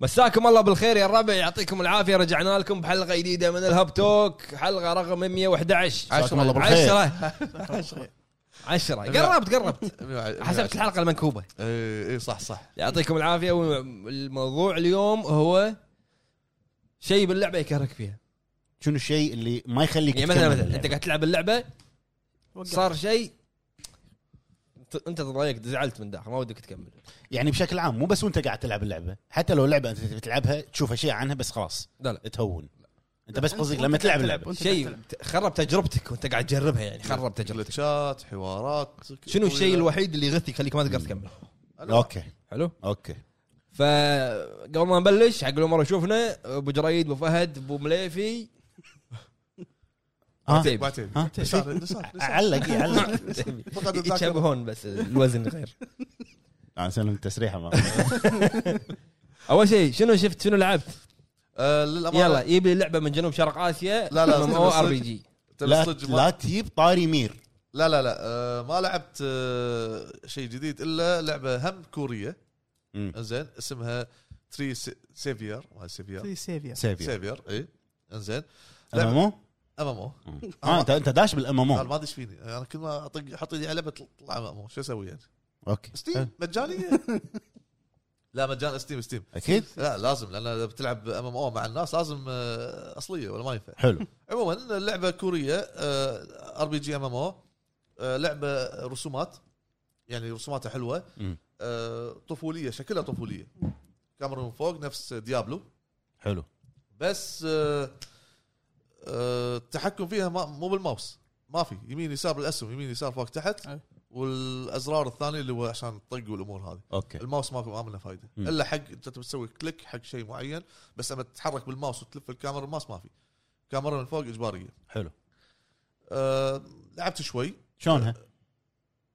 مساكم الله بالخير يا الربع يعطيكم العافيه رجعنا لكم بحلقه جديده من الهاب توك حلقه رقم 111 عشرة. جزاكم الله بالخير 10 10 قربت قربت حسبت الحلقه المنكوبه اي إي، إيه، صح صح يعطيكم العافيه والموضوع اليوم هو شيء باللعبه يكرهك فيها شنو الشيء اللي ما يخليك يعني مثلا تكمل مثلا اللعبة؟ انت قاعد تلعب اللعبه صار شيء أنت- انت تضايقت زعلت من داخل ما ودك تكمل يعني بشكل عام مو بس وانت قاعد تلعب اللعبه حتى لو لعبه انت تبي تلعبها تشوف اشياء عنها بس خلاص لا لا تهون انت بس قصدك لما تلعب اللعبه وأنت شيء تلعب. خرب تجربتك وانت قاعد تجربها يعني خرب تجربتك جلتشات حوارات شنو الشيء الوحيد اللي يغثي يخليك ما تقدر تكمل اوكي حلو اوكي فقبل ما نبلش حق الامور شوفنا ابو جريد ابو فهد ابو مليفي آه. عتيبي. بعدين ها؟ صار- صار- صار. علق إيه، علق عتيبي. فقد الذاكرة. يتشابهون بس الوزن غير انا سلم التسريحه ما اول شيء شنو شفت شنو لعبت آه، للامانه يلا يجيب لي لعبه من جنوب شرق اسيا لا، لا، او ار صدق. بي جي ترى لا صدق ما- لا تجيب طاري مير لا لا لا آه، ما لعبت آه، شيء جديد الا لعبه هم كوريه مم. زين اسمها تري سيفير ما سيفير تري سيفيا سيفي سيفير اي انزين إيه. لعبة- امامو ام ام او اه انت انت داش انا بالامامو ما ادري إيش فيني انا كل ما اطق احط ايدي على لعبه تطلع ام ام او شو اسوي يعني اوكي ستيم مجانيه لا مجان ستيم ستيم اكيد لا لازم لان اذا بتلعب ام ام او مع الناس لازم آه، اصليه ولا ما ينفع حلو عموما لعبه كوريه ار بي جي ام ام او لعبه آه، رسومات يعني رسوماتها حلوه مم. آه، طفوليه شكلها طفوليه كاميرا من فوق نفس ديابلو حلو بس آه، آه، التحكم فيها ما- مو بالماوس ما في يمين يسار بالاسهم يمين يسار فوق تحت أي. والازرار الثانيه اللي هو عشان تطق والامور هذه اوكي الماوس ما ما منه فايده مم. الا حق انت بتسوي كليك حق شيء معين بس اما تتحرك بالماوس وتلف الكاميرا الماوس ما في كاميرا من فوق اجباريه حلو أه لعبت شوي شلونها؟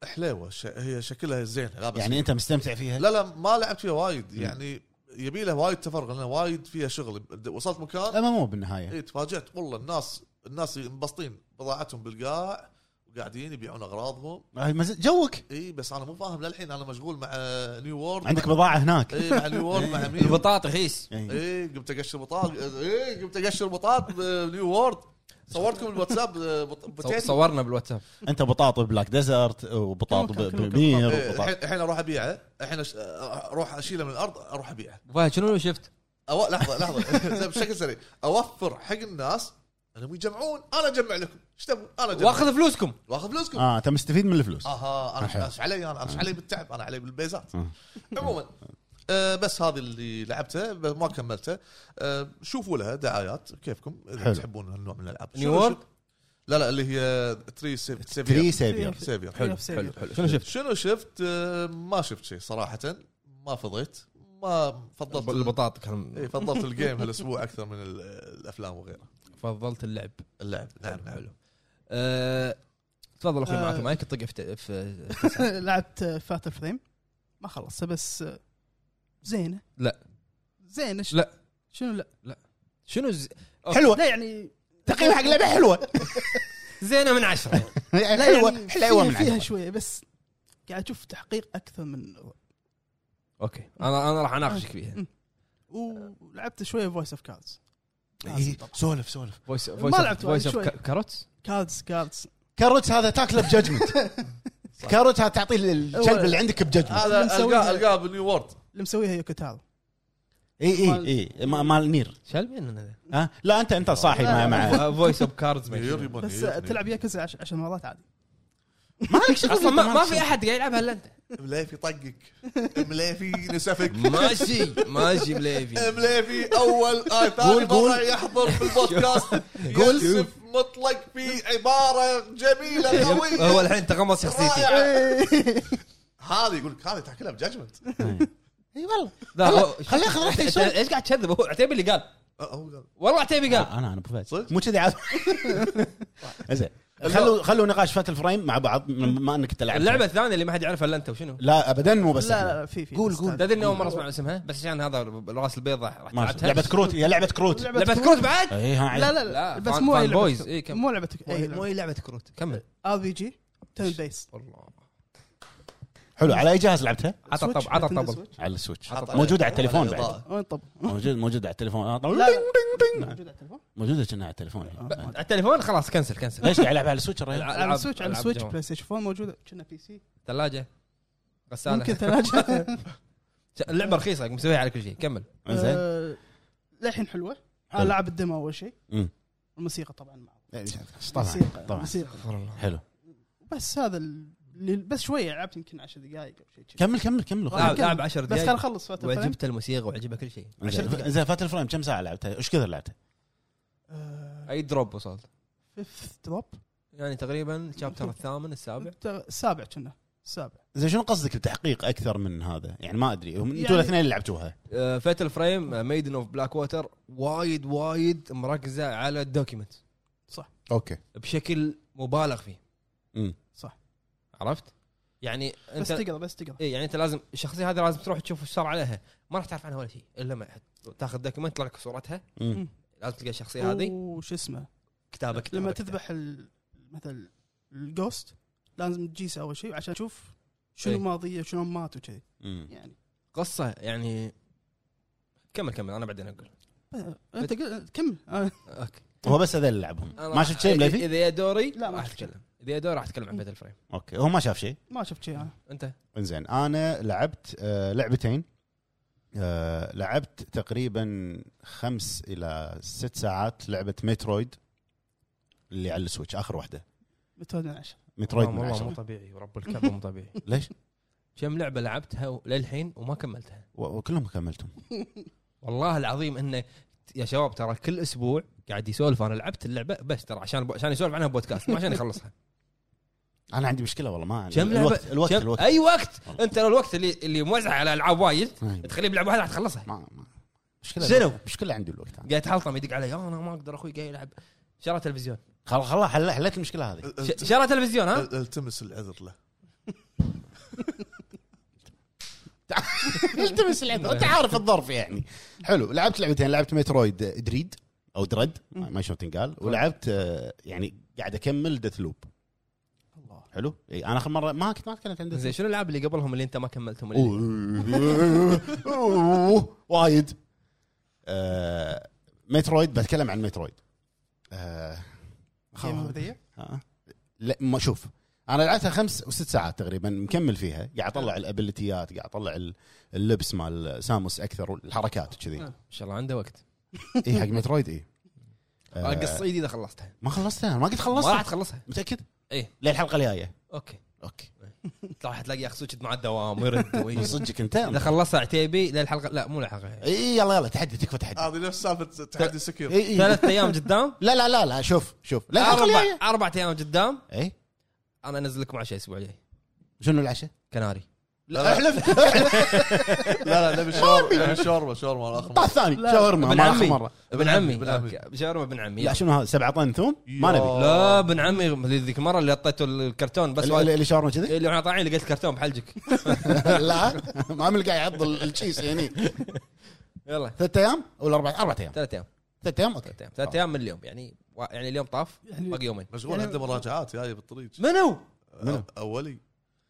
حلوه ش... هي شكلها زين لا بس يعني انت مستمتع فيها؟ لا لا ما لعبت فيها وايد يعني يبي لها وايد تفرغ لان وايد فيها شغل د- وصلت مكان امامو بالنهايه اي تفاجات والله الناس الناس انبسطين بضاعتهم بالقاع وقاعدين يبيعون اغراضهم هاي آه، مز- جوك اي بس انا مو فاهم للحين انا مشغول مع نيو وورد عندك بضاعه هناك اي مع نيو وورد مع مين البطاط رخيص إيه. اي قمت اقشر بطاط اي قمت اقشر بطاط بنيو وورد صورتكم الواتساب آه، بط- بوتيتو. صورنا بالواتساب انت بطاط ببلاك ديزرت وبطاط كم- كم- كم- كم- بمير إيه، وبطاط الحين الحين اروح ابيعه الحين أش- اروح اشيله من الارض اروح ابيعه أبو فهد شنو شفت؟ أو... لحظه لحظه بشكل سريع اوفر حق الناس انهم يجمعون انا اجمع لكم ايش تبون انا اجمع واخذ فلوسكم واخذ فلوسكم اه انت مستفيد من الفلوس اها انا مش- أحيان. أنا ايش علي انا أنا ايش علي بالتعب انا علي بالبيزات آه. عموما آه بس هذه اللي لعبتها ب- ما كملتها آه شوفوا لها دعايات كيفكم اذا حلو. تحبون هالنوع من الالعاب New شنو- World؟ شنو- لا لا اللي هي تري سيف تري سيفير سيفير سيفير حلو حلو حلو حلو شنو شفت؟ شنو شفت آه، ما شفت شيء صراحه ما فضيت ما فضلت البطاط كان اي فضلت الجيم هالاسبوع اكثر من ال- الافلام وغيرها فضلت اللعب اللعب نعم نعم حلو أه، تفضل اخوي معك المايك طق في في- لعبت فاتر فريم ما خلصت بس آه، زينه لا. زينه ش- لا. شنو لا؟ شنو ز- حلوه لا يعني تقييم حق لعبه حلوه زينه من عشره يعني لا حلوه يعني حلوه فيها- من فيها عندك. شويه بس قاعد اشوف تحقيق اكثر من اوكي انا انا راح اناقشك فيها ولعبت شويه فويس اوف كاردز إيه، سولف سولف فويس ما لعبت فويس وايد اوف شوي. كاروتس كاردز كاردز كاروت هذا تاكله بججمنت كاروت هذا تعطيه الكلب اللي عندك بججمنت هذا القاه مسويها- القاه بنيو وورد اللي مسويها يوكوتارو اي اي اي ما- مال نير شالبين ها لا انت انت صاحي مع مع فويس اوف كاردز نير ما يبا بس نير، آه، تلعب ياكوزا عش- عشر مرات عادي لك شغل اصلا ما, ما في احد قاعد يلعبها الا انت نير. مليفي طقك مليفي نسفك ماشي ماشي مليفي مليفي اول آه ثاني قول- قول. مره يحضر في البودكاست قول. يسف مطلق في عباره جميله قويه هو الحين تقمص آه، شخصيتي رائعة. هذا يقول لك هذا تاكلها أه، بجاجمنت اي والله لا هو خليه ياخذ راحته أنت يسولف ايش قاعد تكذب هو عتيبي اللي قال أه، والله عتيبي قال انا انا ابو فهد صدق؟ مو كذي عاد زين خلوا خلوا نقاش فات الفريم مع بعض ما انك انت لعبت اللعبه الثانيه اللي ما حد يعرفها الا انت وشنو؟ لا ابدا مو بس لا يعني إحنا. لا في في قول- بس قول. تعال. تدري اني اول مره اسمع اسمها بس عشان هذا الراس البيضة راح ماشي. تلعبها لعبه كروت هي لعبه كروت لعبه كروت بعد؟ اي ها لا عيل. لا لا، لا بس فان- مو فان اي بويز، إيه، لعبه كم. مو إيه، لعبه مو هي لعبه كروت كمل ار بي جي تيرن بيس والله حلو على اي جهاز لعبتها؟ عطى سويتش، طب عطى نتندو طب سويتش. على السويتش عطى موجوده على التليفون أه، بعد الإضاءة. وين طب موجود موجود على التليفون آه، طبعاً. لا، لا. دينج، دينج. موجود على التليفون موجوده كأنها على التليفون آه، يعني. ما- على التليفون خلاص كنسل كنسل ليش قاعد العب على السويتش الرجال؟ على السويتش على السويتش بلاي ستيشن 4 موجوده كنا بي سي ثلاجه غساله يمكن ثلاجه اللعبه رخيصه مسويها على كل شيء كمل زين آه، للحين حلوه حلو. انا لعب الدمو اول شيء مم. الموسيقى طبعا مع طبعا موسيقى طبعا موسيقى طيب. حلو بس هذا اللي بس شويه لعبت يمكن 10 دقائق او شيء كذي. كمل كمل كمل لا، لاعب كمل. لاعب 10 بس خل دقائق اخلص فات الفريم وعجبته الموسيقى وعجبه كل شيء زين زين فات الفريم كم ساعه لعبتها؟ ايش كثر لعبتها؟ آه، اي دروب وصلت فيفث دروب يعني تقريبا الشابتر الثامن السابع الت- السابع كنا السابع زين شنو قصدك بتحقيق اكثر من هذا؟ يعني ما ادري هم يعني- انتوا الاثنين اللي لعبتوها فيتل فريم ميدن اوف بلاك ووتر وايد وايد مركزه على الدوكيمنت اوكي أه، بشكل مبالغ فيه امم عرفت؟ يعني بس انت تقرا بس تقرا اي يعني انت لازم الشخصيه هذه لازم تروح تشوف ايش صار عليها ما راح تعرف عنها ولا شيء الا ما تاخذ دوكيمنت يطلع لك صورتها أمم. لازم تلقى الشخصيه إيه، هذه وش اسمه كتابه كتابه لما كتابة. تذبح ال- مثل الجوست لازم تجيسه اول شيء عشان تشوف شنو إيه. ماضيه شنو مات وكذي أمم. يعني قصه يعني كمل كمل انا بعدين اقول آه، انت قل- كمل آه، اوكي هو بس هذول اللي لعبهم أنا ما شفت شيء إذا- إيه، بليفي؟ اذا يا دوري لا، ما راح شفت شيء. اتكلم اذا يا دوري راح اتكلم عن باتل فريم اوكي هو ما شاف شيء ما شفت شيء انا انت انزين انا لعبت آه، لعبتين آه، لعبت تقريبا خمس الى ست ساعات لعبه مترويد اللي على السويتش اخر واحده متولد العشر آه، مترويد من والله عشرة مو طبيعي ورب الكعبه مو طبيعي ليش؟ كم لعبه لعبتها و- للحين وما كملتها و- وكلهم كملتهم والله العظيم انه يا شباب ترى كل اسبوع قاعد يسولف انا لعبت اللعبه بس ترى عشان عشان يسولف عنها بودكاست مو عشان يخلصها انا عندي مشكله والله ما عندي كم لعبه الوقت الوقت كم- الوقت اي وقت والله. انت لو الوقت اللي اللي موزع على العاب وايد ما- تخليه بلعبه واحده راح تخلصها ما مشكله شنو؟ مشكله عندي الوقت أنا. قاعد تحلطم يدق علي "آه، انا ما اقدر اخوي قاعد يلعب شرى تلفزيون خلاص خلاص حل- حليت المشكله هذه أه، ش- شرى تلفزيون ها ال- التمس العذر له التمس العذر انت عارف الظرف يعني حلو لعبت لعبتين لعبت مترويد دريد او درد ما ما شلون تنقال ولعبت آه، يعني قاعد اكمل ديث لوب الله حلو اي انا اخر مره ما كنت ما تكلمت عن Deathloop. زين شنو الالعاب اللي قبلهم اللي انت ما كملتهم اللي- أوه. أوه. وايد آه، مترويد بتكلم عن مترويد آه، جيم أوف ذا يير. ها؟ لا ما شوف انا لعبتها خمس وست ساعات تقريبا مكمل فيها قاعد اطلع الابيلتيات قاعد اطلع ال- اللبس مال ساموس اكثر والحركات وكذي آه. ان شاء الله عنده وقت اي حق مترويد اي آه، باقي الصعيد اذا خلصتها ما خلصتها أنا ما قد ما راح خلصت تخلصها متاكد؟ إيه. للحلقه الجايه اوكي اوكي راح تلاقي اخ سوشت مع الدوام ويرد من ويجي. صدقك اذا انت خلصها عتيبي للحلقه لا مو الحلقه اي يلا يلا تحدي تكفى تحدي إيه، هذه نفس سالفه تحدي آه. سكيور إي، إي. ثلاث ايام قدام لا لا لا لا شوف شوف لا اربع اربع ايام قدام اي انا انزل لكم عشاء الاسبوع الجاي إيه؟ شنو العشاء؟ كناري لا احلف أه. لا لا نبي شاورما نبي شاورما شاورما اخر طاح مرة. ثاني لا، شاورما ابن ما آخر عمي. مرة ابن عمي ابن عمي. أوكي. شاورما ابن عمي لا شنو هذا 17 ثوم؟ ما يا. نبي لا ابن عمي ذيك المره اللي حطيته الكرتون بس اللي وايد- إيه، اللي شاورما كذي؟ اللي انا طالعين لقيت الكرتون بحلجك لا ما عمل قاعد يعض ال- الشيس يعني يلا ثلاث ايام ولا اربع اربع ايام ثلاث ايام ثلاث ايام اوكي ثلاث ايام ثلاث ايام من اليوم يعني يعني اليوم طاف يعني باقي يومين مشغول عنده مراجعات جايه بالطريق منو؟ منو؟ اولي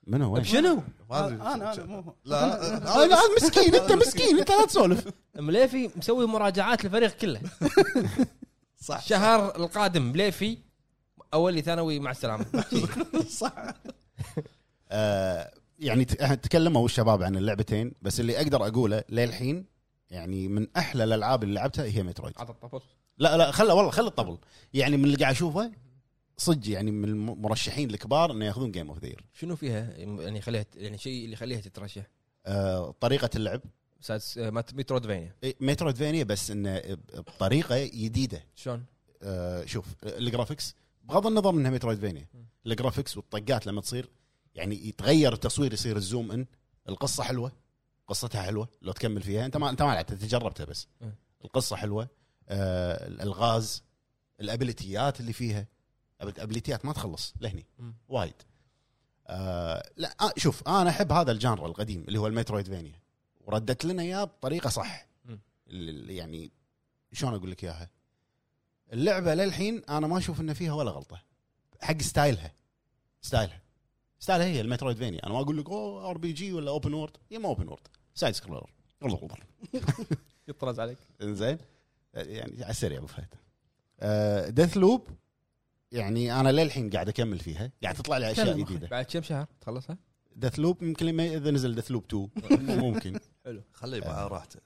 منو وين؟ شنو؟ ما ادري أنا- أنا- أنا مو هو. لا أه، آه، لا، أنا- هذا مسكين انت مسكين انت لا تسولف مليفي مسوي مراجعات للفريق كله صح الشهر القادم مليفي اولي ثانوي مع السلامه صح آه، يعني ت- آه، تكلموا الشباب عن اللعبتين بس اللي اقدر اقوله للحين يعني من احلى الالعاب اللي لعبتها هي مترويد عطى الطفل لا لا خله والله خله الطبل يعني من اللي قاعد اشوفه صدق يعني من المرشحين الكبار انه ياخذون جيم اوف ذير شنو فيها يعني خليها يعني شيء اللي يخليها تترشح طريقه آه، اللعب سادس آه، مترودفينيا إيه، مترويدفينيا بس انه ب- بطريقه جديده شلون؟ آه، شوف آه، الجرافكس بغض النظر انها مترويدفينيا الجرافكس والطقات لما تصير يعني يتغير التصوير يصير الزوم ان القصه حلوه قصتها حلوه لو تكمل فيها انت ما انت ما لعبتها أنت جربتها بس إيه. القصه حلوه آه، الالغاز الابيليتيات اللي فيها الابيليتيات ما تخلص لهني مم. وايد آه لا آه شوف انا احب هذا الجانر القديم اللي هو المترويدفينيا وردت لنا اياه بطريقه صح مم. اللي يعني شلون اقول لك اياها اللعبه للحين انا ما اشوف ان فيها ولا غلطه حق ستايلها ستايلها ستايلها هي المترويدفينيا انا ما اقول لك اوه ار بي جي ولا اوبن وورد هي ما اوبن وورد سايد سكرولر يطرز عليك انزين يعني على السريع ابو فهد ديث لوب يعني انا للحين قاعد اكمل فيها قاعد تطلع لي اشياء كلم أخي. جديده بعد كم شهر تخلصها؟ ديث لوب يمكن لما اذا نزل ديث لوب 2 ممكن حلو خليه مع آه. راحته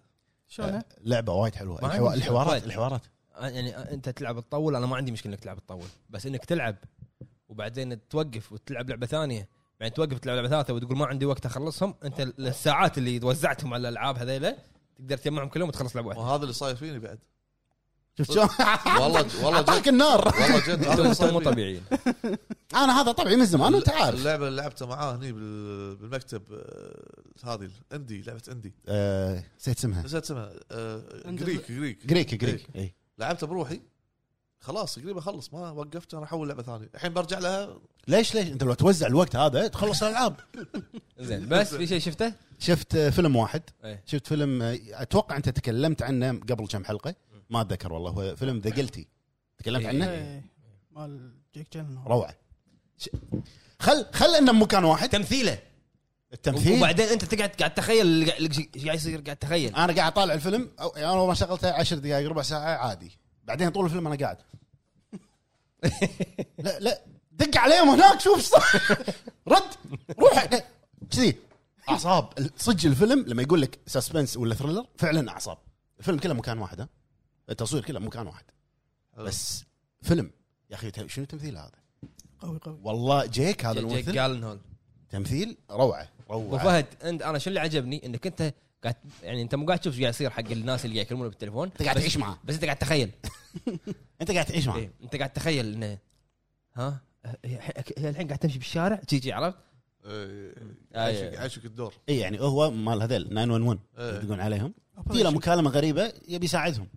شلونه؟ أه. لعبه وايد حلوه ما عندي طيب. الحوا- مشكلة. الحوارات وايد. الحوارات يعني انت تلعب تطول انا ما عندي مشكله انك تلعب تطول بس انك تلعب وبعدين توقف وتلعب لعبه ثانيه بعدين توقف تلعب لعبه ثالثه وتقول ما عندي وقت اخلصهم انت ال- الساعات اللي وزعتهم على الالعاب هذيلا تقدر تجمعهم كلهم وتخلص لعبه واحده وهذا اللي صاير فيني بعد شفت طيب. شلون؟ والله ج- والله جد اعطاك النار والله جد انتم هذا اللي انتم صاير مو فيني. طبيعيين انا هذا طبعي من زمان انت عارف اللعبه اللي لعبتها معاه هني بال- بالمكتب آه، هذه الاندي لعبه اندي آه، نسيت اسمها إيه. نسيت اسمها آه، أندي. جريك جريك جريك جريك اي لعبتها بروحي خلاص قريب اخلص ما وقفت انا احول لعبه ثانيه الحين برجع لها ليش ليش انت لو توزع الوقت هذا تخلص الالعاب زين بس في شيء شفته؟ شفت آه، فيلم واحد ايه شفت فيلم آه، اتوقع انت تكلمت عنه قبل كم حلقه ما اتذكر والله هو فيلم ذا جلتي تكلمت إيه. عنه إيه. مال جيك جيلنهول روعه ش- خل خل انه بمكان واحد تمثيله التمثيل وبعدين انت تقعد قاعد تخيل اللي قاعد اللي قاعد يصير قاعد تخيل انا قاعد اطالع الفيلم أو يعني اول ما شغلته 10 دقائق ربع ساعه عادي بعدين طول الفيلم انا قاعد لا لا دق عليهم هناك شوف ايش صار رد روح كذي اعصاب صدق الفيلم لما يقول لك سسبنس ولا ثريلر فعلا اعصاب الفيلم كله مكان واحد ها التصوير كله مكان واحد بس فيلم يا اخي ت- شنو التمثيل هذا؟ قوي قوي والله جيك هذا جيك الممثل جالنهول تمثيل روعه ابو روعه فهد انت انا شو اللي عجبني انك انت قاعد يعني انت مو قاعد تشوف ايش قاعد يصير حق الناس اللي قاعد يكلمونه بالتليفون انت قاعد بس- تعيش معاه بس انت قاعد تخيل انت قاعد تعيش معاه إيه انت قاعد تخيل انه ها هي هي الحين قاعد تمشي بالشارع جي جي عرفت؟ آه، آه، عايشك عايشك الدور اي يعني هو مال هذيل 911 إيه. يدقون عليهم في له أوبريشن. مكالمه غريبه يبي يساعدهم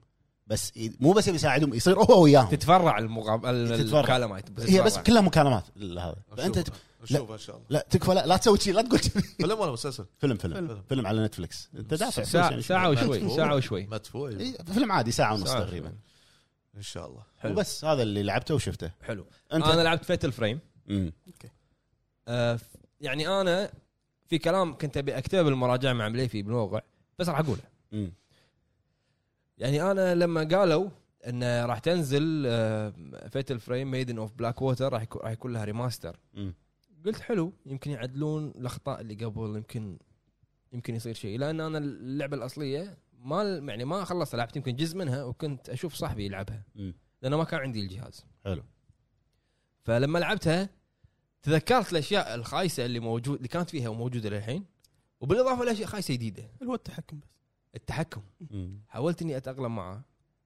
بس ي- مو بس يبي يساعدهم يصير هو وياهم تتفرع المقاب... تتفرع. المكالمات هي بس كلها مكالمات ال- هذا فانت ت- نشوف ان شاء الله لا تكفى لا, لا تسوي شيء لا تقول شي. فيلم ولا مسلسل فيلم فيلم فيلم. فيلم على نتفلكس انت دافع فلوس ساعة, يعني ساعة وشوي مدفوع. ساعة وشوي مدفوع إي، فيلم عادي ساعه ونص ساعة تقريبا ان شاء الله حلو. وبس هذا اللي لعبته وشفته حلو انت انا لعبت فيتل فريم أمم. آه ف- يعني انا في كلام كنت ابي اكتبه بالمراجعة مع مليفي بالموقع بس راح اقوله أمم. يعني انا لما قالوا انه راح تنزل آه، فيتل فريم ميدن اوف بلاك ووتر راح يكون راح يكون لها ريماستر أمم. قلت حلو يمكن يعدلون الاخطاء اللي قبل يمكن يمكن يصير شيء لان انا اللعبه الاصليه ما يعني ما خلصت لعبت يمكن جزء منها وكنت اشوف صاحبي يلعبها أمم. لانه ما كان عندي الجهاز حلو فلما لعبتها تذكرت الاشياء الخايسه اللي موجود اللي كانت فيها وموجوده للحين وبالاضافه لاشياء خايسه جديده اللي هو التحكم بس التحكم أمم. حاولت اني اتاقلم معه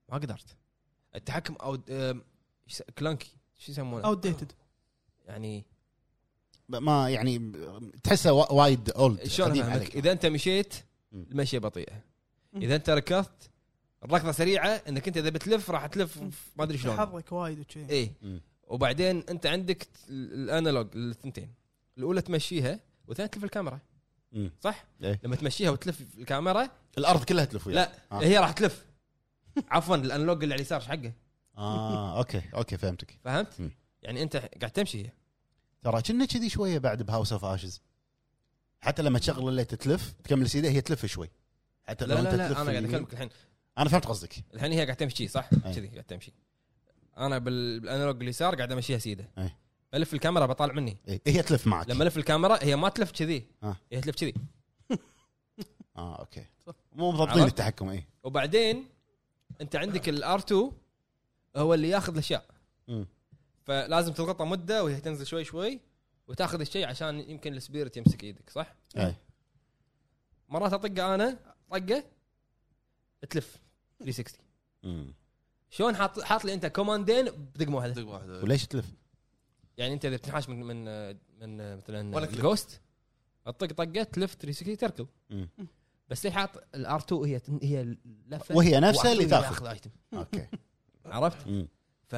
ما قدرت التحكم او كلانكي شو يسمونه اوت ديتد يعني ب- ما يعني ب- تحسه وا- وايد اولد إيه، شلون قديم أفهمك؟ عليك اذا انت مشيت مم. المشيه بطيئه مم. اذا انت ركضت الركضه سريعه انك انت اذا بتلف راح تلف مم. ما ادري شلون إيه. حظك وايد وشي اي مم. وبعدين انت عندك ت- الانالوج الثنتين الاولى تمشيها والثانيه تلف الكاميرا أمم. صح؟ إيه. لما تمشيها وتلف الكاميرا الارض كلها تلف وياك. لا آه. هي راح تلف عفوا الانالوج اللي على اليسار ايش حقه اه اوكي اوكي فهمتك فهمت؟ مم. يعني انت قاعد تمشي هي ترى كنا كذي شويه بعد بهاوس اوف اشز حتى لما تشغل الليت تلف تكمل سيده هي تلف شوي حتى لا طيب، لو لا انت لا تلف انا قاعد اليمين- اكلمك الحين انا فهمت قصدك الحين هي قاعد تمشي صح؟ أي. كذي قاعد تمشي انا بال- بالانالوج اليسار قاعد امشيها سيده أي. الف الكاميرا بطالع مني إيه، هي تلف معك لما لما الف الكاميرا هي ما تلف كذي آه. هي تلف كذي اه اوكي صح. مو مضبطين عرفت؟ التحكم اي وبعدين انت عندك الار 2 هو اللي ياخذ الاشياء مم. فلازم تضغطها مده وهي تنزل شوي شوي وتاخذ الشيء عشان يمكن السبيرت يمسك ايدك صح؟ اي مرات اطقه انا طقه تلف 360 مم. شلون حاط حاط لي انت كوماندين بدقمه واحده دق واحده آه، وليش تلف؟ يعني انت اذا بتنحاش من من من ولا مثلا كليك. جوست اطق طقه تلف 360 تركض مم. بس ليه حاط الار 2 هي هي لفه وهي نفسها اللي وعطوني تاخذ ايتم اوكي عرفت؟ مم. ف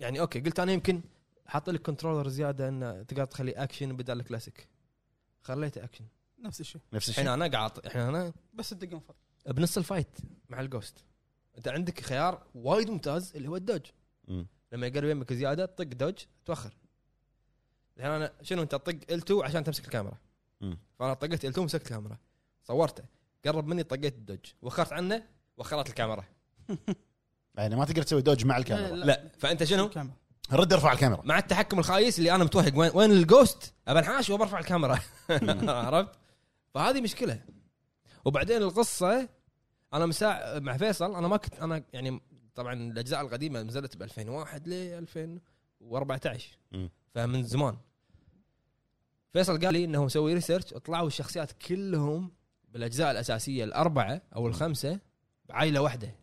يعني اوكي قلت انا يمكن حاط لك كنترولر زياده ان تقدر تخلي اكشن بدل الكلاسيك خليته اكشن نفس الشيء نفس الحين الشيء انا قاعد الحين انا بس الدقم فرق بنص الفايت مع الجوست انت عندك خيار وايد ممتاز اللي هو الدوج مم. لما يقرب يمك زياده طق دوج توخر الحين انا شنو انت تطق ال2 عشان تمسك الكاميرا مم. فانا طقيت ال2 مسكت الكاميرا صورته قرب مني طقيت الدوج وخرت عنه وخرت الكاميرا يعني ما تقدر تسوي دوج مع الكاميرا لا. لا فانت شنو كاميرا رد ارفع الكاميرا مع التحكم الخايس اللي انا متوهق وين وين الجوست ابى انحاش وبرفع الكاميرا عرفت فهذه مشكله وبعدين القصه انا مساع مع فيصل انا ما كنت انا يعني طبعا الاجزاء القديمه نزلت ب 2001 ل 2014 مم. فمن زمان فيصل قال لي انه مسوي ريسيرش طلعوا الشخصيات كلهم بالاجزاء الاساسيه الاربعه او الخمسه بعائله واحده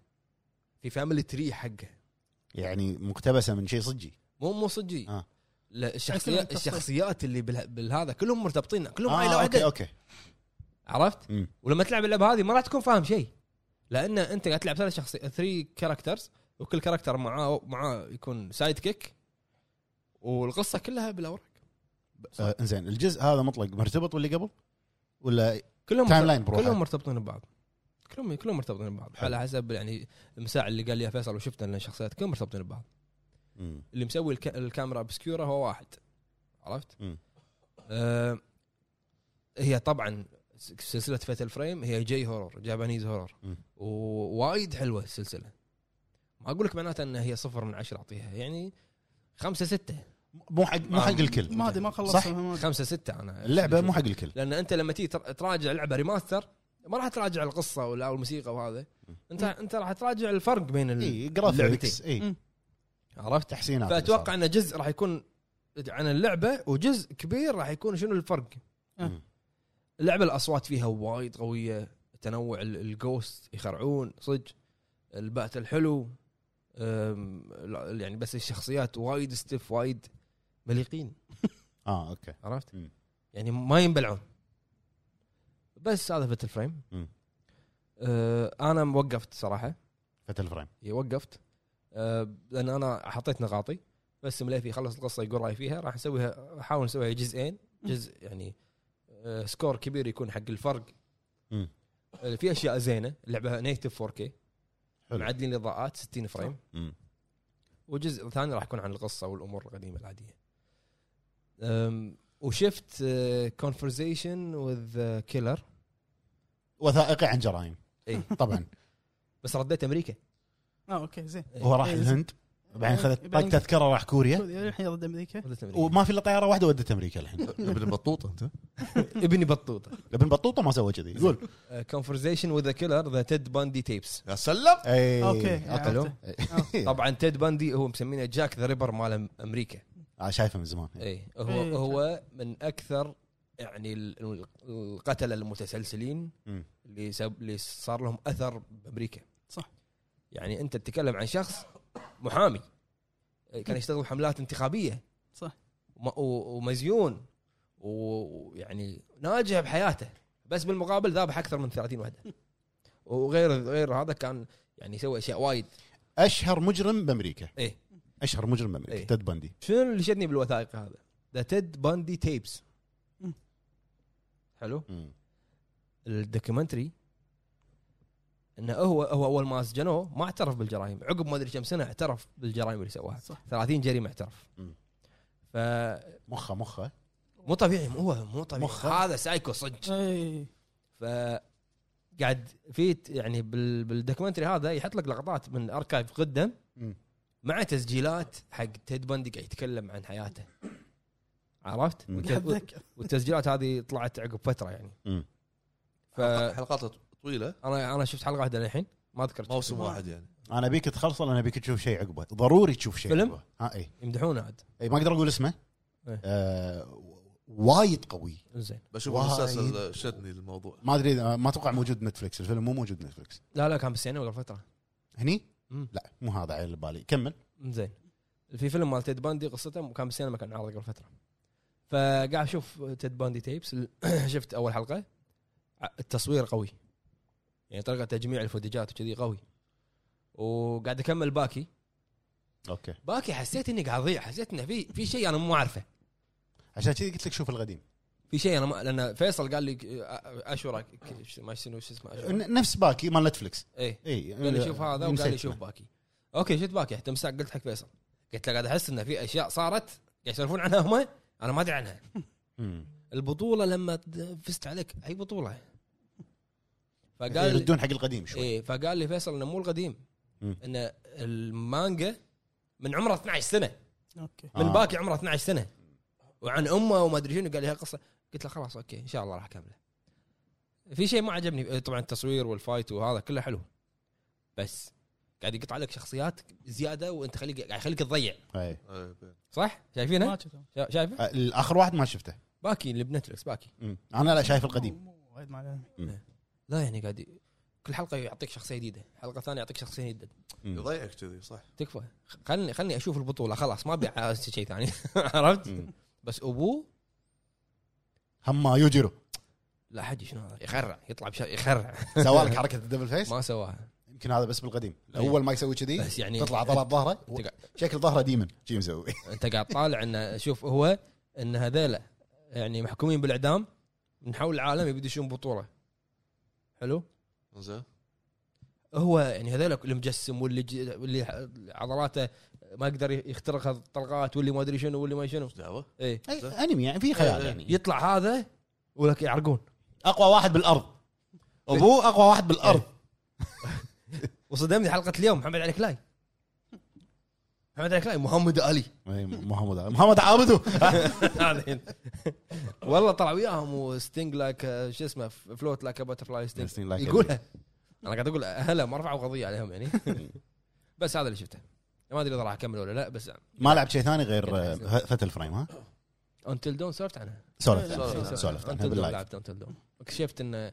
في فاميلي تري حقه يعني مقتبسه من شيء صجي مو مو صجي آه. آه. أكثر من الشخصيات التفصيل. الشخصيات اللي بالها- بالهذا كلهم مرتبطين كلهم آه عائله آه اوكي واحده اوكي عرفت مم. ولما تلعب اللعبه هذه ما راح تكون فاهم شيء لان انت قاعد تلعب ثلاث شخصي ثري كاركترز وكل كاركتر معاه معاه يكون سايد كيك والقصه كلها بالاوراق آه انزين الجزء هذا مطلق مرتبط واللي قبل ولا كلهم تايم مرتب- لاين بروحه. كلهم مرتبطين ببعض كلهم كلهم مرتبطين ببعض على حسب يعني المساعد اللي قال لي يا فيصل وشفته ان الشخصيات كلهم مرتبطين ببعض مم. اللي مسوي الك... الكاميرا بسكيورا هو واحد عرفت؟ مم. آه هي طبعا س- سلسله فيتل فريم هي جي هورور جابانيز هورور مم. ووايد حلوه السلسله ما اقول لك معناته ان هي صفر من عشرة اعطيها يعني خمسة ستة مو حق مو حق الكل آه، ما ادري ما خلصت صح؟ خمسة ستة انا اللعبه أشوف. مو حق الكل لان انت لما تيجي تر- تراجع لعبه ريماستر ما راح تراجع القصه ولا الموسيقى وهذا انت انت راح تراجع الفرق بين ال... اي اللعبتين. جرافيكس اي مم. عرفت إيه، تحسينات فاتوقع ان جزء راح يكون عن اللعبه وجزء كبير راح يكون شنو الفرق مم. اللعبه الاصوات فيها وايد قويه تنوع ال- الجوست يخرعون صدق البات الحلو أم، ال- يعني بس الشخصيات وايد ستيف وايد مليقين اه اوكي عرفت مم. يعني ما ينبلعون بس هذا فت الفريم مم. أه، انا وقفت صراحه فتل فريم إي، وقفت أه، لان انا حطيت نقاطي بس مليفي خلص القصه يقول راي فيها راح نسويها احاول نسويها جزئين جزء يعني أه، سكور كبير يكون حق الفرق مم. أه، في اشياء زينه اللعبه نيتف 4K حلو. معدلين الاضاءات 60 فريم مم. وجزء ثاني راح يكون عن القصه والامور القديمه العاديه أم، وشفت آه، كونفرزيشن وذ كيلر وثائقي عن جرائم إيه. اي طبعا بس رديت امريكا اه اوكي زين إي، هو راح إي، الهند بعدين خذت طق بعدين- تذكره راح كوريا الحين ضد امريكا رديت امريكا وما في الا طياره واحده ودت امريكا الحين ابن بطوط انت ابني آه، بطوطه ابن بطوطه ما سوى كذي قول كونفرزيشن وذ كيلر ذا تيد باندي تيبس يا سلم اي اوكي حلو. عرفته. إيه. طبعا تيد باندي هو مسمينه جاك ذا ريبر مال امريكا آه، شايفه من زمان اي هو إي. هو من اكثر يعني ال- ال- القتله المتسلسلين مم. اللي سب اللي صار لهم اثر بامريكا صح. يعني انت تتكلم عن شخص محامي إيه، كان يشتغل بحملات انتخابيه إيه. صح. وم- و- ومزيون و- ويعني ناجح بحياته بس بالمقابل ذابح اكثر من 30 وحده وغير غير هذا كان يعني يسوي اشياء وايد اشهر مجرم بامريكا إيه. اشهر مجرم بامريكا إيه. تد باندي شنو اللي شدني بالوثائق هذا؟ ذا تيد باندي تيبس مم. حلو مم. الدوكيومنتري انه هو هو اول ما سجنوه ما اعترف بالجرائم عقب ما ادري كم سنه اعترف بالجرائم اللي سواها صح. 30 جريمه اعترف مم. فمو مخه مخه طبيعي هو مو طبيعي مخه. هذا سايكو صدق اي ف قاعد في ت- يعني بال- بالدوكيومنتري هذا يحط لك لقطات من اركايف قدم مم. مع تسجيلات حق تيد باندي قاعد يتكلم عن حياته عرفت؟ مم. وت- قاعد اتذكر والتسجيلات هذه طلعت عقب فتره يعني مم. فانا حلقات طويله انا شفت حلقه واحده للحين ما ذكرت موسم واحد يعني انا بيك تخلصه لان بيك تشوف شيء عقبه ضروري تشوف شيء فيلم؟ عقبه ها اي يمدحونه عاد اي ما اقدر اقول اسمه إيه. آه و- وايد قوي زين بشوف وايد. المسلسل شدني الموضوع ما ادري إذا- ما اتوقع موجود نتفلكس الفيلم مو موجود نتفلكس لا لا كان بالسينما قبل فتره هني مم. لا مو هذا على اللي بالي كمل زين في فيلم مال تيد باندي قصته كان بالسينما كان عارض قبل فتره فقاعد اشوف تيد باندي تيبس ال- شفت اول حلقه ع- التصوير قوي يعني طريقه تجميع الفوتجات وكذي قوي وقاعد اكمل باكي اوكي باكي حسيت اني قاعد اضيع حسيت انه في في شيء انا مو عارفه عشان كذي قلت لك شوف القديم في شيء انا ما لان فيصل قال لي اشورك ما شنو شو اسمه أشورك. ن- نفس باكي مال نتفلكس ايه اي قال لي شوف هذا وقال لي نسيت شوف اسمه. باكي اوكي شفت باكي حتى مساك قلت حق فيصل قلت له قاعد احس انه في اشياء صارت قاعد يسولفون عنها هم انا ما ادري عنها مم. البطوله لما ت- فزت عليك اي بطوله فقال يردون حق القديم شوي إيه فقال لي فيصل انه مو القديم مم. ان المانجا من عمرها 12 سنه اوكي من آه. باكي عمرها 12 سنه وعن امه وما ادري شنو قال لي هالقصه قلت له خلاص اوكي ان شاء الله راح اكمله في شيء ما عجبني طبعا التصوير والفايت وهذا كله حلو بس قاعد يقطع لك شخصيات زياده وانت خليك قاعد يخليك تضيع إيه. إيه، بين. صح شايفينها ما شفته. شا- شايفه آه، الاخر واحد ما شفته باكي اللي بنتفلكس باكي مم. انا لا شايف القديم مو- مو وايد معلومة. لا يعني قاعد ي- كل حلقه يعطيك شخصيه جديده حلقه ثانيه يعطيك شخصيه جديده مم. يضيعك كذي صح تكفى خلني خلني اشوف البطوله خلاص ما ابي أعز شيء ثاني عرفت مم. بس ابوه هما يوجيرو لا حجي شنو هذا يخرع يطلع بش يخرع سوى لك حركه الدبل فيس ما سواها يمكن هذا بس بالقديم اول ما يسوي كذي بس يعني تطلع عضلات ظهره انت قاعد- شكل ظهره ديمن شي مسوي انت قاعد طالع انه شوف هو ان هذيلا يعني محكومين بالاعدام من حول العالم يبي يدشون بطوله حلو زين هو يعني هذول المجسم واللي ج- واللي عضلاته ما يقدر يخترقها طلقات واللي ما ادري شنو واللي ما شنو ايش دعوه؟ ايه أي انمي يعني في خيال إيه. يعني يطلع هذا ولك يعرقون إيه. اقوى واحد بالارض ابوه اقوى واحد بالارض وصدمني حلقه اليوم محمد علي كلاي محمد علي كلاي محمد علي إيه، محمد محمد عابدو هذين والله طلع وياهم وستينج لايك شو اسمه فلوت لايك باترفلاي ستينج Sting like a يقولها انا قاعد اقول هلا ما رفعوا قضيه عليهم يعني بس هذا اللي شفته ما ادري اذا راح اكمل ولا لا بس ما لعب شيء ثاني غير فتل فريم ها انتل دون سولفت عنها سولفت لا، لا، عنها. لا. سولفت عنها انتل دون باللايف لعبت انتل دون اكتشفت ان هي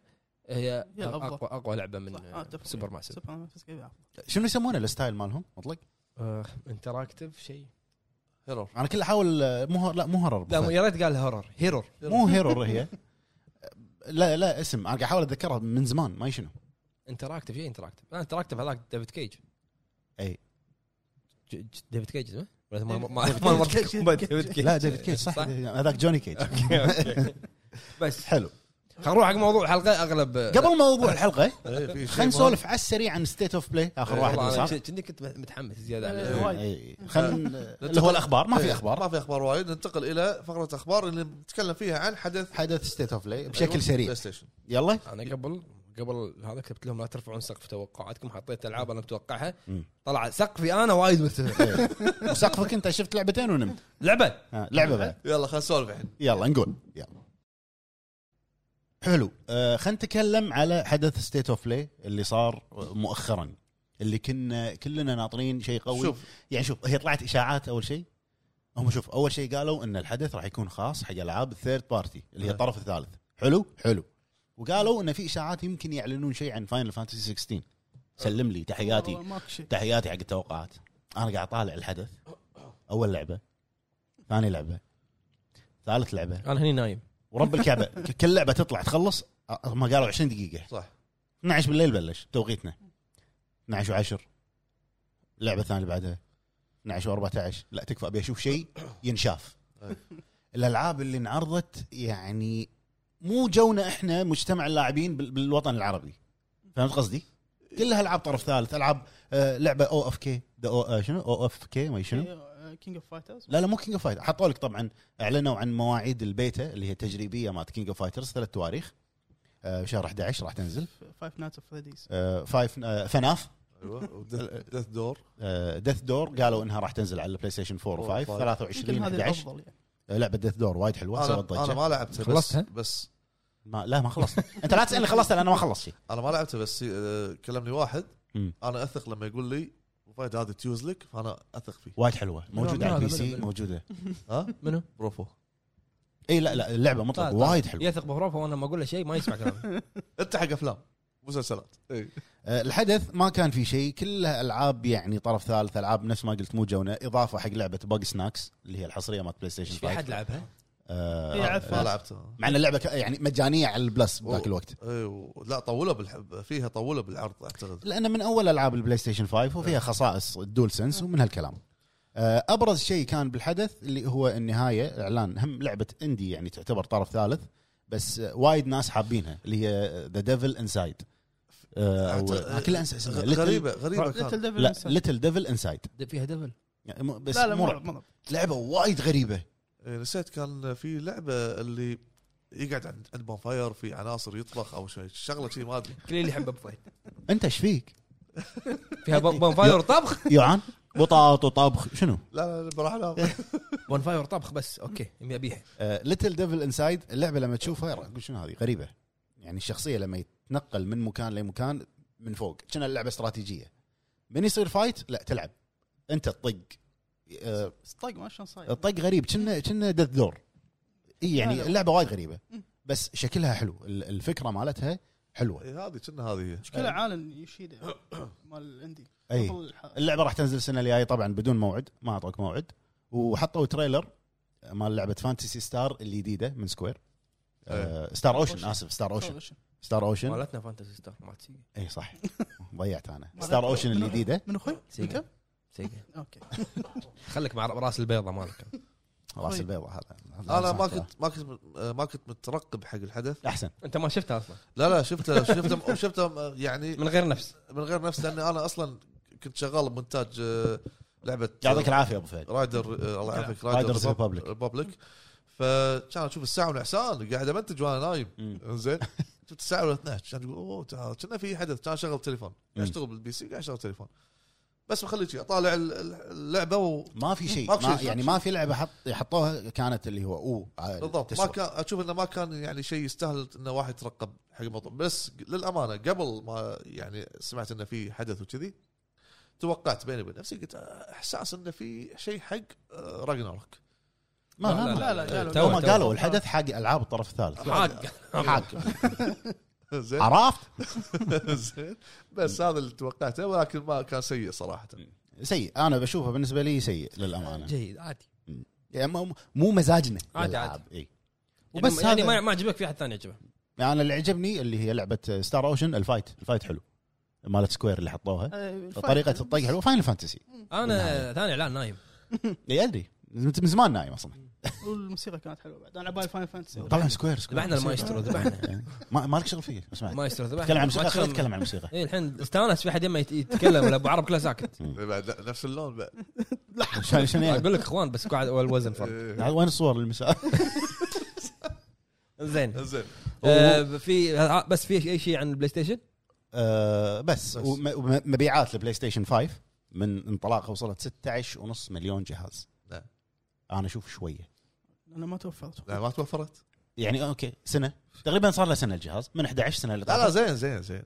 هي الأفضل. اقوى اقوى لعبه من صح، آه، أتفق. سوبر ماسيف سوبر ماسيف كيف يعرف؟ شنو يسمونه الستايل مالهم مطلق؟ آه، انتراكتيف شيء هيرور انا كل احاول آه، مو هور- لا مو هرر لا يا ريت قال هورر هيرور مو هيرور هي لا لا اسم انا قاعد احاول اتذكرها من زمان ما شنو انتراكتيف شيء انتراكتيف انتراكتيف آه، هذاك ديفيد كيج أي. ج- ج- ديفيد كيج اسمه؟ ولا ما ما ديفيد- ما ما- ديفيد كيج. ما- ديفيد كيج لا ديفيد كيج صح صح؟ هذاك جوني كيج أوكي، أوكي. بس حلو خلينا نروح حق موضوع آه، الحلقه اغلب قبل موضوع الحلقه إيه، في شيء خلينا مهم. نسولف على السريع عن ستيت اوف بلاي اخر واحد إيه، والله أنا صار ك- كني كنت متحمس زياده إيه، على وايد. إيه. خلينا اللي هو الاخبار ما في إيه، اخبار ما في اخبار وايد ننتقل الى فقره اخبار اللي نتكلم فيها عن حدث حدث ستيت اوف بلاي أيوة، بشكل سريع بلاي ستيشن يلا انا قبل قبل هذا كتبت لهم لا ترفعون سقف توقعاتكم حطيت العاب انا متوقعها مم. طلع سقفي انا وايد مرتفع إيه. وسقفك انت شفت لعبتين ونمت لعبه ها، لعبه بعد يلا خلينا نسولف الحين يلا نقول يلا حلو آه خلينا نتكلم على حدث ستيت اوف بلاي اللي صار مؤخرا اللي كنا كلنا ناطرين شيء قوي شوف. شوف يعني شوف هي طلعت اشاعات اول شيء هم شوف اول شيء قالوا ان الحدث راح يكون خاص حق العاب الثيرد بارتي اللي هي أه. الطرف الثالث حلو حلو وقالوا ان في اشاعات يمكن يعلنون شيء عن فاينل فانتسي 16 سلم لي تحياتي والله ماكو شيء تحياتي حق التوقعات انا قاعد اطالع الحدث اول لعبه ثاني لعبه ثالث لعبه انا هني نايم ورب الكعبه ك- كل لعبه تطلع تخلص أ- هم قالوا 20 دقيقه صح 12 بالليل بلش توقيتنا 12 و10 اللعبه الثانيه اللي بعدها 12 و14 لا تكفى ابي اشوف شيء ينشاف أي. الالعاب اللي انعرضت يعني مو جونا احنا مجتمع اللاعبين بال- بالوطن العربي فهمت قصدي؟ كلها العاب طرف ثالث العاب آه لعبه او اف كي آه، شنو او اف كي ما شنو كينج اوف فايترز لا لا مو كينج اوف فايتر حطوا لك طبعا اعلنوا عن مواعيد البيتا اللي هي تجريبيه مالت كينج اوف فايترز ثلاث تواريخ آه شهر 11 راح تنزل فايف نايتس اوف فريديز آه فايف آه فناف ايوه دث دور آه ديث دور قالوا انها راح تنزل على البلاي ستيشن 4 و5 فايف. 23 هذه 11 الافضل يعني آه لعبه ديث دور وايد حلوه سوت انا انا ضجه ما لعبتها بس- خلصتها؟ بس ما لا ما خلصت انت لا تسالني خلصت لان ما خلصت شيء انا ما لعبتها بس آه، كلمني وايد مم. انا اثق لما يقول لي فايد هذا تيوز لك فانا اثق فيه وايد حلوه موجوده على لا، البي لا، سي لا. موجوده ها منو؟ بروفو اي لا لا اللعبه طالع، مطلق طالع. طيب، وايد حلوه يثق بروفه وانا ما اقول له شيء ما يسمع كلامي انت حق افلام مسلسلات اي آه، الحدث ما كان في شيء كلها العاب يعني طرف ثالث العاب نفس ما قلت مو جونا اضافه حق لعبه باج سناكس اللي هي الحصريه مالت بلاي ستيشن إيش في 5 احد لعبها؟ آه، إيه، عفوا. ما لعبتها مع ان اللعبه ك- يعني مجانيه على البلس أوه. بذاك الوقت اي إيه، و- لا طولوا بالحب فيها طولوا بالعرض اعتقد لان من اول العاب البلاي ستيشن 5 وفيها خصائص الدول سنس ومن هالكلام آه، ابرز شيء كان بالحدث اللي هو النهايه اعلان هم لعبه اندي يعني تعتبر طرف ثالث بس آه، وايد ناس حابينها اللي هي ذا ديفل انسايد أعتقد- آه، كل انسى اسمها غ- غريبه غريبه ليتل كانت ديفل لا ليتل ديفل انسايد د- فيها دبل بس لا لا يعني مو مو رعب. لعبه وايد غريبه إيه، نسيت كان في لعبه اللي يقعد عند عند بونفاير في عناصر يطبخ او شيء شغله شيء ما ادري كل اللي يحب ابو فهد انت ايش فيك؟ فيها بون فاير طبخ يوعان بطاط وطبخ شنو؟ لا لا لا بروح انام بون فاير طبخ بس اوكي يبي ابيها ليتل ديفل انسايد اللعبه لما تشوفها راح تقول شنو هذه غريبه يعني الشخصيه لما يتنقل من مكان لمكان من فوق كنا اللعبه استراتيجيه من يصير فايت لا تلعب انت تطق آه، طق ما شلون صاير الطق غريب كنا كنا دث دور اي طيب. لا، يعني لا. اللعبه وايد غريبه م. بس شكلها حلو ال- الفكره مالتها حلوه إيه، هذه كنا هذه هي مشكله عالم يشيده مال عندي اي بطل الح- اللعبه راح تنزل السنه الجايه طبعا بدون موعد ما اعطوك موعد وحطوا تريلر مال لعبه فانتسي ستار الجديده من سكوير آه ستار اوشن أوشن. اسف ستار اوشن طيب. Ocean. ستار اوشن مالتنا فانتسي ستار ما تسيجا اي إيه، صح ضيعت انا ستار اوشن منو- الجديده من اخوي؟ سيجا سيجا اوكي خليك مع راس البيضه مالك راس البيضاء هذا انا ما كنت ما كنت ما كنت مترقب حق الحدث احسن انت ما شفتها اصلا لا لا شفته شفته شفته يعني من غير نفس من غير نفسي لاني انا اصلا كنت شغال بمونتاج آه، لعبه يعطيك العافيه ابو فهد رايدر آه، الله يعافيك رايدرز ريباب- ريبابليك. ريبابليك فكان اشوف الساعه والعسان قاعد امنتج وانا نايم مم. زين شفت الساعه ولا 12 كان تقول اوه تعال كنا في حدث كان شغل تليفون مم. قاعد اشتغل بالبي سي قاعد اشتغل تليفون بس بخليك شي، اطالع ال- ال- اللعبه و ما في شيء ما في ما شيء. يعني ما في لعبه حط حطوها كانت اللي هو اوه عاد بالضبط ما تسوى. كان اشوف انه ما كان يعني شيء يستاهل انه واحد يترقب حق الموضوع بس للامانه قبل ما يعني سمعت انه في حدث وكذي توقعت بيني وبين نفسي قلت آه، احساس انه في شيء حق آه، راجنارك ما لا، لا، ما- لا، لا، قالوا- تو تو- ما تو- قالوا الحدث حق العاب الطرف الثالث حق حق زين عرفت زين بس هذا اللي توقعته ولكن ما كان سيء صراحه سيء انا بشوفه بالنسبه لي سيء للامانه جيد عادي يعني مو مو مزاجنا عادي، للألعاب. عادي. إي. وبس وبس يعني, هذا- ما ما عجبك في احد ثاني يعجبه يعني انا اللي عجبني اللي هي لعبه ستار اوشن الفايت الفايت حلو مالت سكوير اللي حطوها طريقه الطق حلوه فاينل فانتسي انا ثاني اعلان نايم اي ادري انت إيه، من زمان نايم اصلا والموسيقى كانت حلوه بعد انا عبالي فاين فانتسي طبعا سكوير سكوير ذبحنا المايسترو ذبحنا يعني ما ما لك شغل فيه اسمع مايسترو ذبحنا تتكلم عن ما الموسيقى تكلم- خلينا نتكلم عن الموسيقى اي الحين استانس في حد يما يت- يتكلم ولا ابو عرب كله ساكت بعد نفس اللون بعد شلون شلون يعني؟ اقول لك اخوان بس قاعد والوزن فرق وين الصور للمساء؟ زين زين آه، في آه، بس في اي شيء عن البلاي ستيشن آه، بس بس. وم- ومبيعات البلاي ستيشن 5 من انطلاقها وصلت 16.5 مليون جهاز نعم. انا اشوف شويه انا ما توفرت لا ما توفرت يعني اوكي سنه تقريبا صار له سنه الجهاز من 11 سنه اللي لا لا طافت. زين زين زين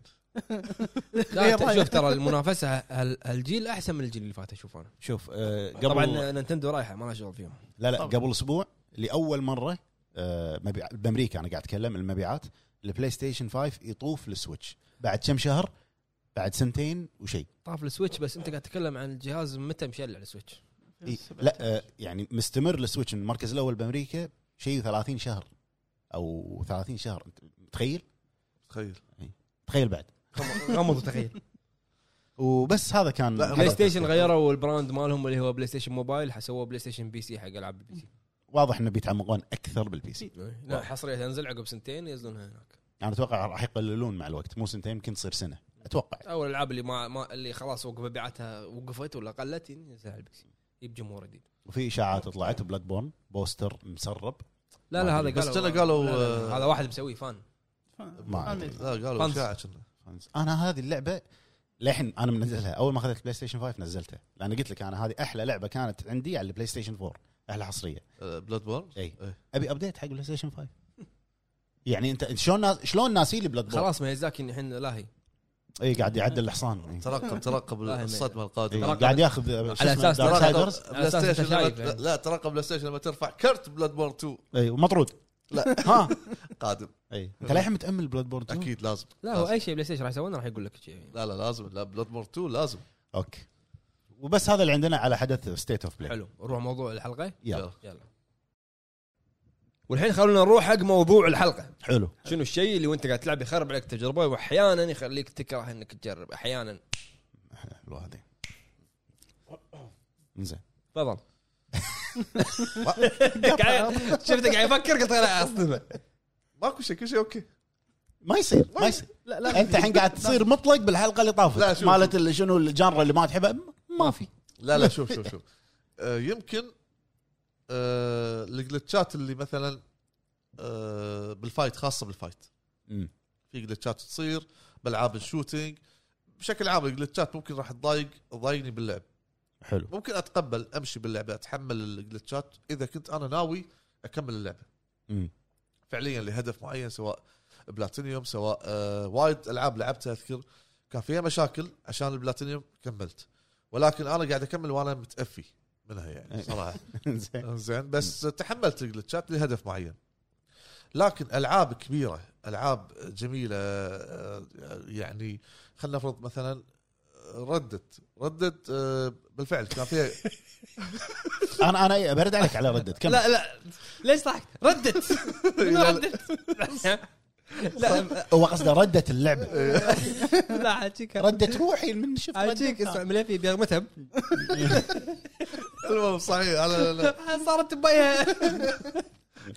لا ت- شوف ترى المنافسه هال- هالجيل احسن من الجيل اللي فات اشوف انا شوف آه، قبل طبعا نينتندو رايحه ما لها شغل فيهم لا لا طبعاً. قبل اسبوع لاول مره آه، مبيع بامريكا انا قاعد اتكلم المبيعات البلاي ستيشن 5 يطوف السويتش بعد كم شهر بعد سنتين وشيء طاف السويتش بس انت قاعد تتكلم عن الجهاز متى مشلع السويتش إيه، لا آه، يعني مستمر السويتش من المركز الاول بامريكا شيء 30 شهر او 30 شهر أنت تخيل تخيل تخيل بعد غمض وتخيل وبس هذا كان لا، بلاي هذا ستيشن التذكير. غيروا البراند مالهم اللي هو بلاي ستيشن موبايل سووه بلاي ستيشن بي سي حق العاب البي سي إيه. واضح انه بيتعمقون اكثر بالبي سي لا حصريه تنزل عقب سنتين ينزلونها هناك انا اتوقع راح يقللون مع الوقت مو سنتين يمكن تصير سنه اتوقع او الالعاب اللي ما, ما اللي خلاص وقف مبيعاتها وقفت ولا قلت ينزلها على البي سي يجيب جمهور جديد وفي اشاعات طلعت بلاد بورن بوستر مسرب لا ما لا هذا أدري. بس قالوا كنا قالوا- لا، لا، لا، هذا واحد مسويه فان ما أدري. لا قالوا فانز. اشاعه كنا انا هذه اللعبه للحين انا منزلها اول ما اخذت بلاي ستيشن 5 نزلتها لان قلت لك انا هذه احلى لعبه كانت عندي على البلاي ستيشن 4 احلى حصريه بلاد بورن اي إيه. ابي ابديت حق بلاي ستيشن 5 يعني انت شلون ناس شلون ناسي لي بلاد بورن خلاص ميزاكي الحين لاهي اي قاعد يعدل الحصان إي. ترقب ترقب لا، يعني الصدمه إي، القادمه ترقب. قاعد ياخذ على أساس دارك ترقب. سايدرز على بلاي أساس ستيشن أنت شايف لما- يعني. لا ترقب بلاي ستيشن لما ترفع كرت بلاد بورن 2 اي ومطرود لا ها قادم اي انت للحين متامل بلاد بورن 2 اكيد لازم لا هو اي شيء بلاي ستيشن راح يسوونه راح يقول لك شيء لا لا لازم لا بلاد بورن 2 لازم اوكي وبس هذا اللي عندنا على حدث ستيت اوف بلاي حلو نروح موضوع الحلقه يلا يلا والحين خلونا نروح حق موضوع الحلقه حلو شنو الشيء اللي وانت قاعد تلعب يخرب عليك تجربه واحيانا يخليك تكره انك تجرب احيانا حلو هذه زين تفضل قاعد- شفتك قاعد يفكر قلت لا اصدمه ماكو شيء كل شيء اوكي ما يصير طيب. ما يصير لا انت الحين قاعد تصير مطلق بالحلقه اللي لا، طافت شوف. مالت اللي شنو الجانرا اللي ما تحبها ما في لا لا شوف شوف شوف آه، يمكن آه، الجلتشات اللي مثلا آه، بالفايت خاصه بالفايت مم. في جلتشات تصير بالعاب الشوتينج بشكل عام الجلتشات ممكن راح تضايق تضايقني باللعب حلو ممكن اتقبل امشي باللعبه اتحمل الجلتشات اذا كنت انا ناوي اكمل اللعبه مم. فعليا لهدف معين سواء بلاتينيوم سواء آه وايد العاب لعبتها اذكر كان فيها مشاكل عشان البلاتينيوم كملت ولكن انا قاعد اكمل وانا متافي منها يعني صراحه زين زين بس تحملت الجلتشات لهدف معين لكن العاب كبيره العاب جميله آه، يعني خلينا نفرض مثلا ردت ردت آه، بالفعل كان فيها انا انا إيه، برد عليك على ردت كم لا لا ليش ضحكت؟ ردت منو لا، لا. ردت لا هو قصده ردت اللعبه إيه. لا عاجيك ردت روحي من شفت عاجيك اسمع ملفي بيغمتها المهم صحيح انا لا- صارت ببيها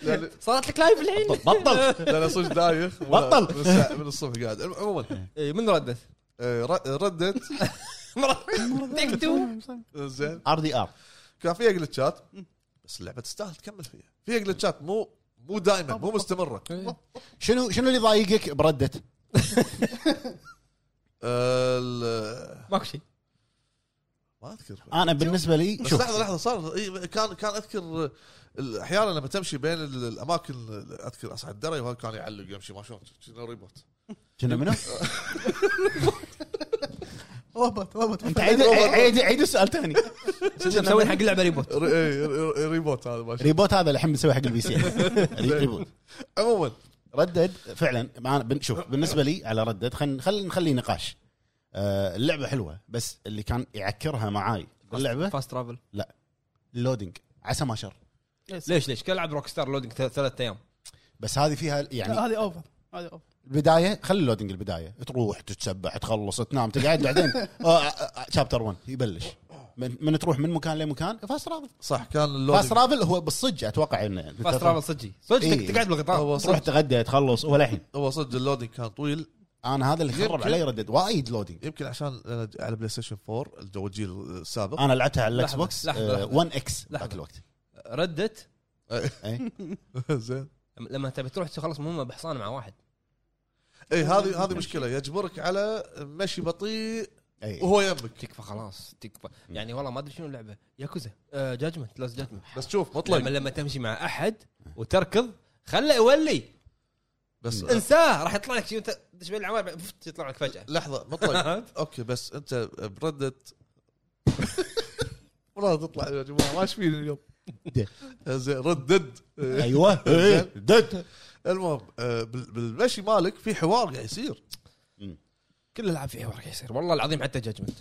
لا- صارت لك لايف الحين بطل لا لا صدق دايخ بطل. من الساعة- من الصبح قاعد عموما إيه، من ردت؟ آه، ر- ردت تيك تو زين ار دي ار كان فيها جلتشات بس اللعبه تستاهل تكمل فيها فيها جلتشات مو مو دائما مو مستمره شنو شنو اللي ضايقك بردت؟ آه، ال- ماكو شيء ما اذكر انا بالنسبه لي بس شوف لحظه لحظه صار إي، كان كان اذكر ال- احيانا لما تمشي بين ال- الاماكن اذكر اصعد الدرج وهذا كان يعلق يمشي ما شلون كنا ريبوت شنو منو؟ ربط ربط انت عيد عيد عيد السؤال ثاني مسوين حق اللعبه ريبوت ري- إي، ري- ري- ريبوت هذا ما شاء ريبوت هذا الحين بنسوي حق البي سي ري- ريبوت عموما ردد فعلا ما أنا بن- شوف بالنسبه لي على ردد خلينا خل نخلي نقاش آه، اللعبه حلوه بس اللي كان يعكرها معاي اللعبه فاست ترافل اللودينج عسى ما شر ليش ليش؟ كلعب روك ستار لودنج ثلاث ايام بس هذه فيها يعني هذه اوفر هذه اوفر البدايه خلي اللودينج البدايه تروح تتسبح تخلص تنام تقعد بعدين آه، شابتر 1 يبلش من, من تروح من مكان لمكان فاست رافل صح كان فاست اللودينج رافل هو بالصج اتوقع انه فاست ترافل صجي صدق إيه. تقعد بالقطار هو تروح صدق تغدى تخلص ولا الحين هو صدق اللودينج كان طويل انا هذا اللي خرب يمكن. علي ردد وايد لودينج يمكن عشان أنا على بلاي ستيشن 4 الجو الجيل السابق انا لعبتها على الاكس لحظة، بوكس لحظة، آه، لحظة. 1 اكس ذاك لحظة. الوقت ردت إيه؟ زين لما تبي تروح تخلص مهمه بحصان مع واحد اي هذه هذه مشكله يجبرك على مشي بطيء اي وهو يمك تكفى خلاص تكفى يعني والله ما ادري شنو اللعبه ياكوزا آه، جاجمنت لاست جاجمنت بس شوف لما مطلق لما تمشي مع احد وتركض خله يولي بس انساه راح يطلع لك شيء وانت تدش بين العمار بعدين فت، يطلع لك فجاه لحظه مطلق اوكي بس انت بردت والله تطلع يا جماعه ما إيش فيني اليوم زين ردد ايوه إيه، دد المهم آه، بال- بالمشي مالك في حوار قاعد يصير كل الالعاب فيها ورق يصير والله العظيم حتى جاجمنت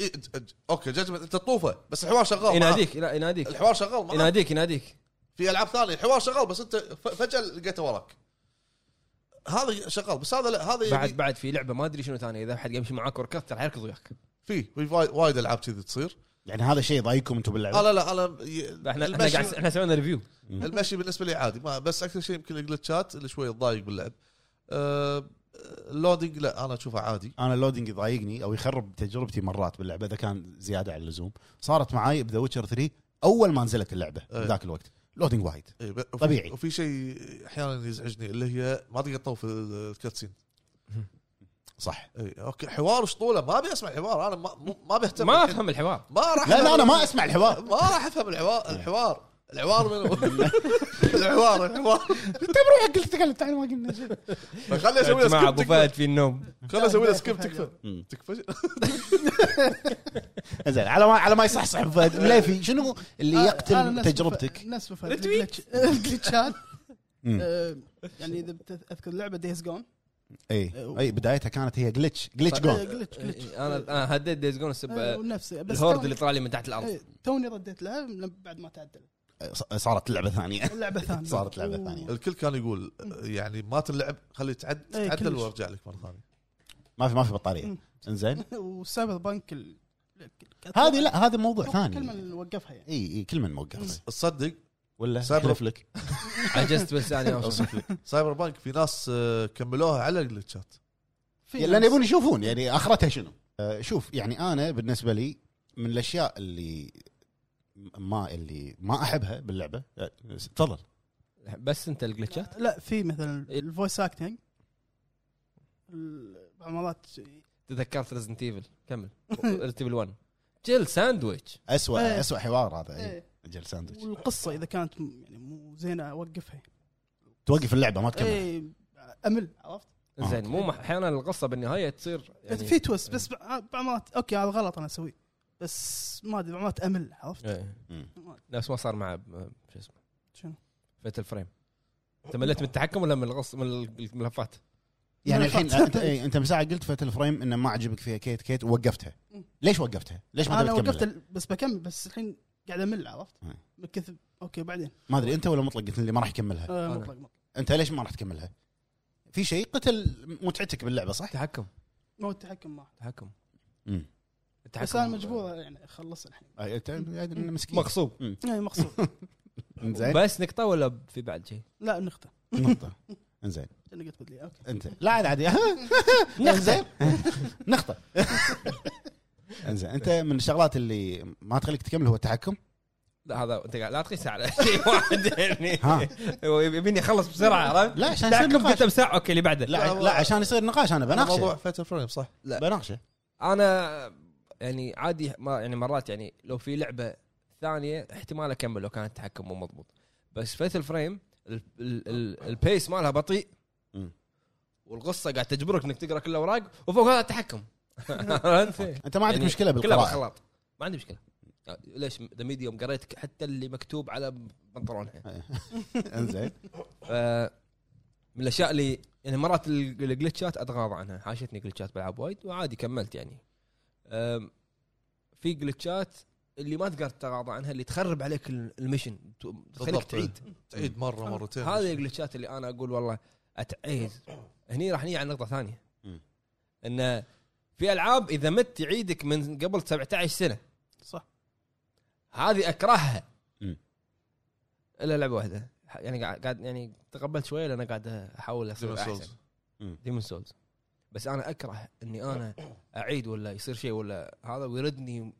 إي، ج- ج- اوكي جاجمنت انت تطوفه بس الحوار شغال معاك. إيه، يناديك لا يناديك الحوار شغال معاك. يناديك يناديك في العاب ثانيه الحوار شغال بس انت ف- فجاه لقيته وراك هذا شغال بس هذا لا هذا بعد يبي- بعد في لعبه ما ادري شنو ثانيه اذا احد يمشي معاك وركض ترى يركض وياك في في وايد- وايد العاب كذي تصير يعني هذا شيء ضايقكم انتم اه باللعبه لا لا انا ي- احنا احنا المشي- قاعد احنا سوينا ريفيو المشي بالنسبه لي عادي ما بس اكثر شيء يمكن الجلتشات اللي شوي تضايق باللعب آه، اللودينج لا انا اشوفه عادي انا اللودينج يضايقني او يخرب تجربتي مرات باللعبه اذا كان زياده على اللزوم صارت معاي بذا ويتشر 3 اول ما نزلت اللعبه إيه. ذاك الوقت لودينج وايد إي، إيه، ب- وفي- طبيعي. وفي شيء احيانا يزعجني اللي هي ما تقدر تطوف ال- الكاتسين صح اي اوكي حوار شطوله ما ابي اسمع الحوار انا ما مو- ما بهتم ما افهم الحوار ما راح لا لا انا ما إيه. اسمع الحوار ما راح افهم الحوار الحوار الحوار منو الحوار الحوار روحك قلت تكلم تعال ما قلنا شيء خليني اسوي له مع سكيب ابو تكفى فهد في النوم خليني اسوي له سكيب تكفى مم. تكفى زين على ما على ما يصحصح أبو فهد ليفي شنو اللي آه، أنا نفس يقتل بف- تجربتك؟ نفس بف- ريتويت. الجلتش- الجلتشات مم. آه، يعني اذا بت- اذكر لعبه دايز جون اي اي إيه. بدايتها كانت هي جلتش جلتش جون جلتش جلتش انا انا هديت دايز جون آه، السب ونفسه بس إيه، الهورد توني- اللي طلع لي من تحت الارض إيه، توني رديت لها لما- بعد ما تعدلت صارت لعبه ثانيه اللعبه ثانيه صارت لعبة ثانية. الكل كان يقول يعني ما تلعب خليه تعد إي، تعدل كلش. وارجع لك مره ثانيه ما في ما في بطاريه مم. انزين والسايبر بانك ال- هذه لا هذا موضوع الكلمه ثاني اللي وقفها يعني اي اي كل من موقف تصدق ولا سايبر- يحلف لك عجزت بس انا اوصف لك سايبر بانك في ناس آه، كملوها على الجلتشات في لان ناس- يبون يشوفون يعني اخرتها شنو آه، شوف يعني انا بالنسبه لي من الاشياء اللي ما اللي ما احبها باللعبه أه، تفضل بس انت الجلتشات لا في مثلا إيه. الفويس اكتنج بعض المرات أيوه. تذكرت ريزنت ايفل كمل ريزنت ايفل 1 جيل ساندويتش اسوء إيه. اسوء حوار هذا إيه. إيه. اجل ساندويتش والقصه اذا كانت م- يعني مو زينه اوقفها توقف اللعبه ما تكمل اي امل عرفت زين مو مح- احيانا القصه بالنهايه تصير يعني في إيه. توست بس بع- بعض المرات اوكي هذا غلط انا اسويه بس ما ادري بعض المرات امل عرفت إيه. مم. ما أدري. نفس ما صار مع ب- شو اسمه شنو فيت الفريم انت مليت من التحكم ولا من القص من الملفات؟ يعني ما الحين ينفع. انت إيه، انت من ساعه قلت فات الفريم انه ما عجبك فيها كيت كيت ووقفتها ليش وقفتها؟ ليش ما انا تبي وقفت تكمل؟ ال- بس بكمل بس الحين قاعد امل عرفت إيه. من كثر اوكي بعدين ما ادري انت ولا مطلق قلت لي ما راح يكملها آه، أنا. مطلق مطلق انت ليش ما راح تكملها؟ في شيء قتل متعتك باللعبه صح؟ تحكم مو التحكم ما تحكم امم التحكم بس انا مجبور يعني اخلص الحين أي- آه، أنت قاعد إنه مسكين مغصوب اي مقصود انزين بس نقطه ولا في بعد شيء؟ لا نقطه نقطه انزين انا قلت بدلي اوكي انت لا عادي عادي انزين نقطه انزين انت من الشغلات اللي ما تخليك تكمل هو التحكم لا هذا انت قاعد لا تقيس على شيء واحد يعني ها. هو يبيني اخلص بسرعه عرفت؟ لا عشان يصير تحكم نقاش قلت بساعه اوكي اللي بعده لا لا عشان يصير نقاش انا موضوع بناقشه فاتل فريم صح بناقشه انا يعني عادي ما يعني مرات يعني لو في لعبه ثانيه احتمال اكمل لو كان التحكم مو مضبوط بس فيت الفريم ال- ال- ال- البيس مالها بطيء مم. والقصه قاعد تجبرك انك تقرا كل الاوراق وفوق هذا التحكم عرفت؟ انت ما عندك يعني مشكله كلها بالقراءه بالخلاط ما عندي مشكله ليش ذا ميديوم قريت حتى اللي مكتوب على بنطلونها انزين ف- من الاشياء اللي يعني مرات ال- الجلتشات اتغاضى عنها حاشتني جلتشات بالعاب وايد وعادي كملت يعني أم، في جلتشات اللي ما تقدر تتغاضى عنها اللي تخرب عليك ال- المشن تو- تخليك بالضبط. تعيد تعيد مره مرتين هذه الجلتشات اللي انا اقول والله اتعيد هني راح نيجي على نقطه ثانيه مم. ان في العاب اذا مت يعيدك من قبل 17 سنه صح هذه اكرهها مم. الا لعبه واحده يعني قاعد قاعد- يعني تقبلت شويه لان قاعد احاول اصير Demon's احسن Souls. مم. ديمون سولز بس انا اكره اني انا اعيد ولا يصير شيء ولا هذا ويردني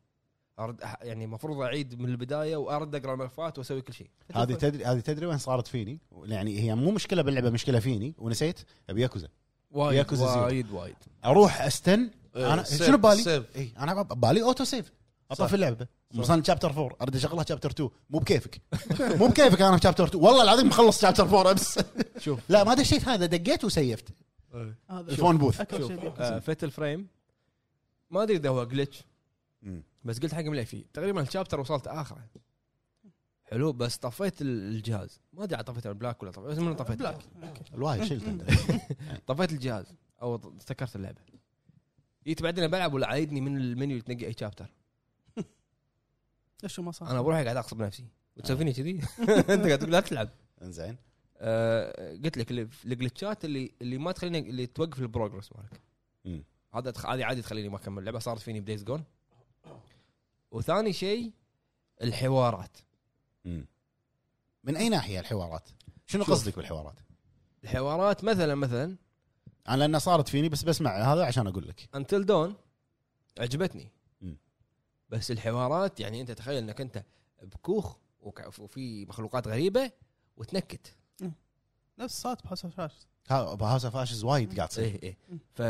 أرد أح- يعني المفروض اعيد من البدايه وارد اقرا الملفات واسوي كل شيء هذه تدري هذه تدري وين صارت فيني يعني هي مو مشكله باللعبه مشكله فيني ونسيت بياكوزا وايد ياكوزا زيرو. وايد وايد اروح استن انا إيه، سيف- شنو بالي؟ سيف. اي انا ببالي اوتو سيف اطفي اللعبه مثلا شابتر 4 اريد اشغلها شابتر 2 مو بكيفك مو بكيفك انا شابتر 2 والله العظيم مخلص شابتر 4 امس شوف. لا ما دشيت هذا دقيت وسيفت إيه. هذا الفون بوث اكثر شيء آه. بيحصل. فيتل فريم آه، ما ادري اذا هو جلتش مم. بس قلت حق مليفي تقريبا الشابتر وصلت اخره حلو بس طفيت ال- الجهاز ما ادري عاد طفيته من بلاك ولا طفيت بس من طفيت بلاك الواحد شلت انت طفيت الجهاز او ط- سكرت اللعبه جيت بعدين إيه، بلعب ولا عايدني من المنيو تنقي اي شابتر ليش ما صار؟ انا بروحي قاعد اغصب نفسي وتسوي فيني كذي انت قاعد تقول لا تلعب انزين آه، قلت لك ال- الجلتشات اللي اللي ما تخليني اللي توقف البروجرس مالك مم. هذا تخ- هذه عادي تخليني ما اكمل لعبه صارت فيني بدايز جون وثاني شيء الحوارات مم. من اي ناحيه الحوارات؟ شنو شوف. قصدك بالحوارات؟ الحوارات مثلا مثلا انا لانها صارت فيني بس بسمع هذا عشان اقول لك انتل دون عجبتني مم. بس الحوارات يعني انت تخيل انك انت بكوخ وك- وفي مخلوقات غريبه وتنكت نفس صوت بحس فاش هاوس اوف اشز وايد قاعد تصير ايه ايه مم. ف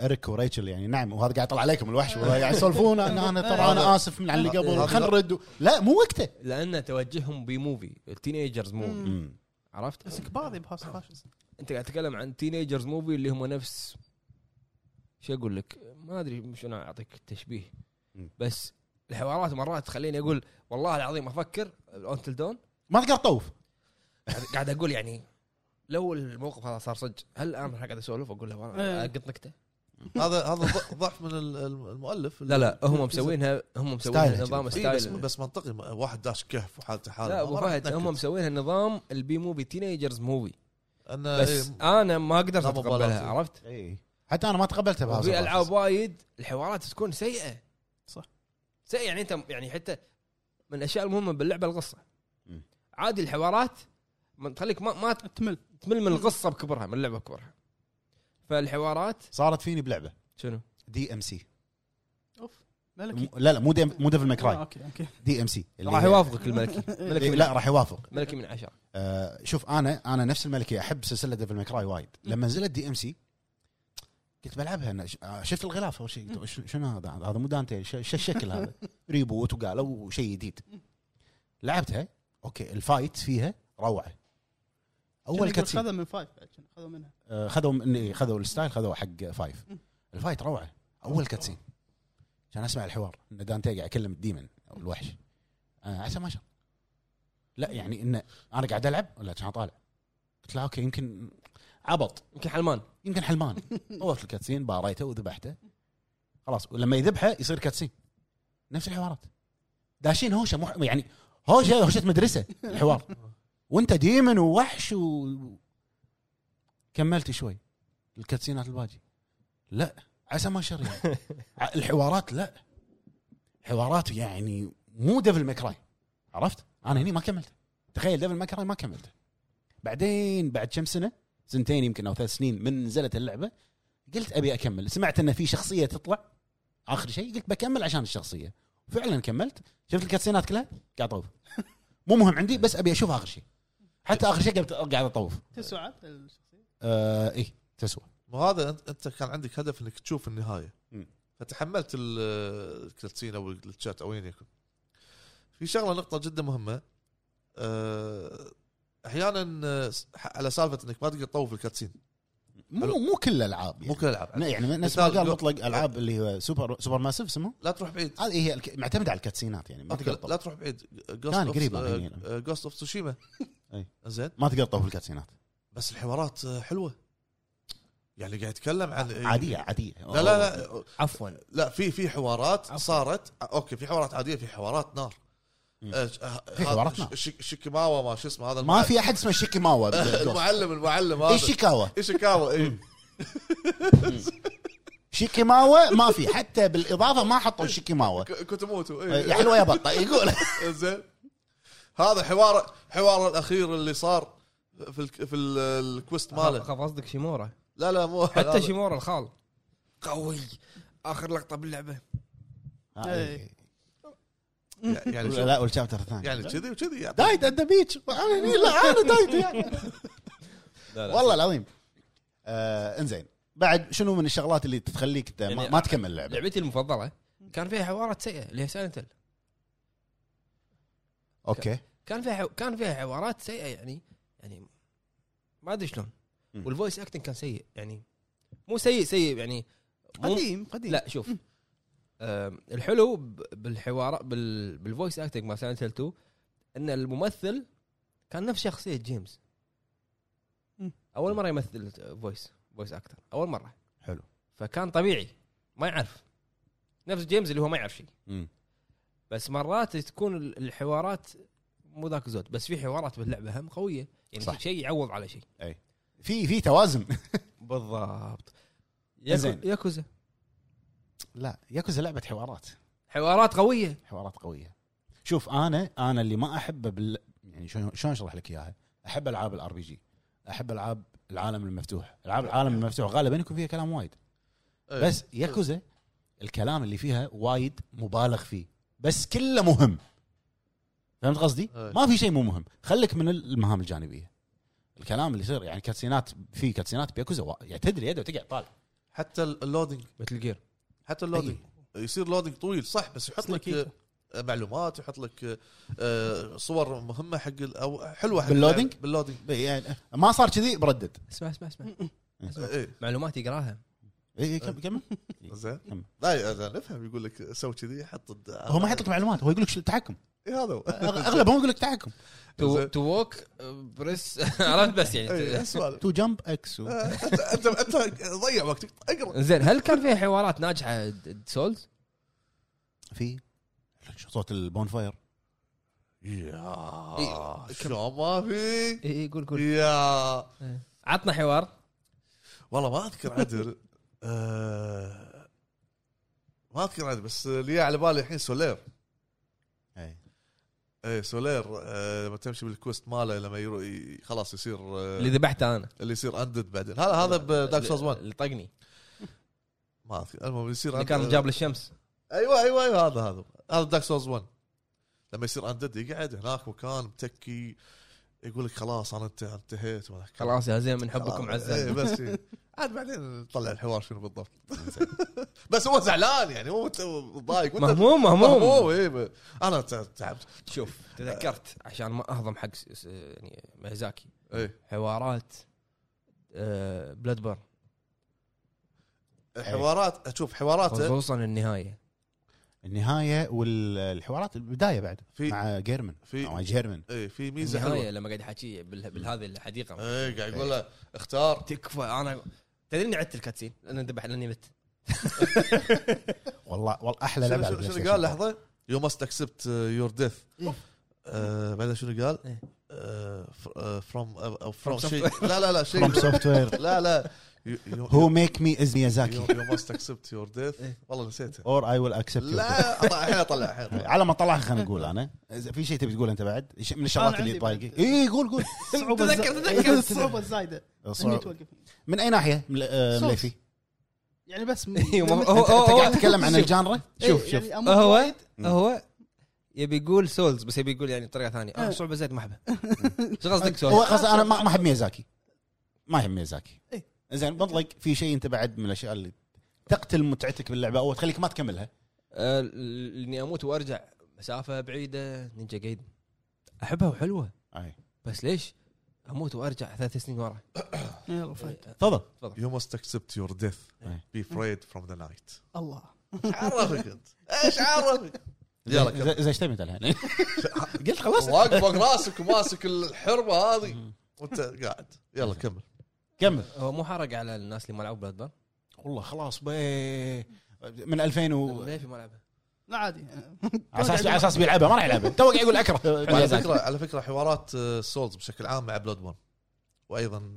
اريك وريتشل يعني نعم وهذا قاعد يطلع عليكم الوحش وهذا قاعد يسولفون انا انا ترى انا اسف من على اللي قبل هذا- خلينا نرد و- لا مو وقته لان توجههم بموفي التينيجرز موفي مم. عرفت؟ بس كبار بحس فاش انت قاعد تتكلم عن تينيجرز موفي اللي هم نفس شو اقول لك؟ ما ادري شلون اعطيك التشبيه مم. بس الحوارات مرات تخليني اقول والله العظيم افكر اونتل دون ما تقدر تطوف قاعد- قاعد اقول يعني لو الموقف هذا صار صدق هل انا راح قاعد اسولف اقول له والله ايه. اقط نكته؟ هذا هذا ض- ضعف من ال- ال- المؤلف لا لا هم مسوينها هم مسوينها ستايل نظام إيه بس ستايل بس منطقي ما- واحد داش كهف وحالته حاله لا ما ابو راح فهد يتنكد. هم مسوينها نظام البي موفي تينيجرز موفي انه بس إيه، انا ما قدرت لا مبالاة اتقبلها فيه. عرفت؟ اي حتى انا ما تقبلته بهذا وفي العاب وايد الحوارات تكون سيئه صح. سيئه يعني انت يعني حتى من الاشياء المهمه باللعبه القصه مم. عادي الحوارات ما تخليك ما, ما تمل تمل من القصه بكبرها من اللعبه بكبرها فالحوارات صارت فيني بلعبه شنو؟ دي ام سي اوف لا لا م- كي- لا لا مو دي مو ديفل آه، ماكراي اوكي اوكي دي ام سي اللي راح هي- إيه، يوافقك الملكي ملكي من- لا راح يوافق ملكي من عشرة آه، شوف انا انا نفس الملكي احب سلسله ديفل ماكراي وايد لما نزلت دي ام سي قلت بلعبها أنا ش- آه، شفت الغلاف اول شيء قلت "وش- شنو هذا هذا مو دانتي ش- شو الشكل هذا ريبوت وقالوا شيء جديد لعبتها اوكي الفايت فيها روعه اول كاتسين خذها من فايف بعد شنو خذوا منها آه، خذوا من إيه، خذوا الستايل خذوا حق فايف الفايت روعه اول كاتسين عشان اسمع الحوار ان دانتي قاعد يكلم الديمن او الوحش آه عسى ما شاء لا يعني انه انا قاعد العب ولا كان طالع قلت له اوكي يمكن عبط يمكن حلمان يمكن حلمان طوفت الكاتسين باريته وذبحته خلاص ولما يذبحه يصير كاتسين نفس الحوارات داشين هوشه مح... يعني هوشه هوشه مدرسه الحوار وانت ديمن ووحش و كملت شوي الكاتسينات الباجي لا عسى ما شر يعني ع- الحوارات لا حوارات يعني مو ديفل ماكراي عرفت انا هني ما كملت تخيل ديفل ماكراي ما كملته بعدين بعد كم سنه سنتين يمكن او ثلاث سنين من نزلت اللعبه قلت ابي اكمل سمعت ان في شخصيه تطلع اخر شيء قلت بكمل عشان الشخصيه فعلا كملت شفت الكاتسينات كلها قاعد اطوف مو مهم عندي بس ابي اشوف اخر شيء حتى اخر شيء قاعد قاعد اطوف تسعة الشخصيه آه اي تسوى ما هذا انت انت كان عندك هدف انك تشوف النهايه مم. فتحملت ال- الكلتسين او الشات او ايا يكن في شغله نقطه جدا مهمه أه، احيانا أه، على سالفه انك ما تقدر تطوف الكاتسين مو مو كل الالعاب مو يعني, كل الالعاب لا، يعني نفس ما مثال قال جو- مطلق العاب اللي هو سوبر سوبر ماسيف اسمه لا تروح بعيد هذه هي الك... معتمده على الكاتسينات يعني ما أوكي، تقدر لا تطوف تروح بعيد آه، كان قريب يعني. جوست اوف تسوشيما أي. زين ما تقدر تطوف الكاتسينات بس الحوارات أه، حلوه يعني قاعد يتكلم عن عاديه عاديه لا لا لا عفوا لا في في حوارات عفوا. صارت اوكي في حوارات عاديه في حوارات نار مم. آه، آه، في حوارات نار. ش- ش- شيكيماوا ما شو اسمه هذا ما المعلم. في احد اسمه شيكي ماوا بالجوست. المعلم المعلم اي هذا إيه. شيكاوا ايشيكاوا اي شيكي ماوا ما في حتى بالاضافه ما حطوا شيكي ماوا ك- إيه. كنت موتوا إيه، يا اي حلوه يا بطه يقول زين هذا حوار حوار الاخير اللي صار في ال في ال- الكوست آه، ماله خاف قصدك شيمورا لا لا مو هذا. حتى شيمورا الخال قوي اخر لقطه باللعبه إيه. يعني شوف، لا والشابتر الثاني يعني كذي وكذي يعني. دايت ات ذا بيتش لا انا دايت يعني والله العظيم آه انزين بعد شنو من الشغلات اللي تخليك ت- ما, يعني ما تكمل اللعبه لعبتي المفضله كان فيها حوارات سيئه اللي هي سايلنت اوكي كان فيها حو... كان فيها حوارات سيئه يعني يعني ما ادري شلون مم. والفويس اكتنج كان سيء يعني مو سيء سيء يعني مو... قديم قديم لا شوف آم، الحلو ب- بالحوار بال... بالفويس اكتنج مع سايلنت 2 ان الممثل كان نفس شخصيه جيمس مم. اول مره يمثل فويس فويس اكتر اول مره حلو فكان طبيعي ما يعرف نفس جيمس اللي هو ما يعرف شيء مم. بس مرات تكون ال- الحوارات مو ذاك زود بس في حوارات باللعبه هم قويه يعني صح. شيء يعوض على شيء في في توازن بالضبط زين. ياكوزا لا ياكوزا لعبه حوارات حوارات قويه حوارات قويه شوف انا انا اللي ما احبه بال يعني شلون شلون اشرح لك اياها؟ احب العاب الار بي جي احب العاب العالم المفتوح العاب العالم المفتوح غالبا يكون فيها كلام وايد إيه. بس ياكوزا الكلام اللي فيها وايد مبالغ فيه بس كله مهم فهمت قصدي؟ إيه. ما في شيء مو مهم خليك من المهام الجانبيه الكلام اللي يصير يعني كاتسينات في كاتسينات بياكوزا وا- يعني تدري يده وتقع طالع حتى اللودنج مثل جير حتى اللودنج إيه. يصير لودنج طويل صح بس يحط لك سلكيكة. آه، معلومات يحط لك آه، آه، صور مهمه حق ال- او حلوه حق باللودنج؟ اللعبة. باللودنج يعني ما صار كذي بردد اسمع اسمع اسمع اي معلومات يقراها إيه، إيه، كم كم أه، زين كم. لا زين نفهم يقول لك سوي كذي حط الد- هو ما يحط لك معلومات هو يقول لك شو التحكم إي هذا هو إيه، أغ- اغلبهم يقول لك تحكم تو زين. تو ووك بريس عرفت بس إي، يعني نفس هذا. تو جمب اكس آه. و... انت انت انت ضيع وقتك اقرا زين هل كان فيها حوارات ناجحه سولز؟ في شو صوت البون فاير يا شو ما في اي اي إيه، قول قول يا عطنا حوار والله ما اذكر عدل آه، ما اذكر عدل بس اللي على بالي الحين سولير إيه. اي ايه سولير آه، لما تمشي بالكوست ماله لما يرو ي- خلاص يصير آه، اللي ذبحته انا اللي يصير اندد بعدين هذا هذا بدارك سولز 1 اللي طقني ما اذكر المهم يصير اللي undead. كان جاب للشمس ايوه ايوه ايوه هذا هذا هذا دارك سولز 1 لما يصير اندد يقعد هناك مكان متكي يقول لك خلاص انا انت- انتهيت وأنا- خلاص يا زين من حبكم إيه، عزام بس إيه. عاد بعدين نطلع الحوار شنو بالضبط بس هو زعلان يعني هو مت- متضايق وأنت- مهموم مهموم مهموم إيه، ب- انا تع- تعبت شوف تذكرت عشان ما اهضم حق س- س- يعني ميزاكي ايه حوارات آه، بلاد بيرن الحوارات اشوف حواراته خصوصا النهايه النهايه والحوارات البدايه بعد في- مع جيرمن إيه. في- مع جيرمن ايه في ميزه النهايه حلوه لما قاعد يحكي بال- بالهذه الحديقه ايه قاعد يقول إيه. له اختار آه. تكفى انا تدري اني عدت الكاتسين لان ذبح لاني مت والله والله احلى شنو- لعبه على شنو البلاي شنو قال ستيشن. لحظه يو ماست اكسبت يور ديث إيه. آه، بعدها شنو قال؟ آه، إيه. فروم او فروم آه، شيء لا لا لا شيء فروم سوفت وير لا لا You- you- هو ميك مي از يو أيوه. ميازاكي يو ماست اكسبت يور ديث إيه. والله نسيتها اور اي ويل اكسبت لا أطلع- الحين اطلع الحين أطلع. على ما طلع خلينا نقول انا إذا في شيء تبي تقول انت بعد شيء من أنا الشغلات اللي عندي بعد. تضايقك اي قول قول الصعوبة الز- تذكر- تذكر. الصعوبة الزايدة إني صعب. توقف من اي ناحيه من- آه، صوت. مليفي يعني بس م- إيه، لما- والله. انت هو- أنت هو- قاعد تتكلم عن شوف. الجانرا شوف شوف يعني أمر هو وايد. هو يبي يقول سولز بس يبي يقول يعني بطريقه ثانيه اه صعوبه زيت ما احبه شو قصدك هو سولز؟ قصدي انا ما ما احب ميازاكي ما يهم ميازاكي إيه. زين مطلق في شيء انت بعد من الاشياء اللي تقتل متعتك باللعبه او تخليك ما تكملها آه، ال- اني اموت وارجع مسافه بعيده نينجا جايدن احبها وحلوه أي. بس ليش؟ اموت وارجع ثلاث سنين ورا يلا فهد طيب. تفضل You must accept your death. إيه. Be afraid from the night. الله عرفك انت ايش عرفك؟ يلا يلا كمل. اذا اشتمت الحين قلت خلاص واقف فوق راسك وماسك الحربه هذه وانت قاعد يلا كمل كمل هو مو حرق على الناس اللي ما لعبوا بلاد بان والله خلاص بي من 2000 و ليه في ما لعبها؟ لا عادي على اساس على اساس بيلعبها ما راح يلعبها تو قاعد يقول اكره على ميازاكي. فكره على فكره حوارات سولز بشكل عام مع بلود بون وايضا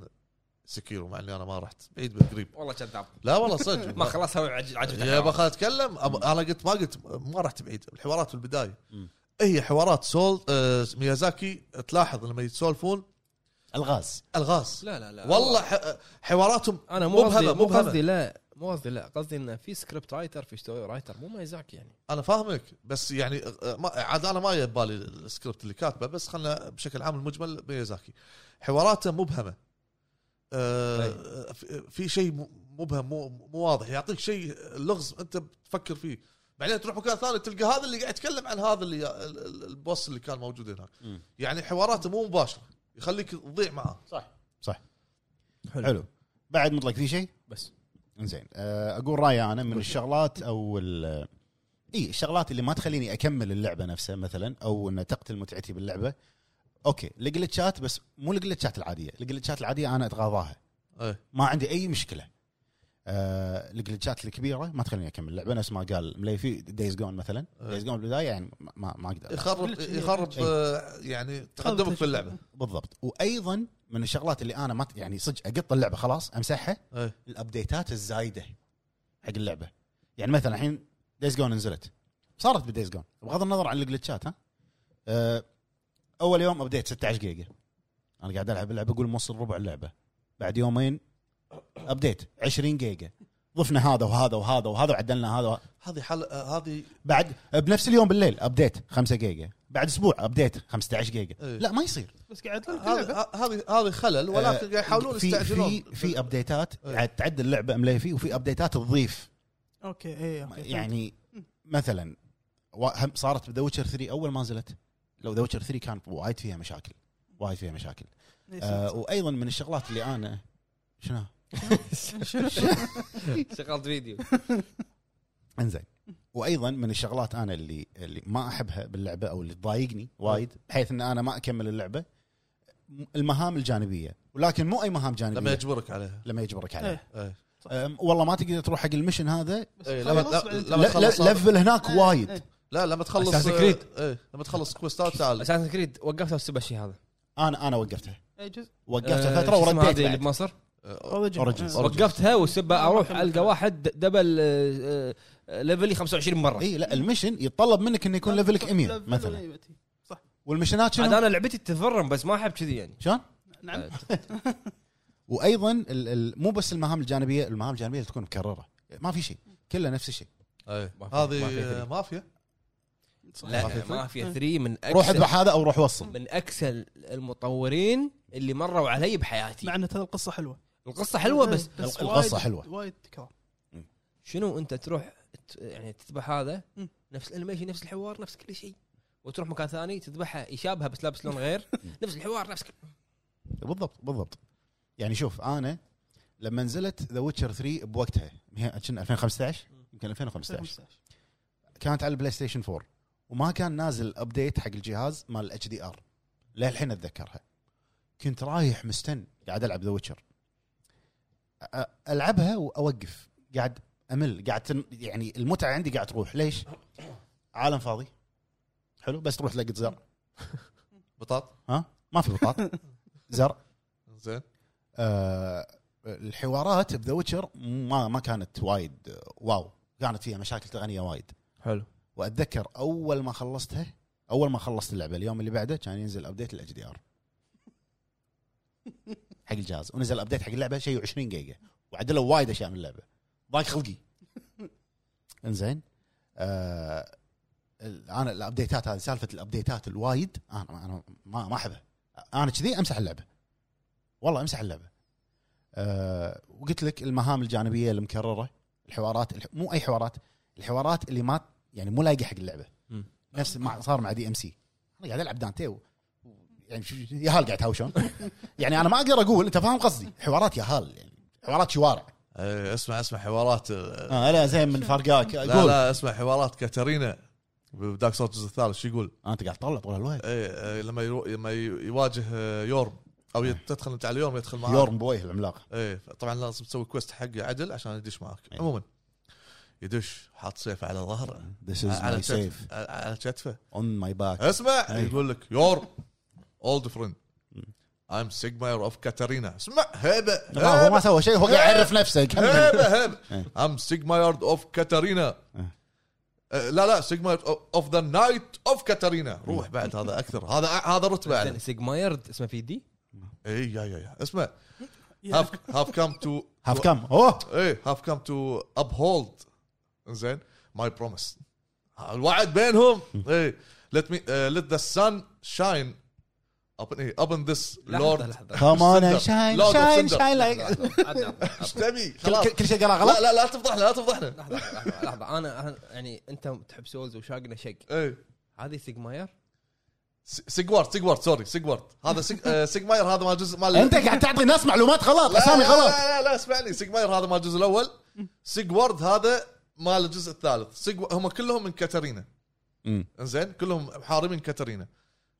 سكيرو مع اني انا ما رحت بعيد بالقريب والله كذاب لا والله صدق ما خلاص هو عج- عجبته يا الحوار. بخ اتكلم أم- انا قلت ما قلت ما رحت بعيد الحوارات في البدايه مم. هي حوارات سول آه، ميازاكي تلاحظ لما يتسولفون الغاز الغاز لا لا لا والله ح- حواراتهم انا مو مبهمة- قصدي مو مبهمة. قصدي لا مو قصدي لا قصدي انه في سكريبت رايتر في ستوري رايتر مو مايزاكي يعني انا فاهمك بس يعني آه، ما عاد انا ما جاي ببالي السكريبت اللي كاتبه بس خلنا بشكل عام المجمل ميازاكي حواراته مبهمه آه، في- في شيء م- مبهم مو مو واضح يعطيك شيء لغز انت بتفكر فيه بعدين تروح مكان ثاني تلقى هذا اللي قاعد يتكلم عن هذا اللي آه، ال- ال- البوس اللي كان موجود هناك مم. يعني حواراته مو مباشره يخليك تضيع معاه حلو بعد مطلق في شيء بس زين آه، اقول رايي انا من الشغلات او ال- اي الشغلات اللي ما تخليني اكمل اللعبه نفسها مثلا او انها تقتل متعتي باللعبه اوكي الجلتشات بس مو الجلتشات العاديه الجلتشات العاديه انا اتغاضاها ايه ما عندي اي مشكله آه الجلتشات الكبيره ما تخليني اكمل اللعبه نفس ما قال مليفي دايز جون مثلا إيه. دايز جون بالبدايه يعني ما- ما ما اقدر يخرب يخرب إيه. آه، يعني تقدمك في اللعبه بالضبط وايضا من الشغلات اللي انا ما ت- يعني صدق اقط اللعبه خلاص امسحها ايه الابديتات الزايده حق اللعبه يعني مثلا الحين دايز جون نزلت صارت بدايز جون بغض النظر عن الجلتشات ها أه اول يوم ابديت 16 جيجا انا قاعد العب اللعبه اقول موصل ربع اللعبه بعد يومين ابديت 20 جيجا ضفنا هذا وهذا وهذا وهذا وعدلنا هذا وه- هذه حل آه، هذه بعد بنفس اليوم بالليل ابديت 5 جيجا بعد اسبوع ابديت 15 جيجا إيه. لا ما يصير بس قاعد لك هذه اللعبة. هذه هذه خلل ولكن قاعد طيب، آه، يحاولون آه، في يستعجلون في يعني في ابديتات إيه. عاد تعدل اللعبه مليفي وفي ابديتات تضيف اوكي اي أوكي. يعني مثلا وا- هم صارت ذا ويتشر 3 اول ما نزلت لو ذا ويتشر 3 كان وايد فيها مشاكل وايد فيها مشاكل إيه، آه وايضا من الشغلات اللي انا شنو شنو شغلت فيديو انزين وايضا من الشغلات انا اللي اللي ما احبها باللعبه او اللي تضايقني وايد بحيث ان انا ما اكمل اللعبه م- المهام الجانبيه ولكن مو اي مهام جانبيه لما لما, يجبرك عليها لما يجبرك عليها إيه. إيه. أم، والله ما تقدر تروح حق المشن هذا بس إيه، لما- خلاص لا- بعدين لما لا- لا- تخلص هذا. لفل هناك إيه، وايد إيه. لا لما تخلص Assassin's آه، Creed. ايه لما تخلص كويستات تعال اساسن كريد وقفت السبه الشيء هذا انا انا وقفتها إيه، جزء وقفتها آه، فتره شو اسمها هذه ورديت اللي بعد. بمصر آه، اوريجن أوريجنز. إيه. وقفتها والسبه اروح ما القى كملت. واحد دبل آه، آه، ليفلي 25 مره اي إيه، لا المشن يتطلب منك انه يكون ليفلك 100 لفل مثلا إيه، متي. والمشنات عاد شنو؟ انا لعبتي تفرم بس ما احب كذي يعني شلون؟ نعم وايضا ال- ال- مو بس المهام الجانبيه، المهام الجانبيه اللي تكون مكرره، ما في شيء، كله نفس الشيء. أي. ما في- ما في إيه. هذه ثري. مافيا صحيح. لا ما في 3 من روح اكثر اذبح هذا او روح وصل من اكسل المطورين اللي مروا علي بحياتي مع ان ترى القصه حلوه القصه حلوه بس القصة وايد- حلوة. وايد تكرار شنو انت تروح ت- يعني تذبح هذا مم. نفس الانيميشن نفس الحوار نفس كل شيء وتروح مكان ثاني تذبحها يشابهها بس لابس لون غير نفس الحوار نفس كل بالضبط بالضبط يعني شوف انا لما نزلت ذا ويتشر 3 بوقتها هي 2015 يمكن 2015 15 كانت على البلاي ستيشن 4 وما كان نازل ابديت حق الجهاز مال الاتش دي ار للحين اتذكرها كنت رايح مستن قاعد العب ذا ويتشر العبها واوقف قاعد امل قاعد تن... يعني المتعه عندي قاعد تروح ليش؟ عالم فاضي حلو بس تروح تلقط زرع بطاط ها ما في بطاط زرع زين آه، الحوارات بذا ويتشر ما ما كانت وايد آه، واو كانت فيها مشاكل تقنيه وايد حلو واتذكر اول ما خلصتها اول ما خلصت اللعبه اليوم اللي بعده كان ينزل ابديت الاتش دي ار حق الجهاز ونزل ابديت حق اللعبه شيء 20 جيجا وعدلوا وايد اشياء من اللعبه ضاق خلقي انزين آه ال- انا الابديتات هذه سالفه الابديتات الوايد انا انا ما ما احبها انا كذي امسح اللعبه والله امسح اللعبه آه وقلت لك المهام الجانبيه المكرره الحوارات الح... مو اي حوارات الحوارات اللي ما يعني مو لايقه حق اللعبه مم. نفس ما صار مع دي ام سي انا قاعد العب دانتي و... و- يعني شو... يا هال قاعد تهاوشون يعني انا ما اقدر اقول انت فاهم قصدي حوارات يا هال يعني حوارات شوارع أي، إيه، اسمع اسمع حوارات آه، آه لا زين من فرقاك لا قول لا اسمع حوارات كاترينا بداك صوت الجزء الثالث شو يقول؟ آه، انت قاعد تطلع طول الوقت ايه إيه، لما يرو... لما ي- يواجه آه، يورم او يت- تدخل انت على يورم يدخل معاك يورم بويه العملاق ايه طبعا لازم تسوي كويست حقه عدل عشان يدش معاك إيه. عموما يدش حاط سيفه على ظهره This is على my كتف- safe على- على كتفه on my back اسمع أيوة. يقول لك يور اولد فريند ايم سيجماير اوف كاترينا اسمع هيبه لا هو ما هيبه سوى شيء هو قاعد يعرف نفسه كمل هيبه هيبه إيه. ام سيجماير اوف كاترينا إيه. أه، لا لا سيجماير اوف ذا نايت اوف كاترينا روح بعد هذا اكثر هذا هذا رتبه اعلى سيجمايرد اسمه في دي اي يا يا يا اسمع هاف هاف كام تو هاف كم اوه ايه هاف كام تو ابهولد زين ماي بروميس الوعد بينهم ايه ليت مي ليت ذا سان شاين ابن ايه ابن ذس لحظه لورد لحظه كمان Cinder. شاين Lord of شاين Cinder. شاين لحظة، لحظة، ايش تبي كل خلاص كل- كل شيء قرا لا غلط لا لا تفضحنا لا تفضحنا لحظه لحظه لحظه انا أنا- يعني انت تحب سولز وشاقنا شق ايه هذه سيجماير س- سيجوارد سيجوارد سوري سيجوارد هذا سيج- آه، سيجماير هذا مال الجزء مال انت قاعد تعطي ناس معلومات غلط لا اسامي لا غلط لا لا, لا اسمعني سيجماير هذا مال الجزء الاول سيجوارد هذا مال الجزء الثالث سيجو... هم كلهم من كاترينا مم. انزين كلهم محاربين كاترينا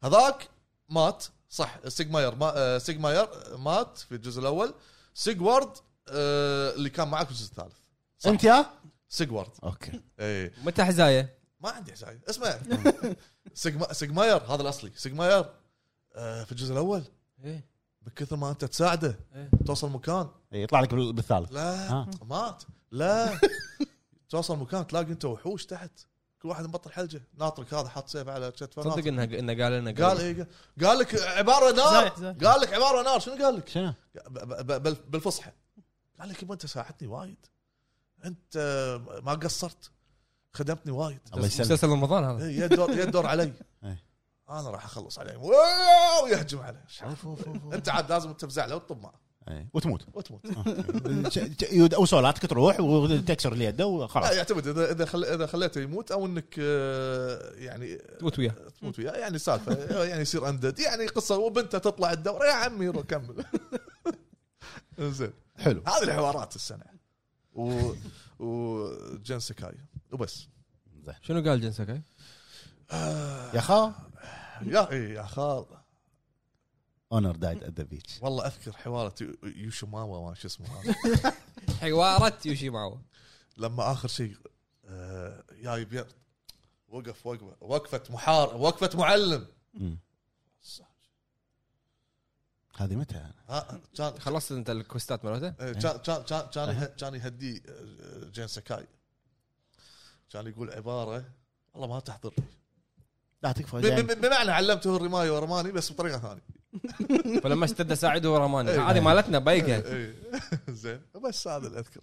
هذاك مات صح سيجماير ما... آه، سيجماير مات في الجزء الاول سيجوارد آه، اللي كان معك في الجزء الثالث صح. انت يا سيجوارد اوكي اي متى حزايه؟ ما عندي حساب اسمع سيجما... سيجماير هذا الاصلي سيجماير آه، في الجزء الاول إيه. من كثر ما انت تساعده إيه. توصل مكان إيه، يطلع لك بال- بالثالث لا ها. مات لا توصل مكان تلاقي انت وحوش تحت كل واحد مبطل حلجه ناطرك هذا حاط سيف على كتفه تصدق ناطرك. انها انه قال لنا قال ايه قال- قال لك عباره نار زايد- زايد. قال لك عباره نار شنو قال لك؟ شنو؟ ب- ب- بال- بالفصحى قال لك يبا انت ساعدتني وايد انت آه، ما قصرت خدمتني وايد الله يسلمك. مسلسل رمضان هذا إيه، يدور يدور علي آه. إيه. انا راح اخلص عليه واو، ويهجم عليه انت عاد لازم تفزع له وتطب معه إيه. وتموت وتموت وسولاتك تروح وتكسر اللي يده لا وخلاص يعتمد اذا اذا خل... اذا خليته يموت او انك آه، يعني تموت وياه تموت وياه يعني سالفه يعني يصير اندد يعني قصه وبنته تطلع الدوره يا عمي رو- كمل زين حلو هذه الحوارات السنه و وجن سكاي وبس شنو قال جنسك؟ يا خال آه، يا إيه يا خال اونر دايد ات ذا بيتش والله اذكر حوارة يو- يوشو ماما ما شو اسمه هذا حوارات يوشي معه لما اخر شيء آه، جاي بير وقف وقفه وقفه محار وقفه معلم هذه متى؟ ها كان خلصت انت الكوستات مالته؟ إيه، طيب. كان كان كان كان يه- كان يهدي آه، جين سكاي كان يقول عباره والله ما تحضر لا تكفى ب- زين. ب- بمعنى علمته الرمايه ورماني بس بطريقه ثانيه فلما اشتد ساعده رماني إيه. هذه مالتنا بايقه إيه، زين بس هذا اللي اذكره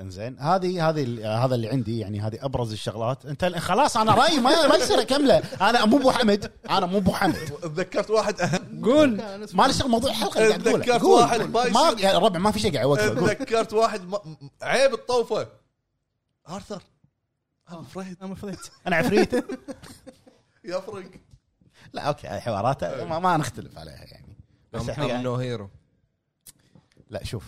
انزين هذه هذه ال- هذا اللي عندي يعني هذه ابرز الشغلات انت ال- خلاص انا رايي ما, ما يصير اكمله انا مو ابو حمد انا مو ابو حمد تذكرت واحد اهم قول ما لي شغل موضوع الحلقه اللي قاعد أقوله. تذكرت قول، واحد قول. ما ما يصير. يا ربع ما في شيء قاعد اوقفه قول. تذكرت واحد ما... عيب الطوفه ارثر انا فريد انا فريت انا عفريت يفرق لا اوكي هاي حواراته ما, ما نختلف عليها يعني بس I'm احنا no hero. لا شوف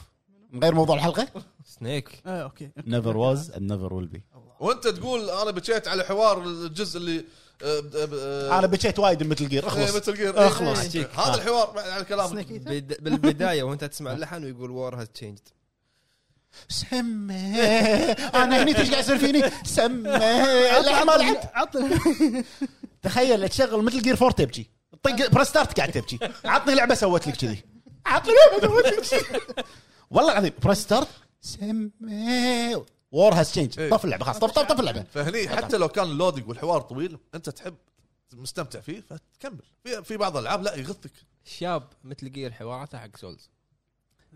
غير موضوع الحلقه سنيك آه، اوكي نيفر واز اند نيفر ويل بي وانت تقول انا بكيت على حوار الجزء اللي آه، ب- ب- آه، انا بكيت وايد مثل جير آه، اخلص Metal Gear. اخلص. إيه، أحجيك. هذا الحوار بعد على كلامك سنيك بد- بالبدايه وانت تسمع اللحن ويقول وور هاز تشينجد سمه انا هني ايش قاعد يصير فيني سمه الحين ما لعبت عطني تخيل تشغل مثل جير 4 تبكي طق بريس ستارت قاعد تبكي عطني لعبه سوت لك كذي عطني لعبه سوت لك كذي والله العظيم بريس ستارت سمه وور هاز تشينج طف اللعبه خلاص طف طف طف اللعبه فهني حتى لو كان اللودنج والحوار طويل انت تحب مستمتع فيه فتكمل في, في بعض الالعاب لا يغثك شاب مثل جير حواراته حق سولز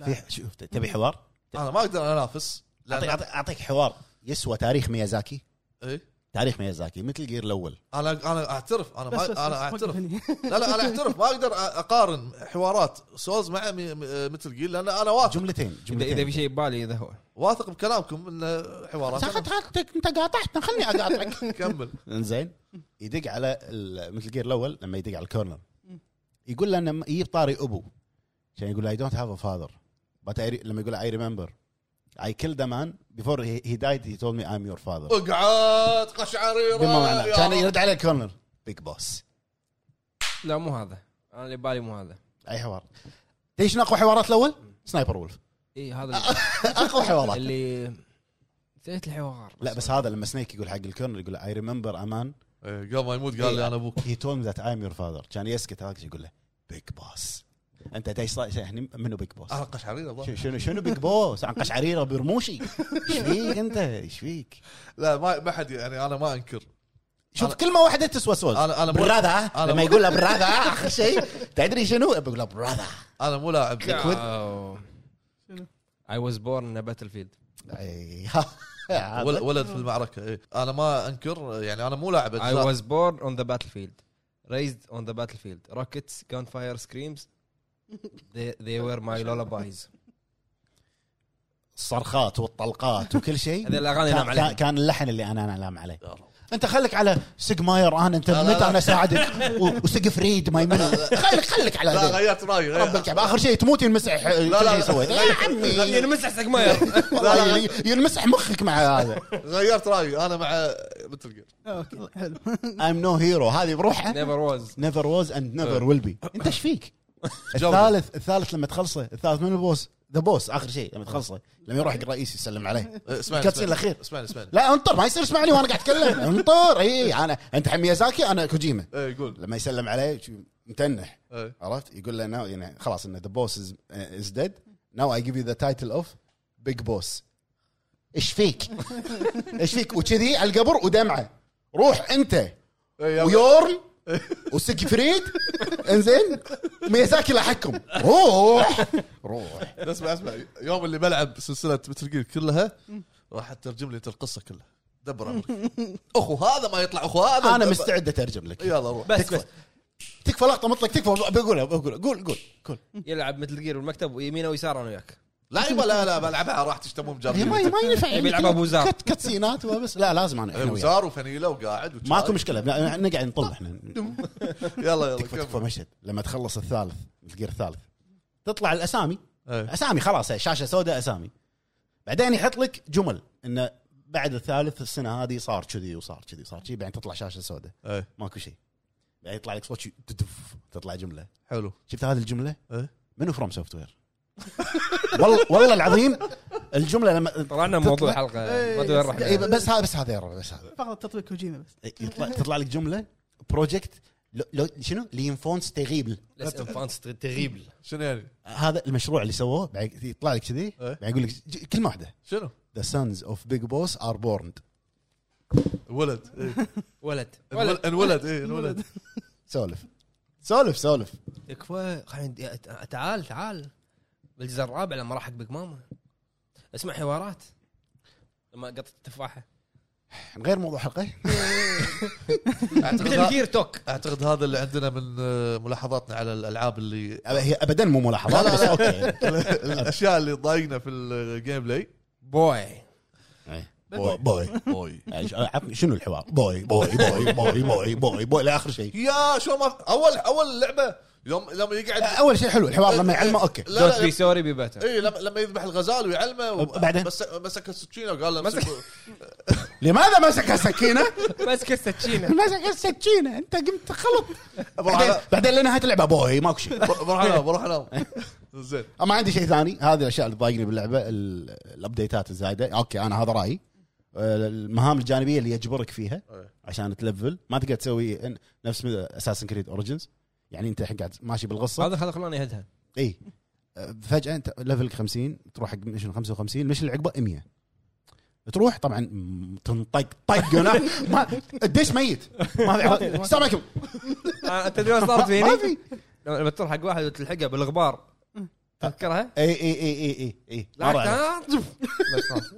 في شوف تبي حوار انا ما اقدر انافس اعطيك لان أعطيك- اعطيك حوار يسوى تاريخ ميازاكي إيه؟ تاريخ ميازاكي مثل جير الاول انا انا اعترف انا بس بس ما انا بس، وقف اعترف هني. لا لا انا اعترف ما اقدر اقارن حوارات سوز مع مثل جيل لان انا واثق جملتين اذا جملتين اذا في شيء ببالي اذا هو واثق بكلامكم ان حوارات ساخت خالتك انت قاطعتنا خلني اقاطعك كمل انزين يدق على مثل جير الاول لما يدق على الكورنر يقول له انه يجيب طاري ابو عشان يقول له اي دونت هاف ا فاذر بس لما يقول اي ريمبر اي كيل ذا مان بيفور هي دايد هي تولد مي ايم يور فاذر اقعد قشعريره بما معناه يا كان رب. يرد على الكورنر بيج بوس لا مو هذا انا اللي ببالي مو هذا اي حوار تدري شنو اقوى حوارات الاول؟ سنايبر وولف اي إيه، هذا اللي- اقوى حوارات اللي ثلاث الحوار لا بس هذا لما سنيك يقول حق الكورنر يقول اي ريمبر امان إيه، قبل ما يموت قال لي انا ابوك هي تولد ذات ايم يور فاذر كان يسكت هذاك يقول له بيج بوس انت ايش هني يعني منو بيج بوس؟ انا قشعريره ضاع. شنو- شنو شنو بيج بوس؟ عن قشعريره برموشي ايش فيك انت؟ ايش فيك؟ لا ما ما حد يعني انا ما انكر شوف أنا- كلمه واحده تسوى سوز أنا- أنا مو- براذا أنا لما مو- يقول له براذا اخر شيء تدري شنو؟ بقول له براذا انا مو لاعب اي واز بورن ان باتل فيلد أي- ول- ولد في المعركه إيه. انا ما انكر يعني انا مو لاعب I أجزاء. was born on the battlefield, raised on the battlefield. Rockets, gunfire, screams. They, they were my lullabies. الصرخات والطلقات وكل شيء هذه الأغاني كان- نام عليها. كان- كان اللحن اللي انا انا انام عليه يا رب. انت خليك على سيج ماير انا انت لا، لا، متى لا. انا اساعدك و- وسقف ريد ما يمل خليك خليك على لا ذي. غيرت رايي غير- رب الكعب اخر شيء تموت ينمسح لا لا، لا لا. سويت يا عمي ينمسح سقماير والله ين- ينمسح مخك مع هذا غيرت رايي انا مع مثل جير آه، اوكي حلو ايم نو هيرو هذه بروحه never was. نيفر واز اند نيفر ويل بي انت ايش فيك؟ جولد. الثالث الثالث لما تخلصه الثالث من البوس ذا بوس اخر شيء لما تخلصه لما يروح حق الرئيس يسلم عليه إيه، اسمعني الكاتسين اسمعني. الأخير. اسمعني اسمعني لا انطر ما يصير اسمعني وانا قاعد اتكلم انطر إيه، اي انا انت حق ميازاكي انا كوجيما ايه قول لما يسلم عليه شو- متنح إيه. عرفت يقول له now, يعني خلاص انه ذا بوس از ديد ناو اي جيف يو ذا تايتل اوف بيج بوس ايش فيك؟ ايش فيك؟ وكذي على القبر ودمعه روح انت إيه، يلا. ويورن وسكي فريد انزين ميازاكي لحقكم روح روح اسمع اسمع يوم اللي بلعب سلسله مثل جير كلها راح تترجم لي انت القصه كلها دبر امرك اخو هذا ما يطلع اخو هذا انا مستعد اترجم لك يلا روح بس بس تكفى لقطه مطلق تكفى بقولها بقولها قول قول قول يلعب مثل جير بالمكتب ويمينه ويسار انا وياك. لا يبا لا لا بلعبها راح تشتمون هي ما مجرد ما ينفع يعني يلعب أبو زار. كت كتسينات بس لا لازم انا إحنا وياك. وزار وفنيله وقاعد وشاي. ماكو مشكله نقعد نطل احنا يلا يلا تكفى تكفى كمل. مشهد لما تخلص الثالث الجير الثالث تطلع الاسامي إيه. اسامي خلاص هي شاشه سوداء اسامي بعدين يحط لك جمل انه بعد الثالث السنه هذه صار كذي وصار كذي صار كذي بعدين تطلع شاشه سوداء إيه، ماكو شيء بعدين يطلع لك صوت شي- تدف تطلع جمله حلو شفت هذه الجمله؟ إيه. منو فروم سوفت وير؟ والله والله العظيم الجمله لما طلعنا تطلع- موضوع حلقه ما ادري وين إيه، رحنا. بس هذا بس هذا يا رب، بس هذا فقط تطبيق كوجيما بس يطلع تطلع لك جمله بروجكت لو- لو شنو؟ لينفونس تغيبل لست انفانس تغيبل. شنو يعني هذا المشروع اللي سووه بعد يطلع لك كذي إيه. بعد يقول لك ج- كلمه واحده شنو ذا سونز اوف بيج بوس ار بورند ولد إيه. ولد انولد ولد انولد ايه انولد سولف سولف سولف تكفى خلينا تعال تعال بالجزء الرابع لما راح حق بيج ماما اسمع حوارات لما قطت التفاحه غير موضوع حلقه اعتقد مثل ه- جير توك اعتقد هذا اللي عندنا من آه، ملاحظاتنا على الالعاب اللي أب- هي ابدا مو ملاحظات بس اوكي يعني. الاشياء اللي ضايقنا في الجيم بلاي بوي إيه. بوي. بوي بوي بوي يعني ش- عطني- شنو الحوار بوي بوي بوي بوي بوي بوي بوي لاخر شيء يا شو ما اول اول لعبه يوم لما آه، يقعد اول شيء حلو الحوار لما يعلمه اوكي لا دونت لا بي سوري بي باتر اي لما لما يذبح الغزال ويعلمه و- بعدين؟ مس- مسك السكينه وقال له مسك- امسك لماذا مسك السكينه؟ ماسك السكينه مسك السكينه انت قمت خلط بروح بعدين أنا- بعدين لنهايه اللعبه بوي ماكو شيء بروح انام بروح انام زين ما عندي شيء ثاني هذه الاشياء اللي تضايقني باللعبه ال- الابديتات الزايده اوكي انا هذا رايي آه، المهام الجانبيه اللي يجبرك فيها إيه. عشان تلفل ما تقدر تسوي إن- نفس اساسن كريد اوريجنز يعني انت الحين قاعد ماشي بالقصه هذا هذا خلاني اهدها اي آه، فجاه انت ليفلك 50 تروح حق ميشن 55 الميشن اللي عقبه 100 تروح طبعا م- تنطق طق هنا. ما الدش ميت ما عرفت. السلام عليكم آه، تدري وين صارت ما- ما فيني؟ في لما تروح حق واحد وتلحقه بالغبار تذكرها؟ اي اي اي اي اي لا مرة عليك. آه، زف. بس خلاص.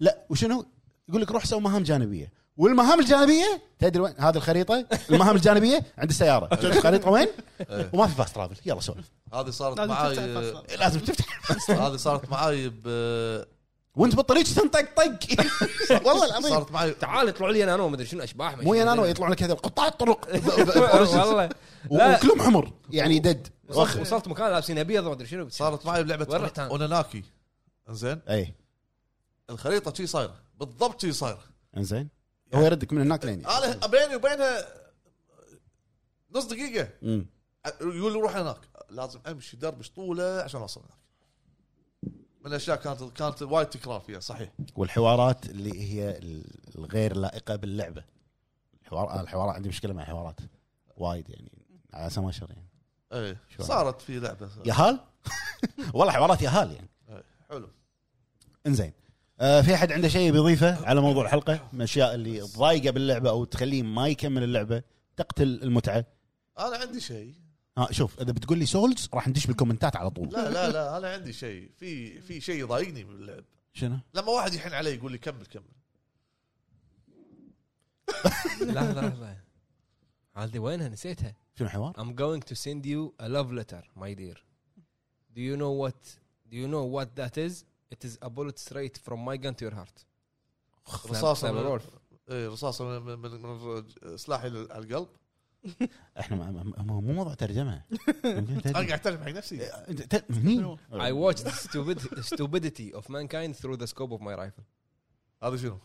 لا وشنو؟ يقول لك روح سوي مهام جانبيه والمهام الجانبيه تدري وين هذه الخريطه المهام الجانبيه عند السياره تشوف الخريطه وين إيه. وما في فاست ترافل يلا سولف هذه صارت لازم معاي آه، تفتح الفصل. لازم تفتح هذه صارت معاي ب وانت بالطريق تنطق طق والله العظيم صارت معي تعال يطلعوا لي ينانو ما ادري شنو اشباح ما مو شنو. ينانو يطلعون لك هذول قطاع الطرق والله لا. وكلهم حمر يعني دد وصلت وصلت مكان لابسين ابيض ما ادري شنو صارت معي بلعبه وين رحت أنا؟ اوناناكي زين اي الخريطه شي صايره بالضبط شي صايره انزين هو يردك من هناك لين انا بيني وبينها نص دقيقه مم. يقول لي روح هناك لازم امشي دربش طوله عشان اوصل هناك من الاشياء كانت كانت وايد تكرار فيها صحيح والحوارات اللي هي الغير لائقه باللعبه الحوار الحوارات عندي مشكله مع الحوارات وايد يعني على سماشر يعني ايه شو صارت في لعبه يهال والله حوارات يهال يعني إيه، حلو انزين آه في احد عنده شيء بيضيفه على موضوع الحلقه من الاشياء اللي تضايقه باللعبه او تخليه ما يكمل اللعبه تقتل المتعه انا عندي شيء ها شوف اذا بتقول لي سولز راح ندش بالكومنتات على طول لا لا لا انا عندي شيء في في شيء يضايقني باللعب شنو لما واحد يحن علي يقول لي كمل كمل لا لا لا هذه وينها نسيتها شنو حوار I'm going to send you a love letter my dear do you know what do you know what that is it is a bullet straight from my gun to your heart رصاصه سايبر من وولف. إيه، رصاصه من, من, من سلاحي لل- على القلب احنا ما- ما- ما- مو موضوع ترجمه يمكن انا قاعد اتكلم ترجمة. آه، حق نفسي أنت- ت- هني I watched the stupid- the stupidity of mankind through the scope of my rifle هذا شنو؟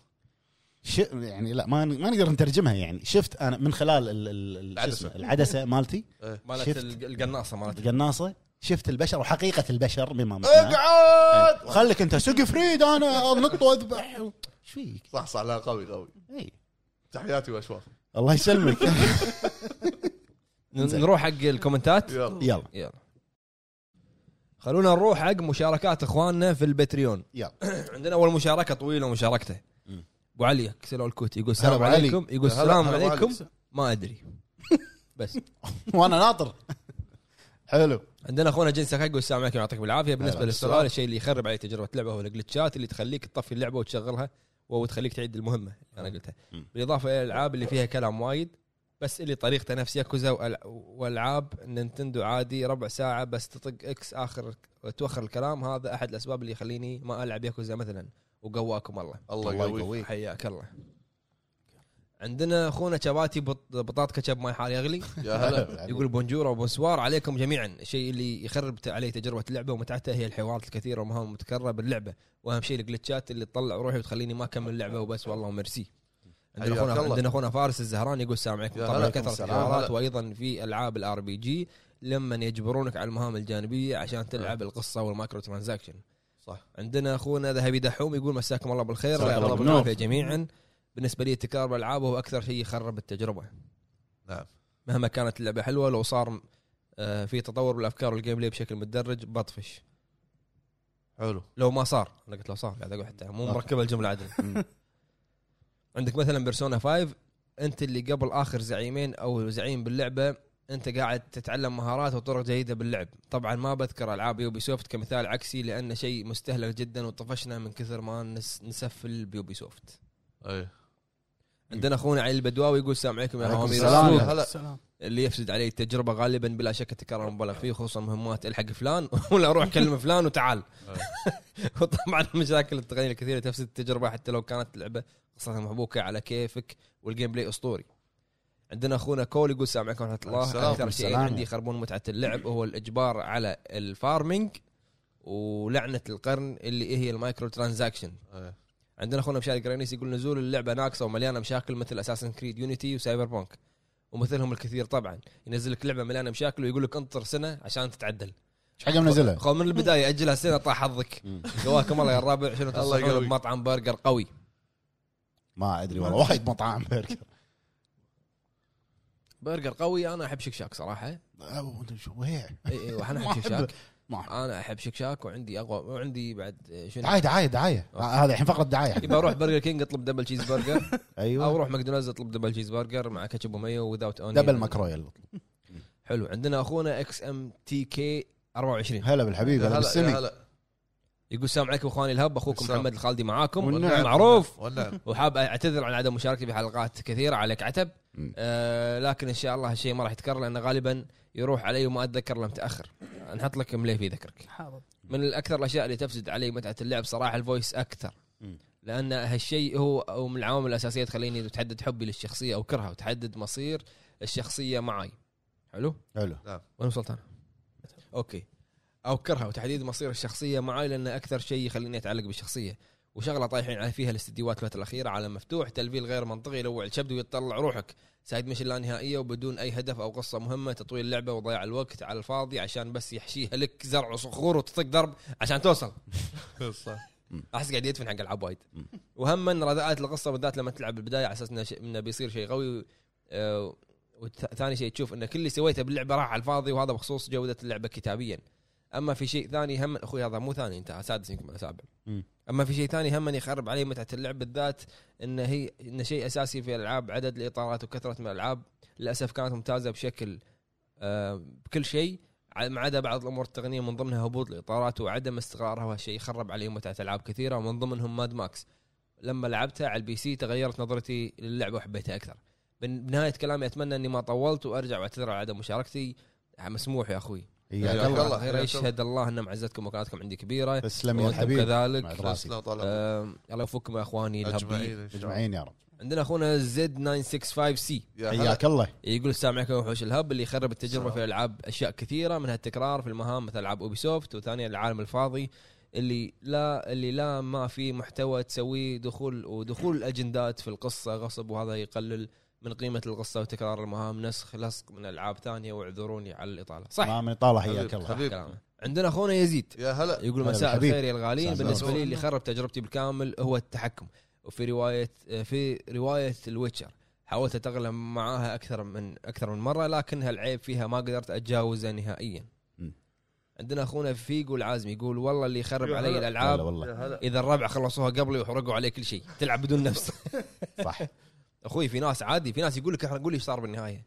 ش... يعني لا ما ما نقدر نترجمها يعني شفت انا من خلال ال... ال... ال... شو العدسة. اسمه، العدسه مالتي مالت شفت. الق- القناصه مالت القناصه شفت البشر وحقيقه البشر مما معناه اقعد خليك انت سوق فريد انا انط واذبح ايش فيك؟ صح صح لا قوي قوي اي تحياتي واشواق الله يسلمك ن- نروح حق الكومنتات يلا يلا يلا خلونا نروح حق مشاركات اخواننا في البتريون يلا عندنا اول مشاركه طويله مشاركته مم. ابو علي كسلو الكوت يقول السلام أبو علي. عليكم يقول هلا- السلام هلا أبو عليكم علي. ما ادري بس وانا ناطر حلو عندنا اخونا جنس ساكاي يقول السلام عليكم يعطيكم العافيه بالنسبه هلا. للسؤال الشيء اللي يخرب علي تجربه اللعبه هو الجلتشات اللي تخليك تطفي اللعبه وتشغلها وتخليك تعيد المهمه انا قلتها مم. بالاضافه الى الالعاب اللي فيها كلام وايد بس اللي طريقته نفس ياكوزا وأل- والعاب نينتندو عادي ربع ساعه بس تطق اكس اخر توخر الكلام هذا احد الاسباب اللي يخليني ما العب ياكوزا مثلا وقواكم الله الله يقويك حياك الله عندنا اخونا شباتي بط- بطاط كتشب ماي حار يغلي يا هلا يقول بونجور وبونسوار عليكم جميعا الشيء اللي يخرب ت- علي تجربه اللعبه ومتعتها هي الحوارات الكثيره والمهام المتكرره باللعبه واهم شيء الجلتشات اللي تطلع روحي وتخليني ما اكمل اللعبه وبس والله ميرسي عندنا حياك اخونا الله. عندنا اخونا فارس الزهران يقول السلام عليكم يا طبعا هلا. كثره السلام. الحوارات هلا. وايضا في العاب الار بي جي لما يجبرونك على المهام الجانبيه عشان تلعب القصه والمايكرو ترانزاكشن صح. عندنا اخونا ذهبي دحوم يقول مساكم الله بالخير مساك الله الله بالنور. بالعافيه جميعا بالنسبه لي تكرار الالعاب هو اكثر شيء يخرب التجربه نعم مهما كانت اللعبه حلوه لو صار آه، في تطور بالافكار والجيم بلاي بشكل متدرج بطفش حلو لو ما صار انا قلت لو صار قاعد اقول حتى مو مركبه الجمله عدل عندك مثلا بيرسونا 5 انت اللي قبل اخر زعيمين او زعيم باللعبه انت قاعد تتعلم مهارات وطرق جديده باللعب طبعا ما بذكر العاب يوبي سوفت كمثال عكسي لانه شيء مستهلك جدا وطفشنا من كثر ما نس نسفل بيوبي سوفت اي عندنا اخونا علي البدواوي يقول السلام عليكم يا عليكم هوامي السلام. الرسول. هلا. سلام اللي يفسد عليه التجربه غالبا بلا شك تكرار مبالغ فيه خصوصا مهمات الحق فلان ولا اروح اكلم فلان وتعال وطبعا المشاكل التقنيه الكثيره تفسد التجربه حتى لو كانت اللعبه قصتها محبوكه على كيفك والجيم بلاي اسطوري عندنا اخونا كول يقول السلام عليكم ورحمه الله السلام. اكثر شيء السلام. عندي يخربون متعه اللعب هو الاجبار على الفارمنج ولعنه القرن اللي هي المايكرو ترانزاكشن إي. عندنا اخونا مشاري قرينيس يقول نزول اللعبه ناقصه ومليانه مشاكل مثل اساسن كريد يونيتي وسايبر بانك ومثلهم الكثير طبعا ينزل لك لعبه مليانه مشاكل ويقول لك انطر سنه عشان تتعدل ايش حق منزلها؟ خو من البدايه اجلها سنه طاح حظك مم. قواكم الله يا الرابع شنو تصلحون يقويك. بمطعم برجر قوي ما ادري والله وايد مطاعم برجر برجر قوي انا احب شكشاك صراحه أو، أنت شو وهي اي اي وانا ما احب شكشاك ما أحب. انا احب شكشاك وعندي اقوى وعندي بعد شنو دعايه دعايه دعايه أوكي. آه، هذا الحين فقره دعايه يبقى اروح برجر كينج اطلب دبل تشيز برجر او ايوه اروح ماكدونالدز اطلب دبل تشيز برجر مع كاتشب ومايو وذاوت اونيون دبل ماكرويل حلو عندنا اخونا اكس ام تي كي 24 هلا بالحبيب يا هلا هلا يا بالسمي هلا يقول السلام عليكم اخواني الهب اخوكم السلام. محمد الخالدي معاكم والنعم. والنعم معروف والنعم وحاب اعتذر عن عدم مشاركتي في حلقات كثيره عليك عتب مم. آه لكن ان شاء الله هالشيء ما راح يتكرر لانه غالبا يروح علي وما اتذكر لما متاخر نحط لك مليه في ذكرك حاضر من الاكثر الاشياء اللي تفسد علي متعه اللعب صراحه الفويس اكثر مم. لان هالشيء هو هو من العوامل الاساسيه تخليني تحدد حبي للشخصيه او كرهها وتحدد مصير الشخصيه معي حلو حلو وين وصلت انا؟ اوكي او كرهه وتحديد مصير الشخصيه معي لان اكثر شيء يخليني اتعلق بالشخصيه وشغله طايحين فيها الاستديوهات الفتره الاخيره عالم مفتوح تلفيل غير منطقي يلوع الكبد ويطلع روحك سايد ميشن لا نهائيه وبدون اي هدف او قصه مهمه تطويل اللعبه وضياع الوقت على الفاضي عشان بس يحشيها لك زرع وصخور وتطق ضرب عشان توصل صح احس قاعد يدفن حق العاب وايد مم. وهم ان رداءات القصه بالذات لما تلعب بالبدايه على اساس انه شيء- انه بيصير شيء قوي آه، والث- ثاني شيء تشوف ان كل اللي سويته باللعبه راح على الفاضي وهذا بخصوص جوده اللعبه كتابيا اما في شيء ثاني هم اخوي هذا مو ثاني انت سادس يمكن ولا سابع مم. اما في شيء ثاني هم أن يخرب علي متعه اللعب بالذات ان هي ان شيء اساسي في الالعاب عدد الاطارات وكثره من الالعاب للاسف كانت ممتازه بشكل آه، بكل شيء ع- ما عدا بعض الامور التقنيه من ضمنها هبوط الاطارات وعدم استقرارها وهالشيء خرب علي متعه العاب كثيره ومن ضمنهم ماد ماكس لما لعبتها على البي سي تغيرت نظرتي للعبه وحبيتها اكثر بن- بنهايه كلامي اتمنى اني ما طولت وارجع واعتذر على عدم مشاركتي مسموح يا اخوي حياك حياك الله الله. خير. يشهد الله ان معزتكم وكانتكم عندي كبيره تسلم يا وانتم الحبيب كذلك مع راسي. لا طالع آم، الله يوفقكم يا اخواني الهبي اجمعين إن شاء الله. اجمعين يا رب عندنا اخونا زد 965 سي يا هلا حياك الله يقول السلام عليكم يا وحوش الهب اللي يخرب التجربه السلام. في الالعاب اشياء كثيره منها التكرار في المهام مثل العاب اوبي سوفت وثانيا العالم الفاضي اللي لا اللي لا ما في محتوى تسويه دخول ودخول الاجندات في القصه غصب وهذا يقلل من قيمه القصه وتكرار المهام نسخ لصق من العاب ثانيه واعذروني على الاطاله صح ما من طالع حياك حبيب- الله حبيب. كلامه عندنا اخونا يزيد يا هلا يقول هلا مساء بالحبيب. الخير يا الغالين مساء بالنسبه النور. لي اللي خرب تجربتي بالكامل هو التحكم وفي روايه في روايه الويتشر حاولت اتغلب معاها اكثر من اكثر من مره لكنها العيب فيها ما قدرت اتجاوزه نهائيا مم. عندنا اخونا فيجو العازمي يقول والله اللي يخرب يا علي هلا. هلا الالعاب والله هلا اذا الربع خلصوها قبلي وحرقوا علي كل شيء تلعب بدون نفس صح اخوي في ناس عادي في ناس يقول لك احرق قول لي ايش صار بالنهايه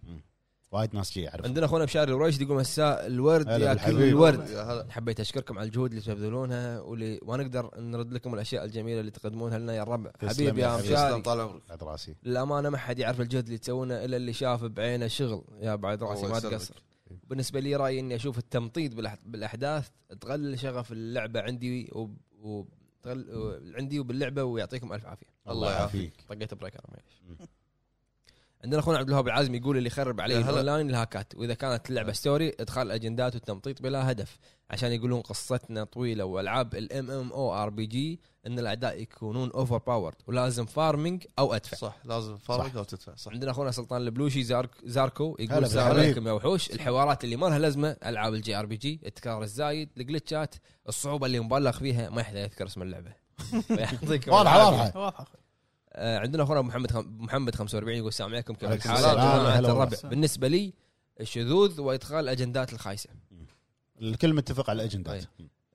وايد ناس جي اعرف عندنا اخونا بشار الوريش يقول مساء الورد هلا يا كل بالحبيب. الورد يا هلا حبيت اشكركم على الجهود اللي تبذلونها واللي ونقدر نرد لكم الاشياء الجميله اللي تقدمونها لنا يا الربع تسلم حبيبي يا يا حبيبي. مشاري تسلم طال عمرك بعد راسي للامانه ما حد يعرف الجهد اللي تسوونه الا اللي شاف بعينه شغل يا بعد راسي الله ما يسلمك. تقصر بالنسبه لي رايي اني اشوف التمطيط بالأح- بالاحداث تقلل شغف اللعبه عندي وب... وب... تقل... و- عندي وباللعبه ويعطيكم الف عافيه الله يعافيك طقيت بريك انا معليش عندنا اخونا عبد الوهاب العازمي يقول اللي يخرب عليه يا هلا. آه. الاونلاين الهاكات واذا كانت اللعبه ستوري ادخال الاجندات والتمطيط بلا هدف عشان يقولون قصتنا طويله والعاب الام ام او ار بي جي ان الاعداء يكونون اوفر باورد ولازم فارمنج او ادفع صح لازم تفرق او تدفع صح عندنا اخونا سلطان البلوشي زارك زاركو هلا يقول السلام بالحبيب. عليكم يا وحوش الحوارات اللي ما لها لازمه العاب الجي ار بي جي التكرار الزايد الجلتشات الصعوبه اللي مبالغ فيها ما يحتاج يذكر اسم اللعبه يعطيكم واضحه العافية. واضحه واضحه اخوي آه، عندنا اخونا محمد خم... محمد 45 يقول السلام عليكم كيف عليكم الحال؟ السلام. جماعة هلا والله. الربع بالنسبه لي الشذوذ وادخال الاجندات الخايسه الكل متفق على الاجندات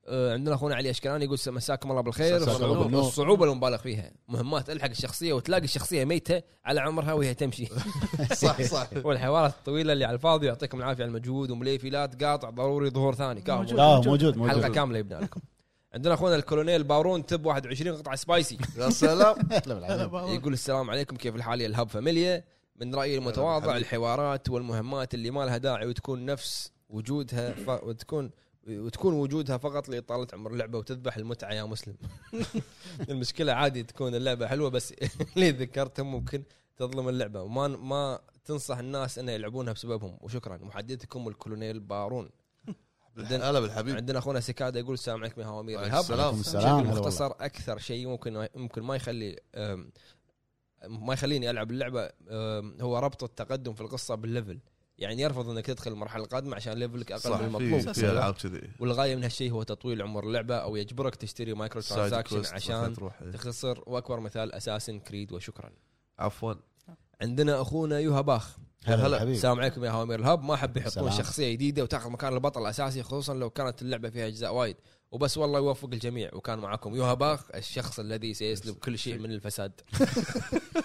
آه، عندنا اخونا علي اشكلاني يقول مساكم الله بالخير مساكم الله الصعوبة- بالنور. الصعوبه المبالغ فيها مهمات الحق الشخصيه وتلاقي الشخصيه ميته على عمرها وهي تمشي صح صح والحوارات الطويله اللي على الفاضي يعطيكم العافيه على المجهود ومليفي لا تقاطع ضروري ظهور ثاني كهو. موجود. لا موجود حلقه موجود كامله يبنى لكم عندنا اخونا الكولونيل بارون تب 21 قطعه سبايسي يا سلام هلا يعني بالعافية. يقول السلام عليكم كيف الحال يا الهب فاميليا من رايي المتواضع الحوارات والمهمات اللي ما لها داعي وتكون نفس وجودها ف... وتكون وتكون وجودها فقط لاطاله عمر اللعبه وتذبح المتعه يا مسلم. المشكله عادي تكون اللعبه حلوه بس اللي ذكرته ممكن تظلم اللعبه وما ما تنصح الناس انه يلعبونها بسببهم وشكرا محدثكم الكولونيل بارون عندنا- هلا بالحبيب عندنا اخونا سكادا يقول السلام عليكم يا هوامير وعليكم الهب عليكم السلام السلام بشكل هلا والله. مختصر اكثر شيء ممكن ممكن ما يخلي أم، ما يخليني العب اللعبه أم، هو ربط التقدم في القصه بالليفل يعني يرفض انك تدخل المرحله القادمه عشان ليفلك اقل من صح في في المطلوب العاب كذي والغايه من هالشيء هو تطويل عمر اللعبه او يجبرك تشتري مايكرو سايد ترانزاكشن كويست عشان مثلاً تروح تخسر واكبر مثال اساسن كريد وشكرا عفوا عندنا اخونا يوها باخ هلا هلا. بالحبيب. السلام عليكم يا هوامير الهب ما احب يحطون سلام. شخصيه جديده وتاخذ مكان البطل الاساسي خصوصا لو كانت اللعبه فيها اجزاء وايد وبس والله يوفق الجميع وكان معكم يوها باخ الشخص الذي سيسلب كل شيء من الفساد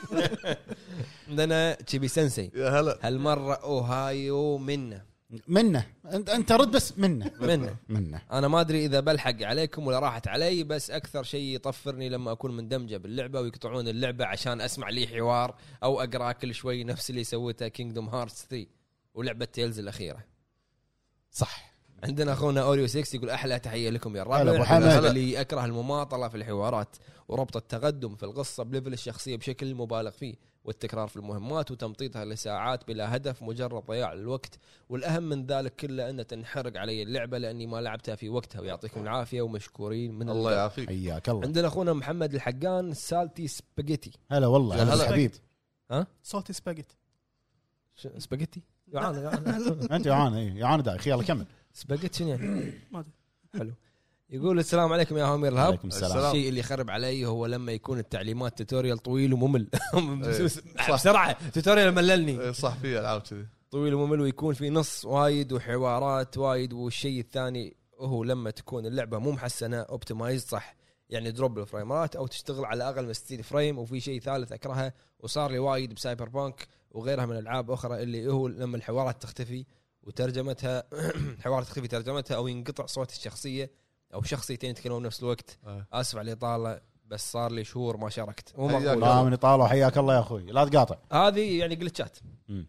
عندنا تشيبي سensei يا هلا هالمره اوهايو منه منه انت انت رد بس منه منه منه انا ما ادري اذا بلحق عليكم ولا راحت علي بس اكثر شيء يطفرني لما اكون مندمجه باللعبه ويقطعون اللعبه عشان اسمع لي حوار او اقرا كل شوي نفس اللي سويته كينجدوم هارتس 3 ولعبه تيلز الاخيره صح عندنا اخونا اوريو 6 يقول احلى تحيه لكم يا هلا الربع أبو حمد. أنا اللي اكره المماطله في الحوارات وربط التقدم في القصه بليفل الشخصيه بشكل مبالغ فيه والتكرار في المهمات وتمطيطها لساعات بلا هدف مجرد ضياع للوقت والاهم من ذلك كله ان تنحرق علي اللعبه لاني ما لعبتها في وقتها ويعطيكم العافيه ومشكورين من الله القلب. يعافيك حياك الله عندنا اخونا محمد الحقان سالتي سباجيتي هلا والله يا هلا هلا. بالحبيب صوتي سباجيت ش- سباجيتي يعانى يعانى انت يعانى إيه، يعانى داعي يلا كمل سباجيتي شنو يعني؟ ما ادري يقول السلام عليكم يا هامير الهب عليكم السلام السلام. الشيء اللي يخرب علي هو لما يكون التعليمات توتوريال طويل وممل صح. بسرعه توتوريال مللني إيه، صح في العاب كذي طويل وممل ويكون في نص وايد وحوارات وايد والشيء الثاني هو لما تكون اللعبه مو محسنه اوبتمايز صح يعني دروب الفريمات او تشتغل على اقل من 60 فريم وفي شيء ثالث اكرهه وصار لي وايد بسايبر بانك وغيرها من العاب اخرى اللي هو لما الحوارات تختفي وترجمتها حوارات تختفي ترجمتها او ينقطع صوت الشخصيه او شخصيتين يتكلمون بنفس الوقت آه. اسف على الاطاله بس صار لي شهور ما شاركت مو حياك مقبول. ما من طالع حياك الله يا اخوي لا تقاطع هذه يعني جلتشات مم. آه.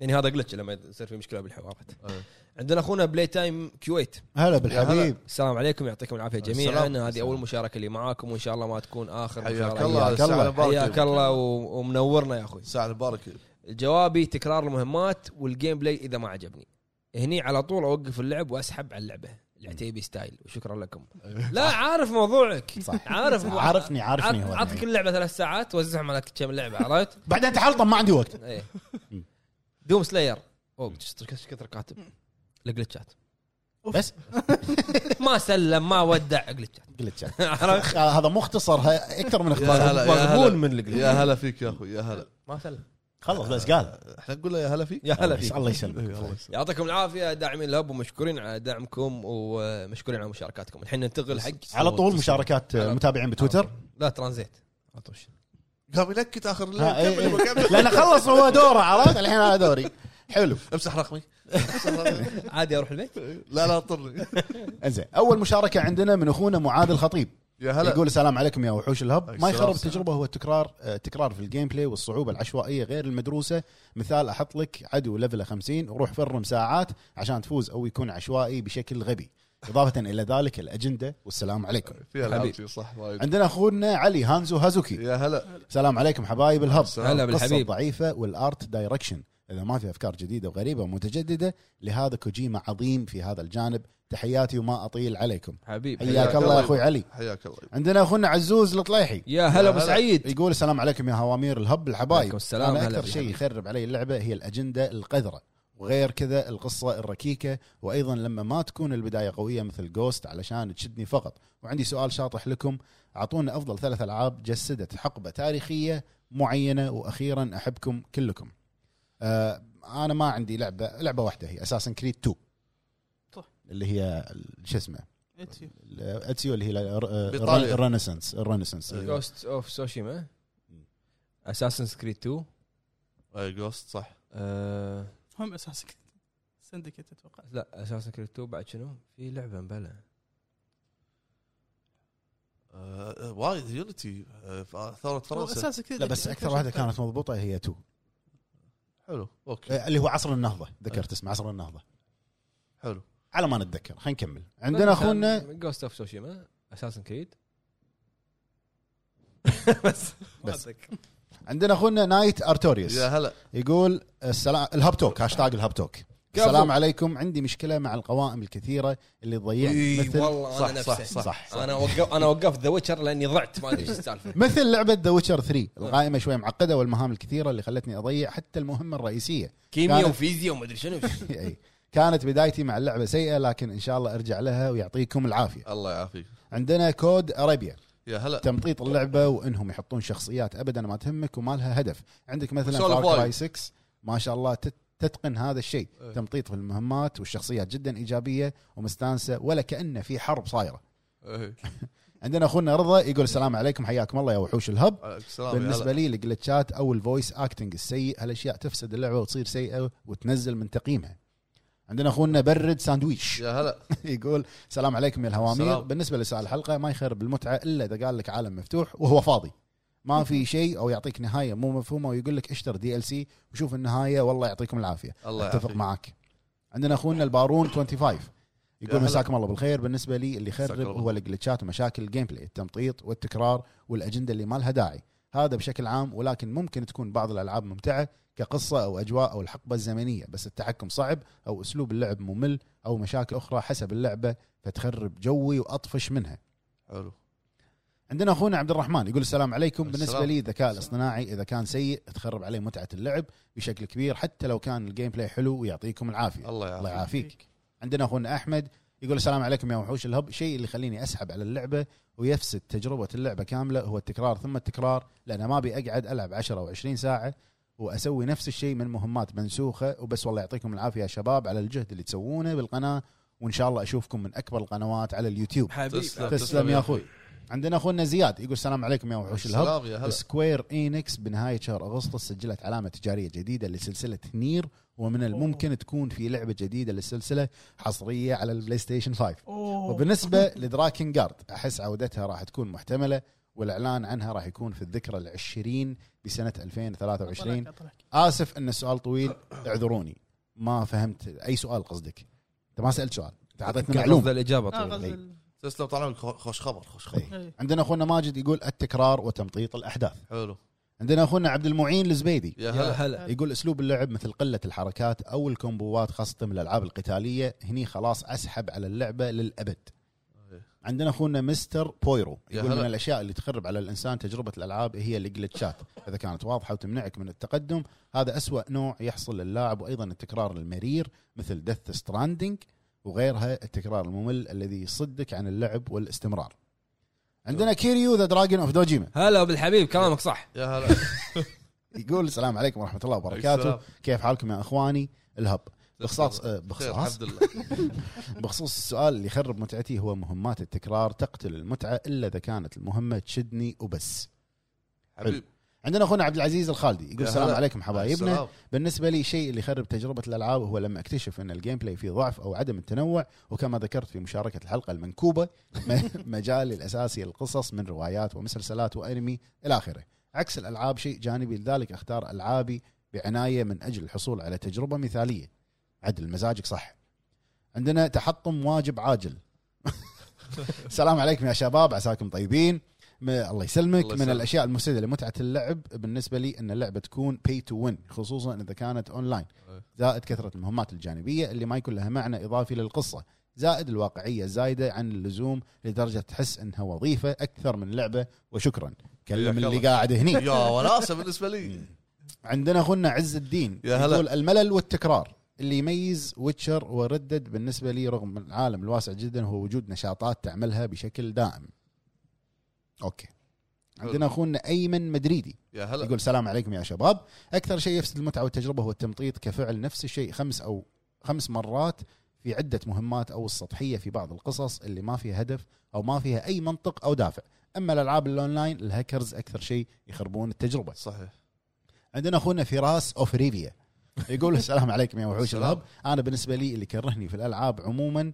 يعني هذا جلتش لما يصير في مشكله بالحوارات إيه. عندنا اخونا بلاي تايم كويت هلا بالحبيب السلام عليكم يعطيكم آه، العافيه السلام. جميعا هذه اول مشاركه لي معاكم وان شاء الله ما تكون اخر حياك مشاركة. الله حياك ساعة الله. مباركة. حياك الله و- ومنورنا يا اخوي ساعة مباركة جوابي تكرار المهمات والجيم بلاي اذا ما عجبني هني على طول اوقف اللعب واسحب على اللعبه العتيبي ستايل وشكرا لكم لا عارف موضوعك صح. عارف مو- عارفني عارفني هو عط كل لعبه ثلاث ساعات وزعهم على كم لعبه عرفت بعدين تحلطم ما عندي وقت ايه مم. دوم سلاير اوه ايش كثر كاتب الجلتشات بس ما سلم ما ودع جلتشات جلتشات عرفت؟ هذا مختصر ه- اكثر من يا اختصار هلا، يا هلا. مغبون من الجلتشات يا هلا فيك يا اخوي يا هلا ما سلم خلص بس قال احنا نقول له يا هلا فيك يا هلا فيك الله إيه، الله يسلمك يسلمك. يعطيكم العافيه داعمين الهب ومشكورين على دعمكم ومشكورين على مشاركاتكم الحين ننتقل حق على طول مشاركات آه، متابعين بتويتر لا ترانزيت على طول قام ينكت اخر ها، إيه، الليل كمل، إيه. كمل. لان خلص هو دوره عرفت الحين انا دوري حلو امسح رقمي امسح رقمي. عادي اروح البيت لا لا اطرني انزين اول مشاركه عندنا من اخونا معاذ الخطيب يا هلا. هلا يقول السلام عليكم يا وحوش الهب عليك ما السلام. يخرب التجربه هو التكرار آه، تكرار في الجيم بلاي والصعوبه العشوائيه غير المدروسه مثال احط لك عدو ليفله 50 وروح فرم ساعات عشان تفوز او يكون عشوائي بشكل غبي اضافه الى ذلك الاجنده والسلام عليكم في العاب حبيب. كذي صح وايد عندنا اخونا علي هانزو هازوكي يا هلا السلام عليكم حبايب الهب السلام. هلا القصة بالحبيب. ضعيفه والارت دايركشن اذا ما في افكار جديده وغريبه ومتجدده لهذا كوجيما عظيم في هذا الجانب تحياتي وما اطيل عليكم حبيبي حياك الله يا اخوي علي حياك الله عندنا اخونا عزوز الطليحي يا هلا ابو هلا. سعيد يقول السلام عليكم يا هوامير الهب الحبايب عليكم السلام، أنا هلا اكثر بك شيء حبيبي. يخرب علي اللعبه هي الاجنده القذره وغير كذا القصه الركيكه وايضا لما ما تكون البدايه قويه مثل جوست علشان تشدني فقط وعندي سؤال شاطح لكم اعطونا افضل ثلاث العاب جسدت حقبه تاريخيه معينه واخيرا احبكم كلكم آه انا ما عندي لعبه لعبه واحده هي اساسا كريد 2 صح. اللي هي ال- شو اسمه اتسيو اتسيو اللي هي بإيطاليا. الرينيسانس الرينيسانس أيوة. جوست اوف سوشيما مم. اساسن كريد 2 جوست صح آه، هم اساسا سندكيت اتوقع لا اساسن كريد 2 بعد شنو؟ في لعبه مبلى آه، وايد يونيتي آه، في ثوره فرنسا اساسا كذا لا بس اكثر واحده كانت مضبوطه هي تو حلو اوكي آه، اللي هو عصر النهضه ذكرت اسمه عصر النهضه حلو على ما نتذكر خلينا نكمل عندنا اخونا جوست اوف سوشيما اساسن كريد بس عندنا اخونا نايت ارتوريوس يا هلا يقول السلام الهاب توك هاشتاج الهاب توك السلام عليكم عندي مشكله مع القوائم الكثيره اللي إيه، تضيعني إي، مثل والله صح، انا صح، نفسه صح. صح انا وقف انا وقفت ذا ويتشر لاني ضعت ما ادري ايش السالفه مثل لعبه ذا ويتشر 3 القائمه شوي معقده والمهام الكثيره اللي خلتني اضيع حتى المهمه الرئيسيه كيمياء كانت- وفيزياء وما ادري شنو أي. كانت بدايتي مع اللعبه سيئه لكن ان شاء الله ارجع لها ويعطيكم العافيه الله يعافيك عندنا كود ارابيا يا هلا تمطيط اللعبه وانهم يحطون شخصيات ابدا ما تهمك وما لها هدف عندك مثلا سولف فار وايد. كراي 6 ما شاء الله تت- تتقن هذا الشيء إيه. تمطيط في المهمات والشخصيات جدا ايجابيه ومستانسه ولا كانه في حرب صايره إيه. عندنا اخونا رضا يقول السلام عليكم حياكم الله يا وحوش الهب عليك السلام يا بالنسبه هلا لي الجلتشات او الفويس اكتنج السيء هالاشياء تفسد اللعبه وتصير سيئه وتنزل من تقييمها عندنا اخونا برد ساندويش يا هلا يقول سلام عليكم يا الهوامير سلام. سلام. بالنسبه لسؤال الحلقه ما يخرب المتعه الا اذا قال لك عالم مفتوح وهو فاضي ما في شيء او يعطيك نهايه مو مفهومه ويقول لك اشتر دي ال سي وشوف النهايه والله يعطيكم العافيه الله اتفق يعافيك معك عندنا اخونا البارون 25 يا يقول هلا. مساكم الله بالخير بالنسبه لي اللي مساك الله يخرب هو بالخير. الجلتشات ومشاكل الجيم بلاي التمطيط والتكرار والاجنده اللي ما لها داعي هذا بشكل عام ولكن ممكن تكون بعض الالعاب ممتعه كقصه او اجواء او الحقبه الزمنيه بس التحكم صعب او اسلوب اللعب ممل او مشاكل اخرى حسب اللعبه فتخرب جوي واطفش منها حلو عندنا اخونا عبد الرحمن يقول السلام عليكم السلام. بالنسبه لي الذكاء الاصطناعي اذا كان سيء تخرب عليه متعه اللعب بشكل كبير حتى لو كان الجيم بلاي حلو ويعطيكم العافيه الله الله يعافيك يعافيك عندنا اخونا احمد يقول السلام عليكم يا وحوش الهب شيء اللي يخليني اسحب على اللعبه ويفسد تجربه اللعبه كامله هو التكرار ثم التكرار لان ما ابي اقعد العب 10 او 20 ساعه واسوي نفس الشيء من مهمات منسوخه وبس والله يعطيكم العافيه يا شباب على الجهد اللي تسوونه بالقناه وان شاء الله اشوفكم من اكبر القنوات على اليوتيوب تسلم. حبيبي تسلم يا اخوي عندنا اخونا زياد يقول السلام عليكم يا وحوش الهب السلام يا هلا سكوير اينكس بنهايه شهر اغسطس سجلت علامه تجاريه جديده لسلسله نير ومن الممكن تكون في لعبه جديده للسلسله حصريه على البلاي ستيشن 5 اوه وبالنسبه لدراكن جارد احس عودتها راح تكون محتمله والاعلان عنها راح يكون في الذكرى العشرين بسنه 2023 أطلعك- أطلعك. اسف ان السؤال طويل اعذروني ما فهمت اي سؤال قصدك انت ما سالت سؤال انت اعطيتنا معلومه قصد الاجابه آه، طبعا غزل إيه. إي. ال- تسلم طال عمرك خو- خوش خبر خوش خبر إي. إي. إيه. عندنا اخونا ماجد يقول التكرار وتمطيط الاحداث حلو عندنا اخونا عبد المعين الزبيدي يا يا هلا هلا آه. يقول اسلوب اللعب مثل قله الحركات او الكومبوات خاصه من الالعاب القتاليه هني خلاص اسحب على اللعبه للابد عندنا اخونا مستر بويرو إيه. يا يقول هلا. من الاشياء اللي تخرب على الانسان تجربه الالعاب هي الجلتشات اذا كانت واضحه وتمنعك من التقدم هذا أسوأ نوع يحصل للاعب وايضا التكرار المرير مثل دث ستراندنج وغيرها التكرار الممل الذي يصدك عن اللعب والاستمرار عندنا كيريو ذا دراجون اوف دوجيما هلا بالحبيب كلامك صح يا هلا يقول السلام عليكم ورحمه الله وبركاته السلام. كيف حالكم يا اخواني الهب بخصاص آه، بخير بخصاص الحمد لله بخصوص السؤال اللي يخرب متعتي هو مهمات التكرار تقتل المتعه الا اذا كانت المهمه تشدني وبس حبيب عندنا اخونا عبد العزيز الخالدي يقول يا السلام هلا. عليكم حبايبنا السلام. بالنسبه لي شيء اللي يخرب تجربه الالعاب هو لما اكتشف ان الجيم بلاي فيه ضعف او عدم التنوع وكما ذكرت في مشاركه الحلقه المنكوبه م- مجالي الاساسي للقصص من روايات ومسلسلات وانمي الى اخره عكس الالعاب شيء جانبي لذلك اختار العابي بعنايه من اجل الحصول على تجربه مثاليه عدل مزاجك صح عندنا تحطم واجب عاجل السلام عليكم يا شباب عساكم طيبين م- الله يسلمك الله من يسلمك. الاشياء المفسده لمتعه اللعب بالنسبه لي ان اللعبه تكون بي تو وين خصوصا اذا كانت اونلاين أي. زائد كثره المهمات الجانبيه اللي ما يكون لها معنى اضافي للقصه زائد الواقعيه الزايده عن اللزوم لدرجه تحس انها وظيفه اكثر من لعبه وشكرا كلم حياك اللي الله. قاعد هني يا وناسه بالنسبه لي عندنا اخونا عز الدين يا هلا. يقول الملل والتكرار اللي يميز ويتشر وردد بالنسبه لي رغم العالم الواسع جدا هو وجود نشاطات تعملها بشكل دائم. اوكي. عندنا اخونا ايمن مدريدي يا هلا يقول السلام عليكم يا شباب، اكثر شيء يفسد المتعه والتجربه هو التمطيط كفعل نفس الشيء خمس او خمس مرات في عده مهمات او السطحيه في بعض القصص اللي ما فيها هدف او ما فيها اي منطق او دافع اما الالعاب الاونلاين الهاكرز اكثر شيء يخربون التجربه صحيح عندنا اخونا فراس اوفريفيا يقول السلام عليكم يا وحوش الهب انا بالنسبه لي اللي كرهني في الالعاب عموما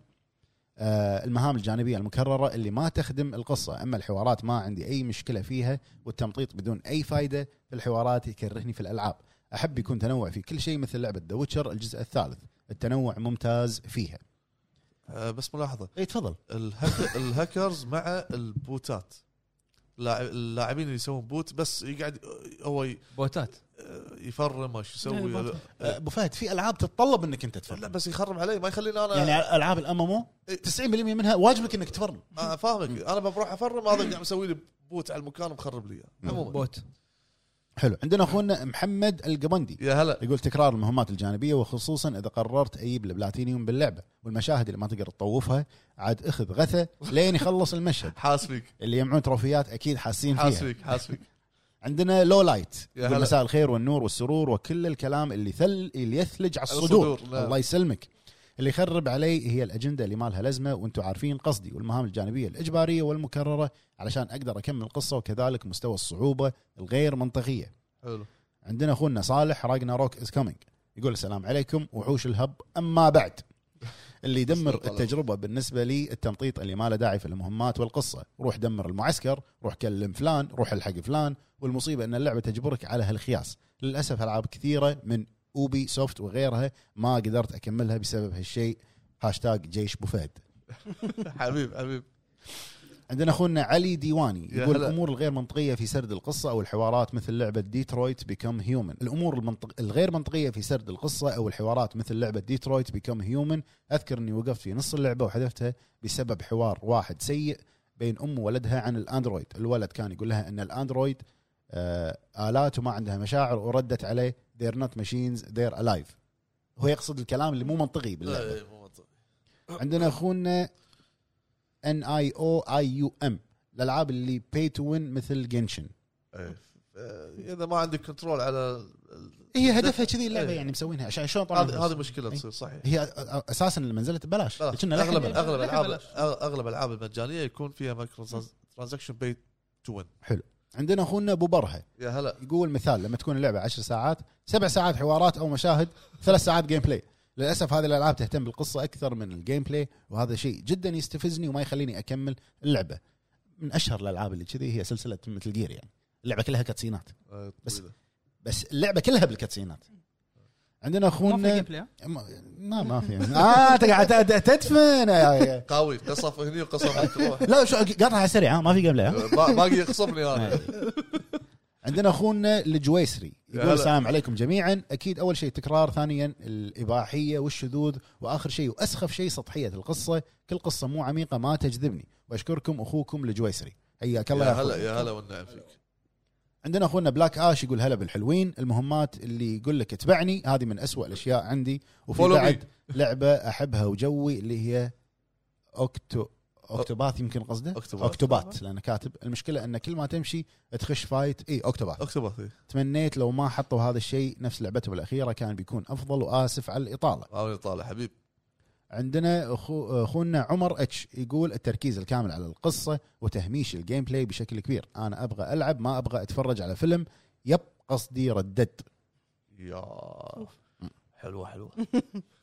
آه، المهام الجانبيه المكرره اللي ما تخدم القصه اما الحوارات ما عندي اي مشكله فيها والتمطيط بدون اي فائده في الحوارات يكرهني في الالعاب احب يكون تنوع في كل شيء مثل لعبه ذا ويتشر الجزء الثالث التنوع ممتاز فيها آه بس ملاحظه اي إيه، تفضل الهك... الهاكرز مع البوتات اللاعب- اللاعبين اللي يسوون بوت بس يقعد هو ي- آه، بوتات يفرم ايش يعني يسوي بوت. آه، ابو فهد في العاب تتطلب انك انت لا تفرم بس يخرم علي ما يخليني انا يعني العاب الام 90% منها واجبك انك تفرم آه فاهمك انا بروح افرم هذا قاعد مسوي لي بوت على المكان مخرب لي إياه. عموما بوت حلو عندنا اخونا محمد القبندي يا هلا يقول تكرار المهمات الجانبيه وخصوصا اذا قررت اجيب البلاتينيوم باللعبه والمشاهد اللي ما تقدر تطوفها عاد اخذ غثه لين يخلص المشهد حاس فيك اللي يجمعون تروفيات اكيد حاسين حاس فيها فيك حاس فيك عندنا لو لايت يا يقول هلا. مساء الخير والنور والسرور وكل الكلام اللي ثل اللي يثلج على الصدور, الصدور، نعم. الله يسلمك اللي يخرب علي هي الاجنده اللي ما لها لازمه وانتم عارفين قصدي والمهام الجانبيه الاجباريه والمكرره علشان اقدر اكمل القصه وكذلك مستوى الصعوبه الغير منطقيه حلو عندنا اخونا صالح راجنا روك از كومينج يقول السلام عليكم وحوش الهب اما بعد اللي يدمر التجربه بالنسبه لي التمطيط اللي ما له داعي في المهمات والقصه روح دمر المعسكر روح كلم فلان روح الحق فلان والمصيبه ان اللعبه تجبرك على هالخياس للاسف العاب كثيره من اوبي سوفت وغيرها ما قدرت اكملها بسبب هالشيء هاشتاج جيش بوفيد حبيب حبيب عندنا اخونا علي ديواني يا يقول هلا. الامور الغير منطقيه في سرد القصه او الحوارات مثل لعبه ديترويت بيكم هيومن الامور المنطق... الغير منطقيه في سرد القصه او الحوارات مثل لعبه ديترويت بيكم هيومن اذكر اني وقفت في نص اللعبه وحذفتها بسبب حوار واحد سيء بين ام وولدها عن الاندرويد الولد كان يقول لها ان الاندرويد آه الات وما عندها مشاعر وردت عليه they're not machines they're alive هو يقصد الكلام اللي مو منطقي باللعبه لا، إيه، مو منطق. عندنا اخونا ان اي او اي يو ام الالعاب اللي بي تو وين مثل جنشن إيه. آه، اذا ما عندك كنترول على ال- هي هدفها كذي اللعبه إيه. يعني مسوينها عشان شلون طلعوا هذه الفلوس؟ هذه مشكله إيه. تصير صحيح هي أ- أ- اساسا لما نزلت ببلاش لا، كنا لا اغلب حد- اغلب لا، الالعاب بلاش. اغلب الالعاب المجانيه يكون فيها مايكرو ترانزكشن بيت تو وين عندنا اخونا ابو برهه يا هلا يقول مثال لما تكون اللعبه 10 ساعات سبع ساعات حوارات او مشاهد ثلاث ساعات جيم بلاي للاسف هذه الالعاب تهتم بالقصه اكثر من الجيم بلاي وهذا شيء جدا يستفزني وما يخليني اكمل اللعبه من اشهر الالعاب اللي كذي هي سلسله مثل جير يعني اللعبه كلها كاتسينات آه، بس- طويلة. بس اللعبه كلها بالكاتسينات عندنا ما في اخونا جيم بلاي ها؟ ما ما, ما في اه انت قاعد تد- تدفن يا- يا- قاوي قصف هني وقصف على الروح. لا شو قطعه سريعه ما في جيم بلاي ها؟ آه، با- باقي يقصفني انا إيه، عندنا اخونا الجويسري يقول هلا. السلام عليكم جميعا اكيد اول شيء تكرار ثانيا الاباحيه والشذوذ واخر شيء واسخف شيء سطحيه القصه كل قصه مو عميقه ما تجذبني واشكركم اخوكم الجويسري حياك الله يا يا أخوي. هلا يا هلا والنعم فيك عندنا اخونا بلاك اش يقول هلا بالحلوين المهمات اللي يقول لك اتبعني هذه من أسوأ الاشياء عندي وفي Follow me. بعد لعبه احبها وجوي اللي هي اوكتو اوكتوباث يمكن قصده أوكتوباث. اوكتوبات لانه كاتب المشكله ان كل ما تمشي تخش فايت اي اوكتوباث اكتب اخي تمنيت لو ما حطوا هذا الشيء نفس لعبتهم الاخيره كان بيكون افضل واسف على الاطاله عاوني طالع حبيب عندنا أخو اخونا عمر اتش يقول التركيز الكامل على القصه وتهميش الجيم بلاي بشكل كبير انا ابغى العب ما ابغى اتفرج على فيلم يب قصدي رددت يا حلوه حلوه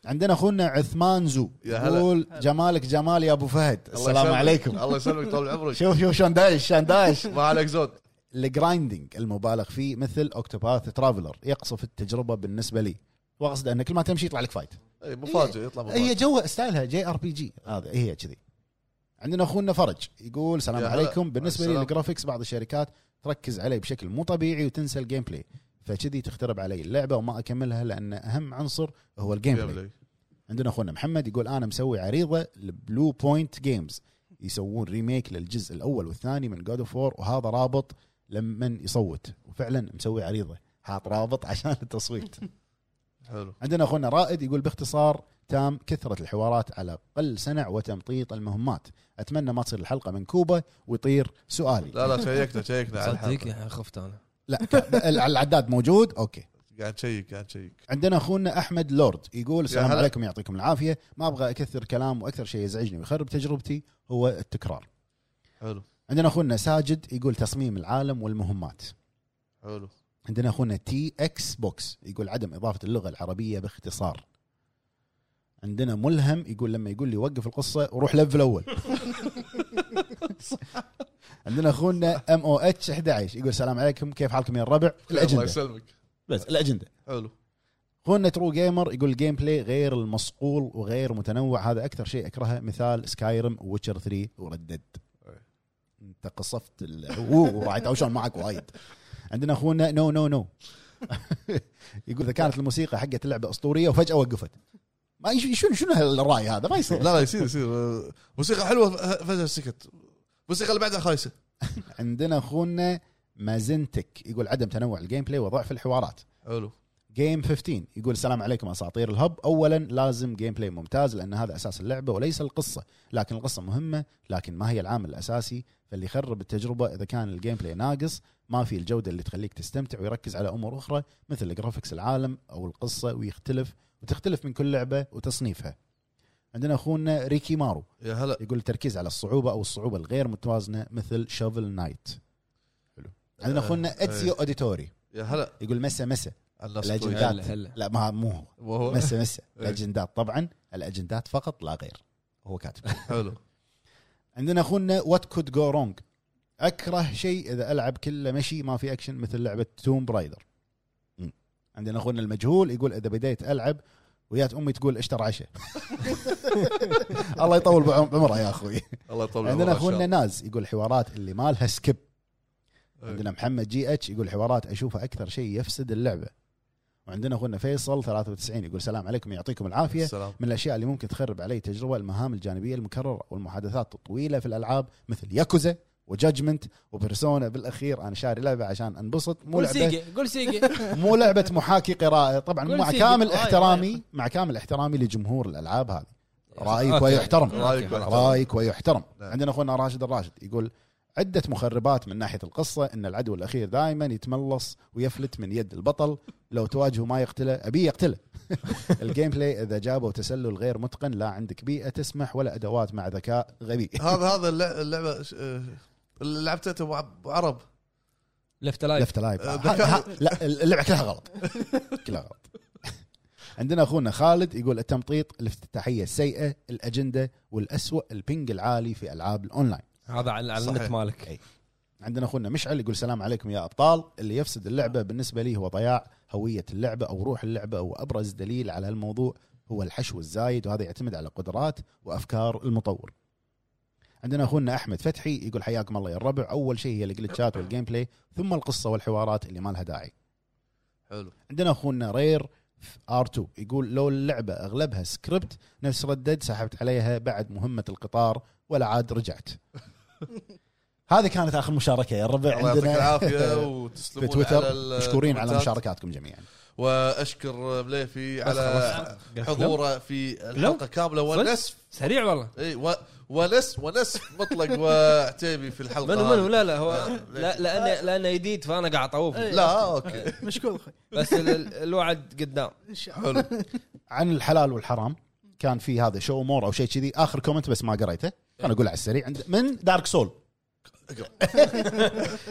عندنا اخونا عثمان زو يا هلا. يقول جمالك جمال يا ابو فهد الله السلام يسلمك. عليكم الله يسلمك طول عمرك شوف شوف شلون دايش شلون دايش ما عليك زود الجرايندنج المبالغ فيه مثل اوكتوباث ترافلر يقصف التجربه بالنسبه لي واقصد ان كل ما تمشي يطلع لك فايت اي مفاجئ إيه، يطلع هي مفاجئ جو ستايلها جي ار بي جي هذا هي كذي عندنا اخونا فرج يقول السلام يا هلا. عليكم بالنسبه لي السلام. الجرافيكس بعض الشركات تركز عليه بشكل مو طبيعي وتنسى الجيم بلاي فكذي تخترب علي اللعبه وما اكملها لان اهم عنصر هو الجيم بلاي عندنا اخونا محمد يقول انا مسوي عريضه لبلو بوينت جيمز يسوون ريميك للجزء الاول والثاني من جود اوف وور وهذا رابط لمن يصوت وفعلا مسوي عريضه حاط رابط عشان التصويت حلو عندنا اخونا رائد يقول باختصار تام كثرة الحوارات على قل سنع وتمطيط المهمات أتمنى ما تصير الحلقة منكوبة ويطير سؤالي لا لا شيكنا شيكنا على صدق الحلقه يعني خفت انا لا ك- العداد موجود أوكي قاعد نشيك قاعد نشيك عندنا اخونا احمد لورد يقول السلام هلا. عليكم يعطيكم العافيه ما ابغى اكثر كلام واكثر شيء يزعجني ويخرب تجربتي هو التكرار حلو عندنا اخونا ساجد يقول تصميم العالم والمهمات حلو عندنا اخونا تي اكس بوكس يقول عدم اضافه اللغه العربيه باختصار عندنا ملهم يقول لما يقول لي وقف القصه وروح لف الاول عندنا اخونا ام او اتش 11 يقول السلام عليكم كيف حالكم يا الربع الله الاجنده يسلمك بس الاجنده حلو اخونا ترو جيمر يقول الجيم بلاي غير المصقول وغير متنوع هذا اكثر شيء اكرهه مثال سكايرم ويتشر 3 وردد انت قصفت ال- أوه، وراح يتعوشون معك وايد عندنا اخونا نو نو نو يقول اذا كانت الموسيقى حقت اللعبه اسطوريه وفجاه وقفت ما يش- شنو شنو هالراي هذا ما لا يصير لا يصير يصير موسيقى حلوه فجاه سكت الموسيقى اللي بعدها خايسه عندنا اخونا مازنتك يقول عدم تنوع الجيم بلاي وضعف الحوارات حلو جيم 15 يقول السلام عليكم اساطير الهب اولا لازم جيم بلاي ممتاز لان هذا اساس اللعبه وليس القصه لكن القصه مهمه لكن ما هي العامل الاساسي فاللي يخرب التجربه اذا كان الجيم بلاي ناقص ما في الجوده اللي تخليك تستمتع ويركز على امور اخرى مثل جرافيكس العالم او القصه ويختلف وتختلف من كل لعبه وتصنيفها عندنا اخونا ريكي مارو يا هلا يقول التركيز على الصعوبه او الصعوبه الغير متوازنه مثل شوفل نايت حلو عندنا اخونا آه، اتسيو اوديتوري يا هلا يقول مسا مسا الناس الأجندات. طويلة. هلا، لا ما مو هو وهو مسه مسه إيه. الاجندات طبعا الاجندات فقط لا غير هو كاتب حلو عندنا اخونا وات كود جو رونج اكره شيء اذا العب كله مشي ما في اكشن مثل لعبه توم برايدر عندنا اخونا المجهول يقول اذا بديت العب ويات امي تقول اشتر عشاء الله يطول بعم- بعمره يا اخوي الله يطول عمره عندنا إن شاء اخونا الله. ناز يقول حوارات اللي ما لها سكيب إيه. عندنا محمد جي اتش يقول حوارات اشوفها اكثر شيء يفسد اللعبه وعندنا اخونا فيصل 93 يقول السلام عليكم يعطيكم العافيه السلام من الاشياء اللي ممكن تخرب علي تجربه المهام الجانبيه المكرره والمحادثات الطويله في الالعاب مثل ياكوزا وجادجمنت وبرسونا بالاخير انا شاري لعبه عشان انبسط مو قول لعبه سيجي قول سيجي مو لعبه محاكي قراءه طبعا قول مع سيجي. آه، كامل رايك- احترامي مع كامل احترامي لجمهور الالعاب هذه رايك أوكي. ويحترم أوكي، رأيك خلاص. رايك ويحترم نعم. عندنا اخونا راشد الراشد يقول عدة مخربات من ناحية القصة ان العدو الاخير دائما يتملص ويفلت من يد البطل لو تواجهه ما يقتله ابي يقتله الجيم بلاي اذا جابوا تسلل غير متقن لا عندك بيئة تسمح ولا ادوات مع ذكاء غبي هذا هذا اللع- اللعبه ش- آه، اللي لعبتها أنت أبو عب- أبو عرب لفت لايف لفت لايف آه، ها- ها- لا اللعبة كلها غلط كلها غلط عندنا اخونا خالد يقول التمطيط الافتتاحية السيئة الاجندة والاسوأ البنج العالي في العاب الاونلاين هذا على على النت صحيح. مالك عندنا اخونا مشعل يقول السلام عليكم يا ابطال اللي يفسد اللعبه بالنسبه لي هو ضياع هويه اللعبه او روح اللعبه وابرز دليل على الموضوع هو الحشو الزايد وهذا يعتمد على قدرات وافكار المطور عندنا اخونا احمد فتحي يقول حياكم الله يا الربع اول شيء هي الجلتشات والجيم بلاي ثم القصه والحوارات اللي ما لها داعي حلو عندنا اخونا رير ار 2 يقول لو اللعبه اغلبها سكريبت نفس ردد سحبت عليها بعد مهمه القطار ولا عاد رجعت هذه كانت اخر مشاركه يا الربع الله يعطيك عندنا العافيه في وتسلمون على تويتر ال- مشكورين على الكومنتات. مشاركاتكم جميعا واشكر مليفي بس على خلاص. حضوره في الحلقه كامله ونسف سريع والله اي و- ونسف ونسف مطلق وعتيبي في الحلقه منو منو هذه. لا لا هو لا لانه لانه جديد فانا قاعد اطوف لا اوكي مشكور اخوي بس ال- ال- الوعد قدام ان شاء الله حلو عن الحلال والحرام كان في هذا شو مور او شيء كذي اخر كومنت بس ما قريته انا اقول على السريع عند من دارك سول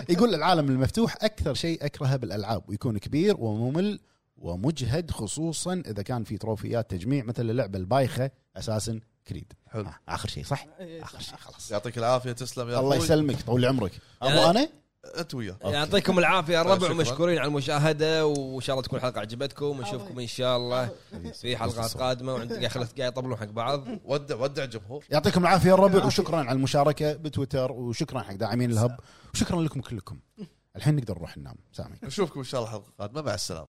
يقول العالم المفتوح اكثر شيء اكرهه بالالعاب ويكون كبير وممل ومجهد خصوصا اذا كان في تروفيات تجميع مثل اللعبه البايخه اساسا كريد حلو آه، اخر شيء صح إيه، اخر شيء خلاص يعطيك العافيه تسلم يا الله أخوي. يسلمك طول عمرك ابو يعني- انا انت وياه أوكي. يعطيكم العافيه يا الربع طيب، شكراً. ومشكورين على المشاهده وان شاء الله تكون الحلقه عجبتكم ونشوفكم ان شاء الله في حلقات قادمه وعند قاعد خلت- قاعد يطبلون حق بعض ودع ودع الجمهور يعطيكم العافيه يا الربع وشكرا على المشاركه بتويتر وشكرا حق داعمين الهب وشكرا لكم كلكم الحين نقدر نروح ننام سامي نشوفكم ان شاء الله الحلقه القادمه مع السلامه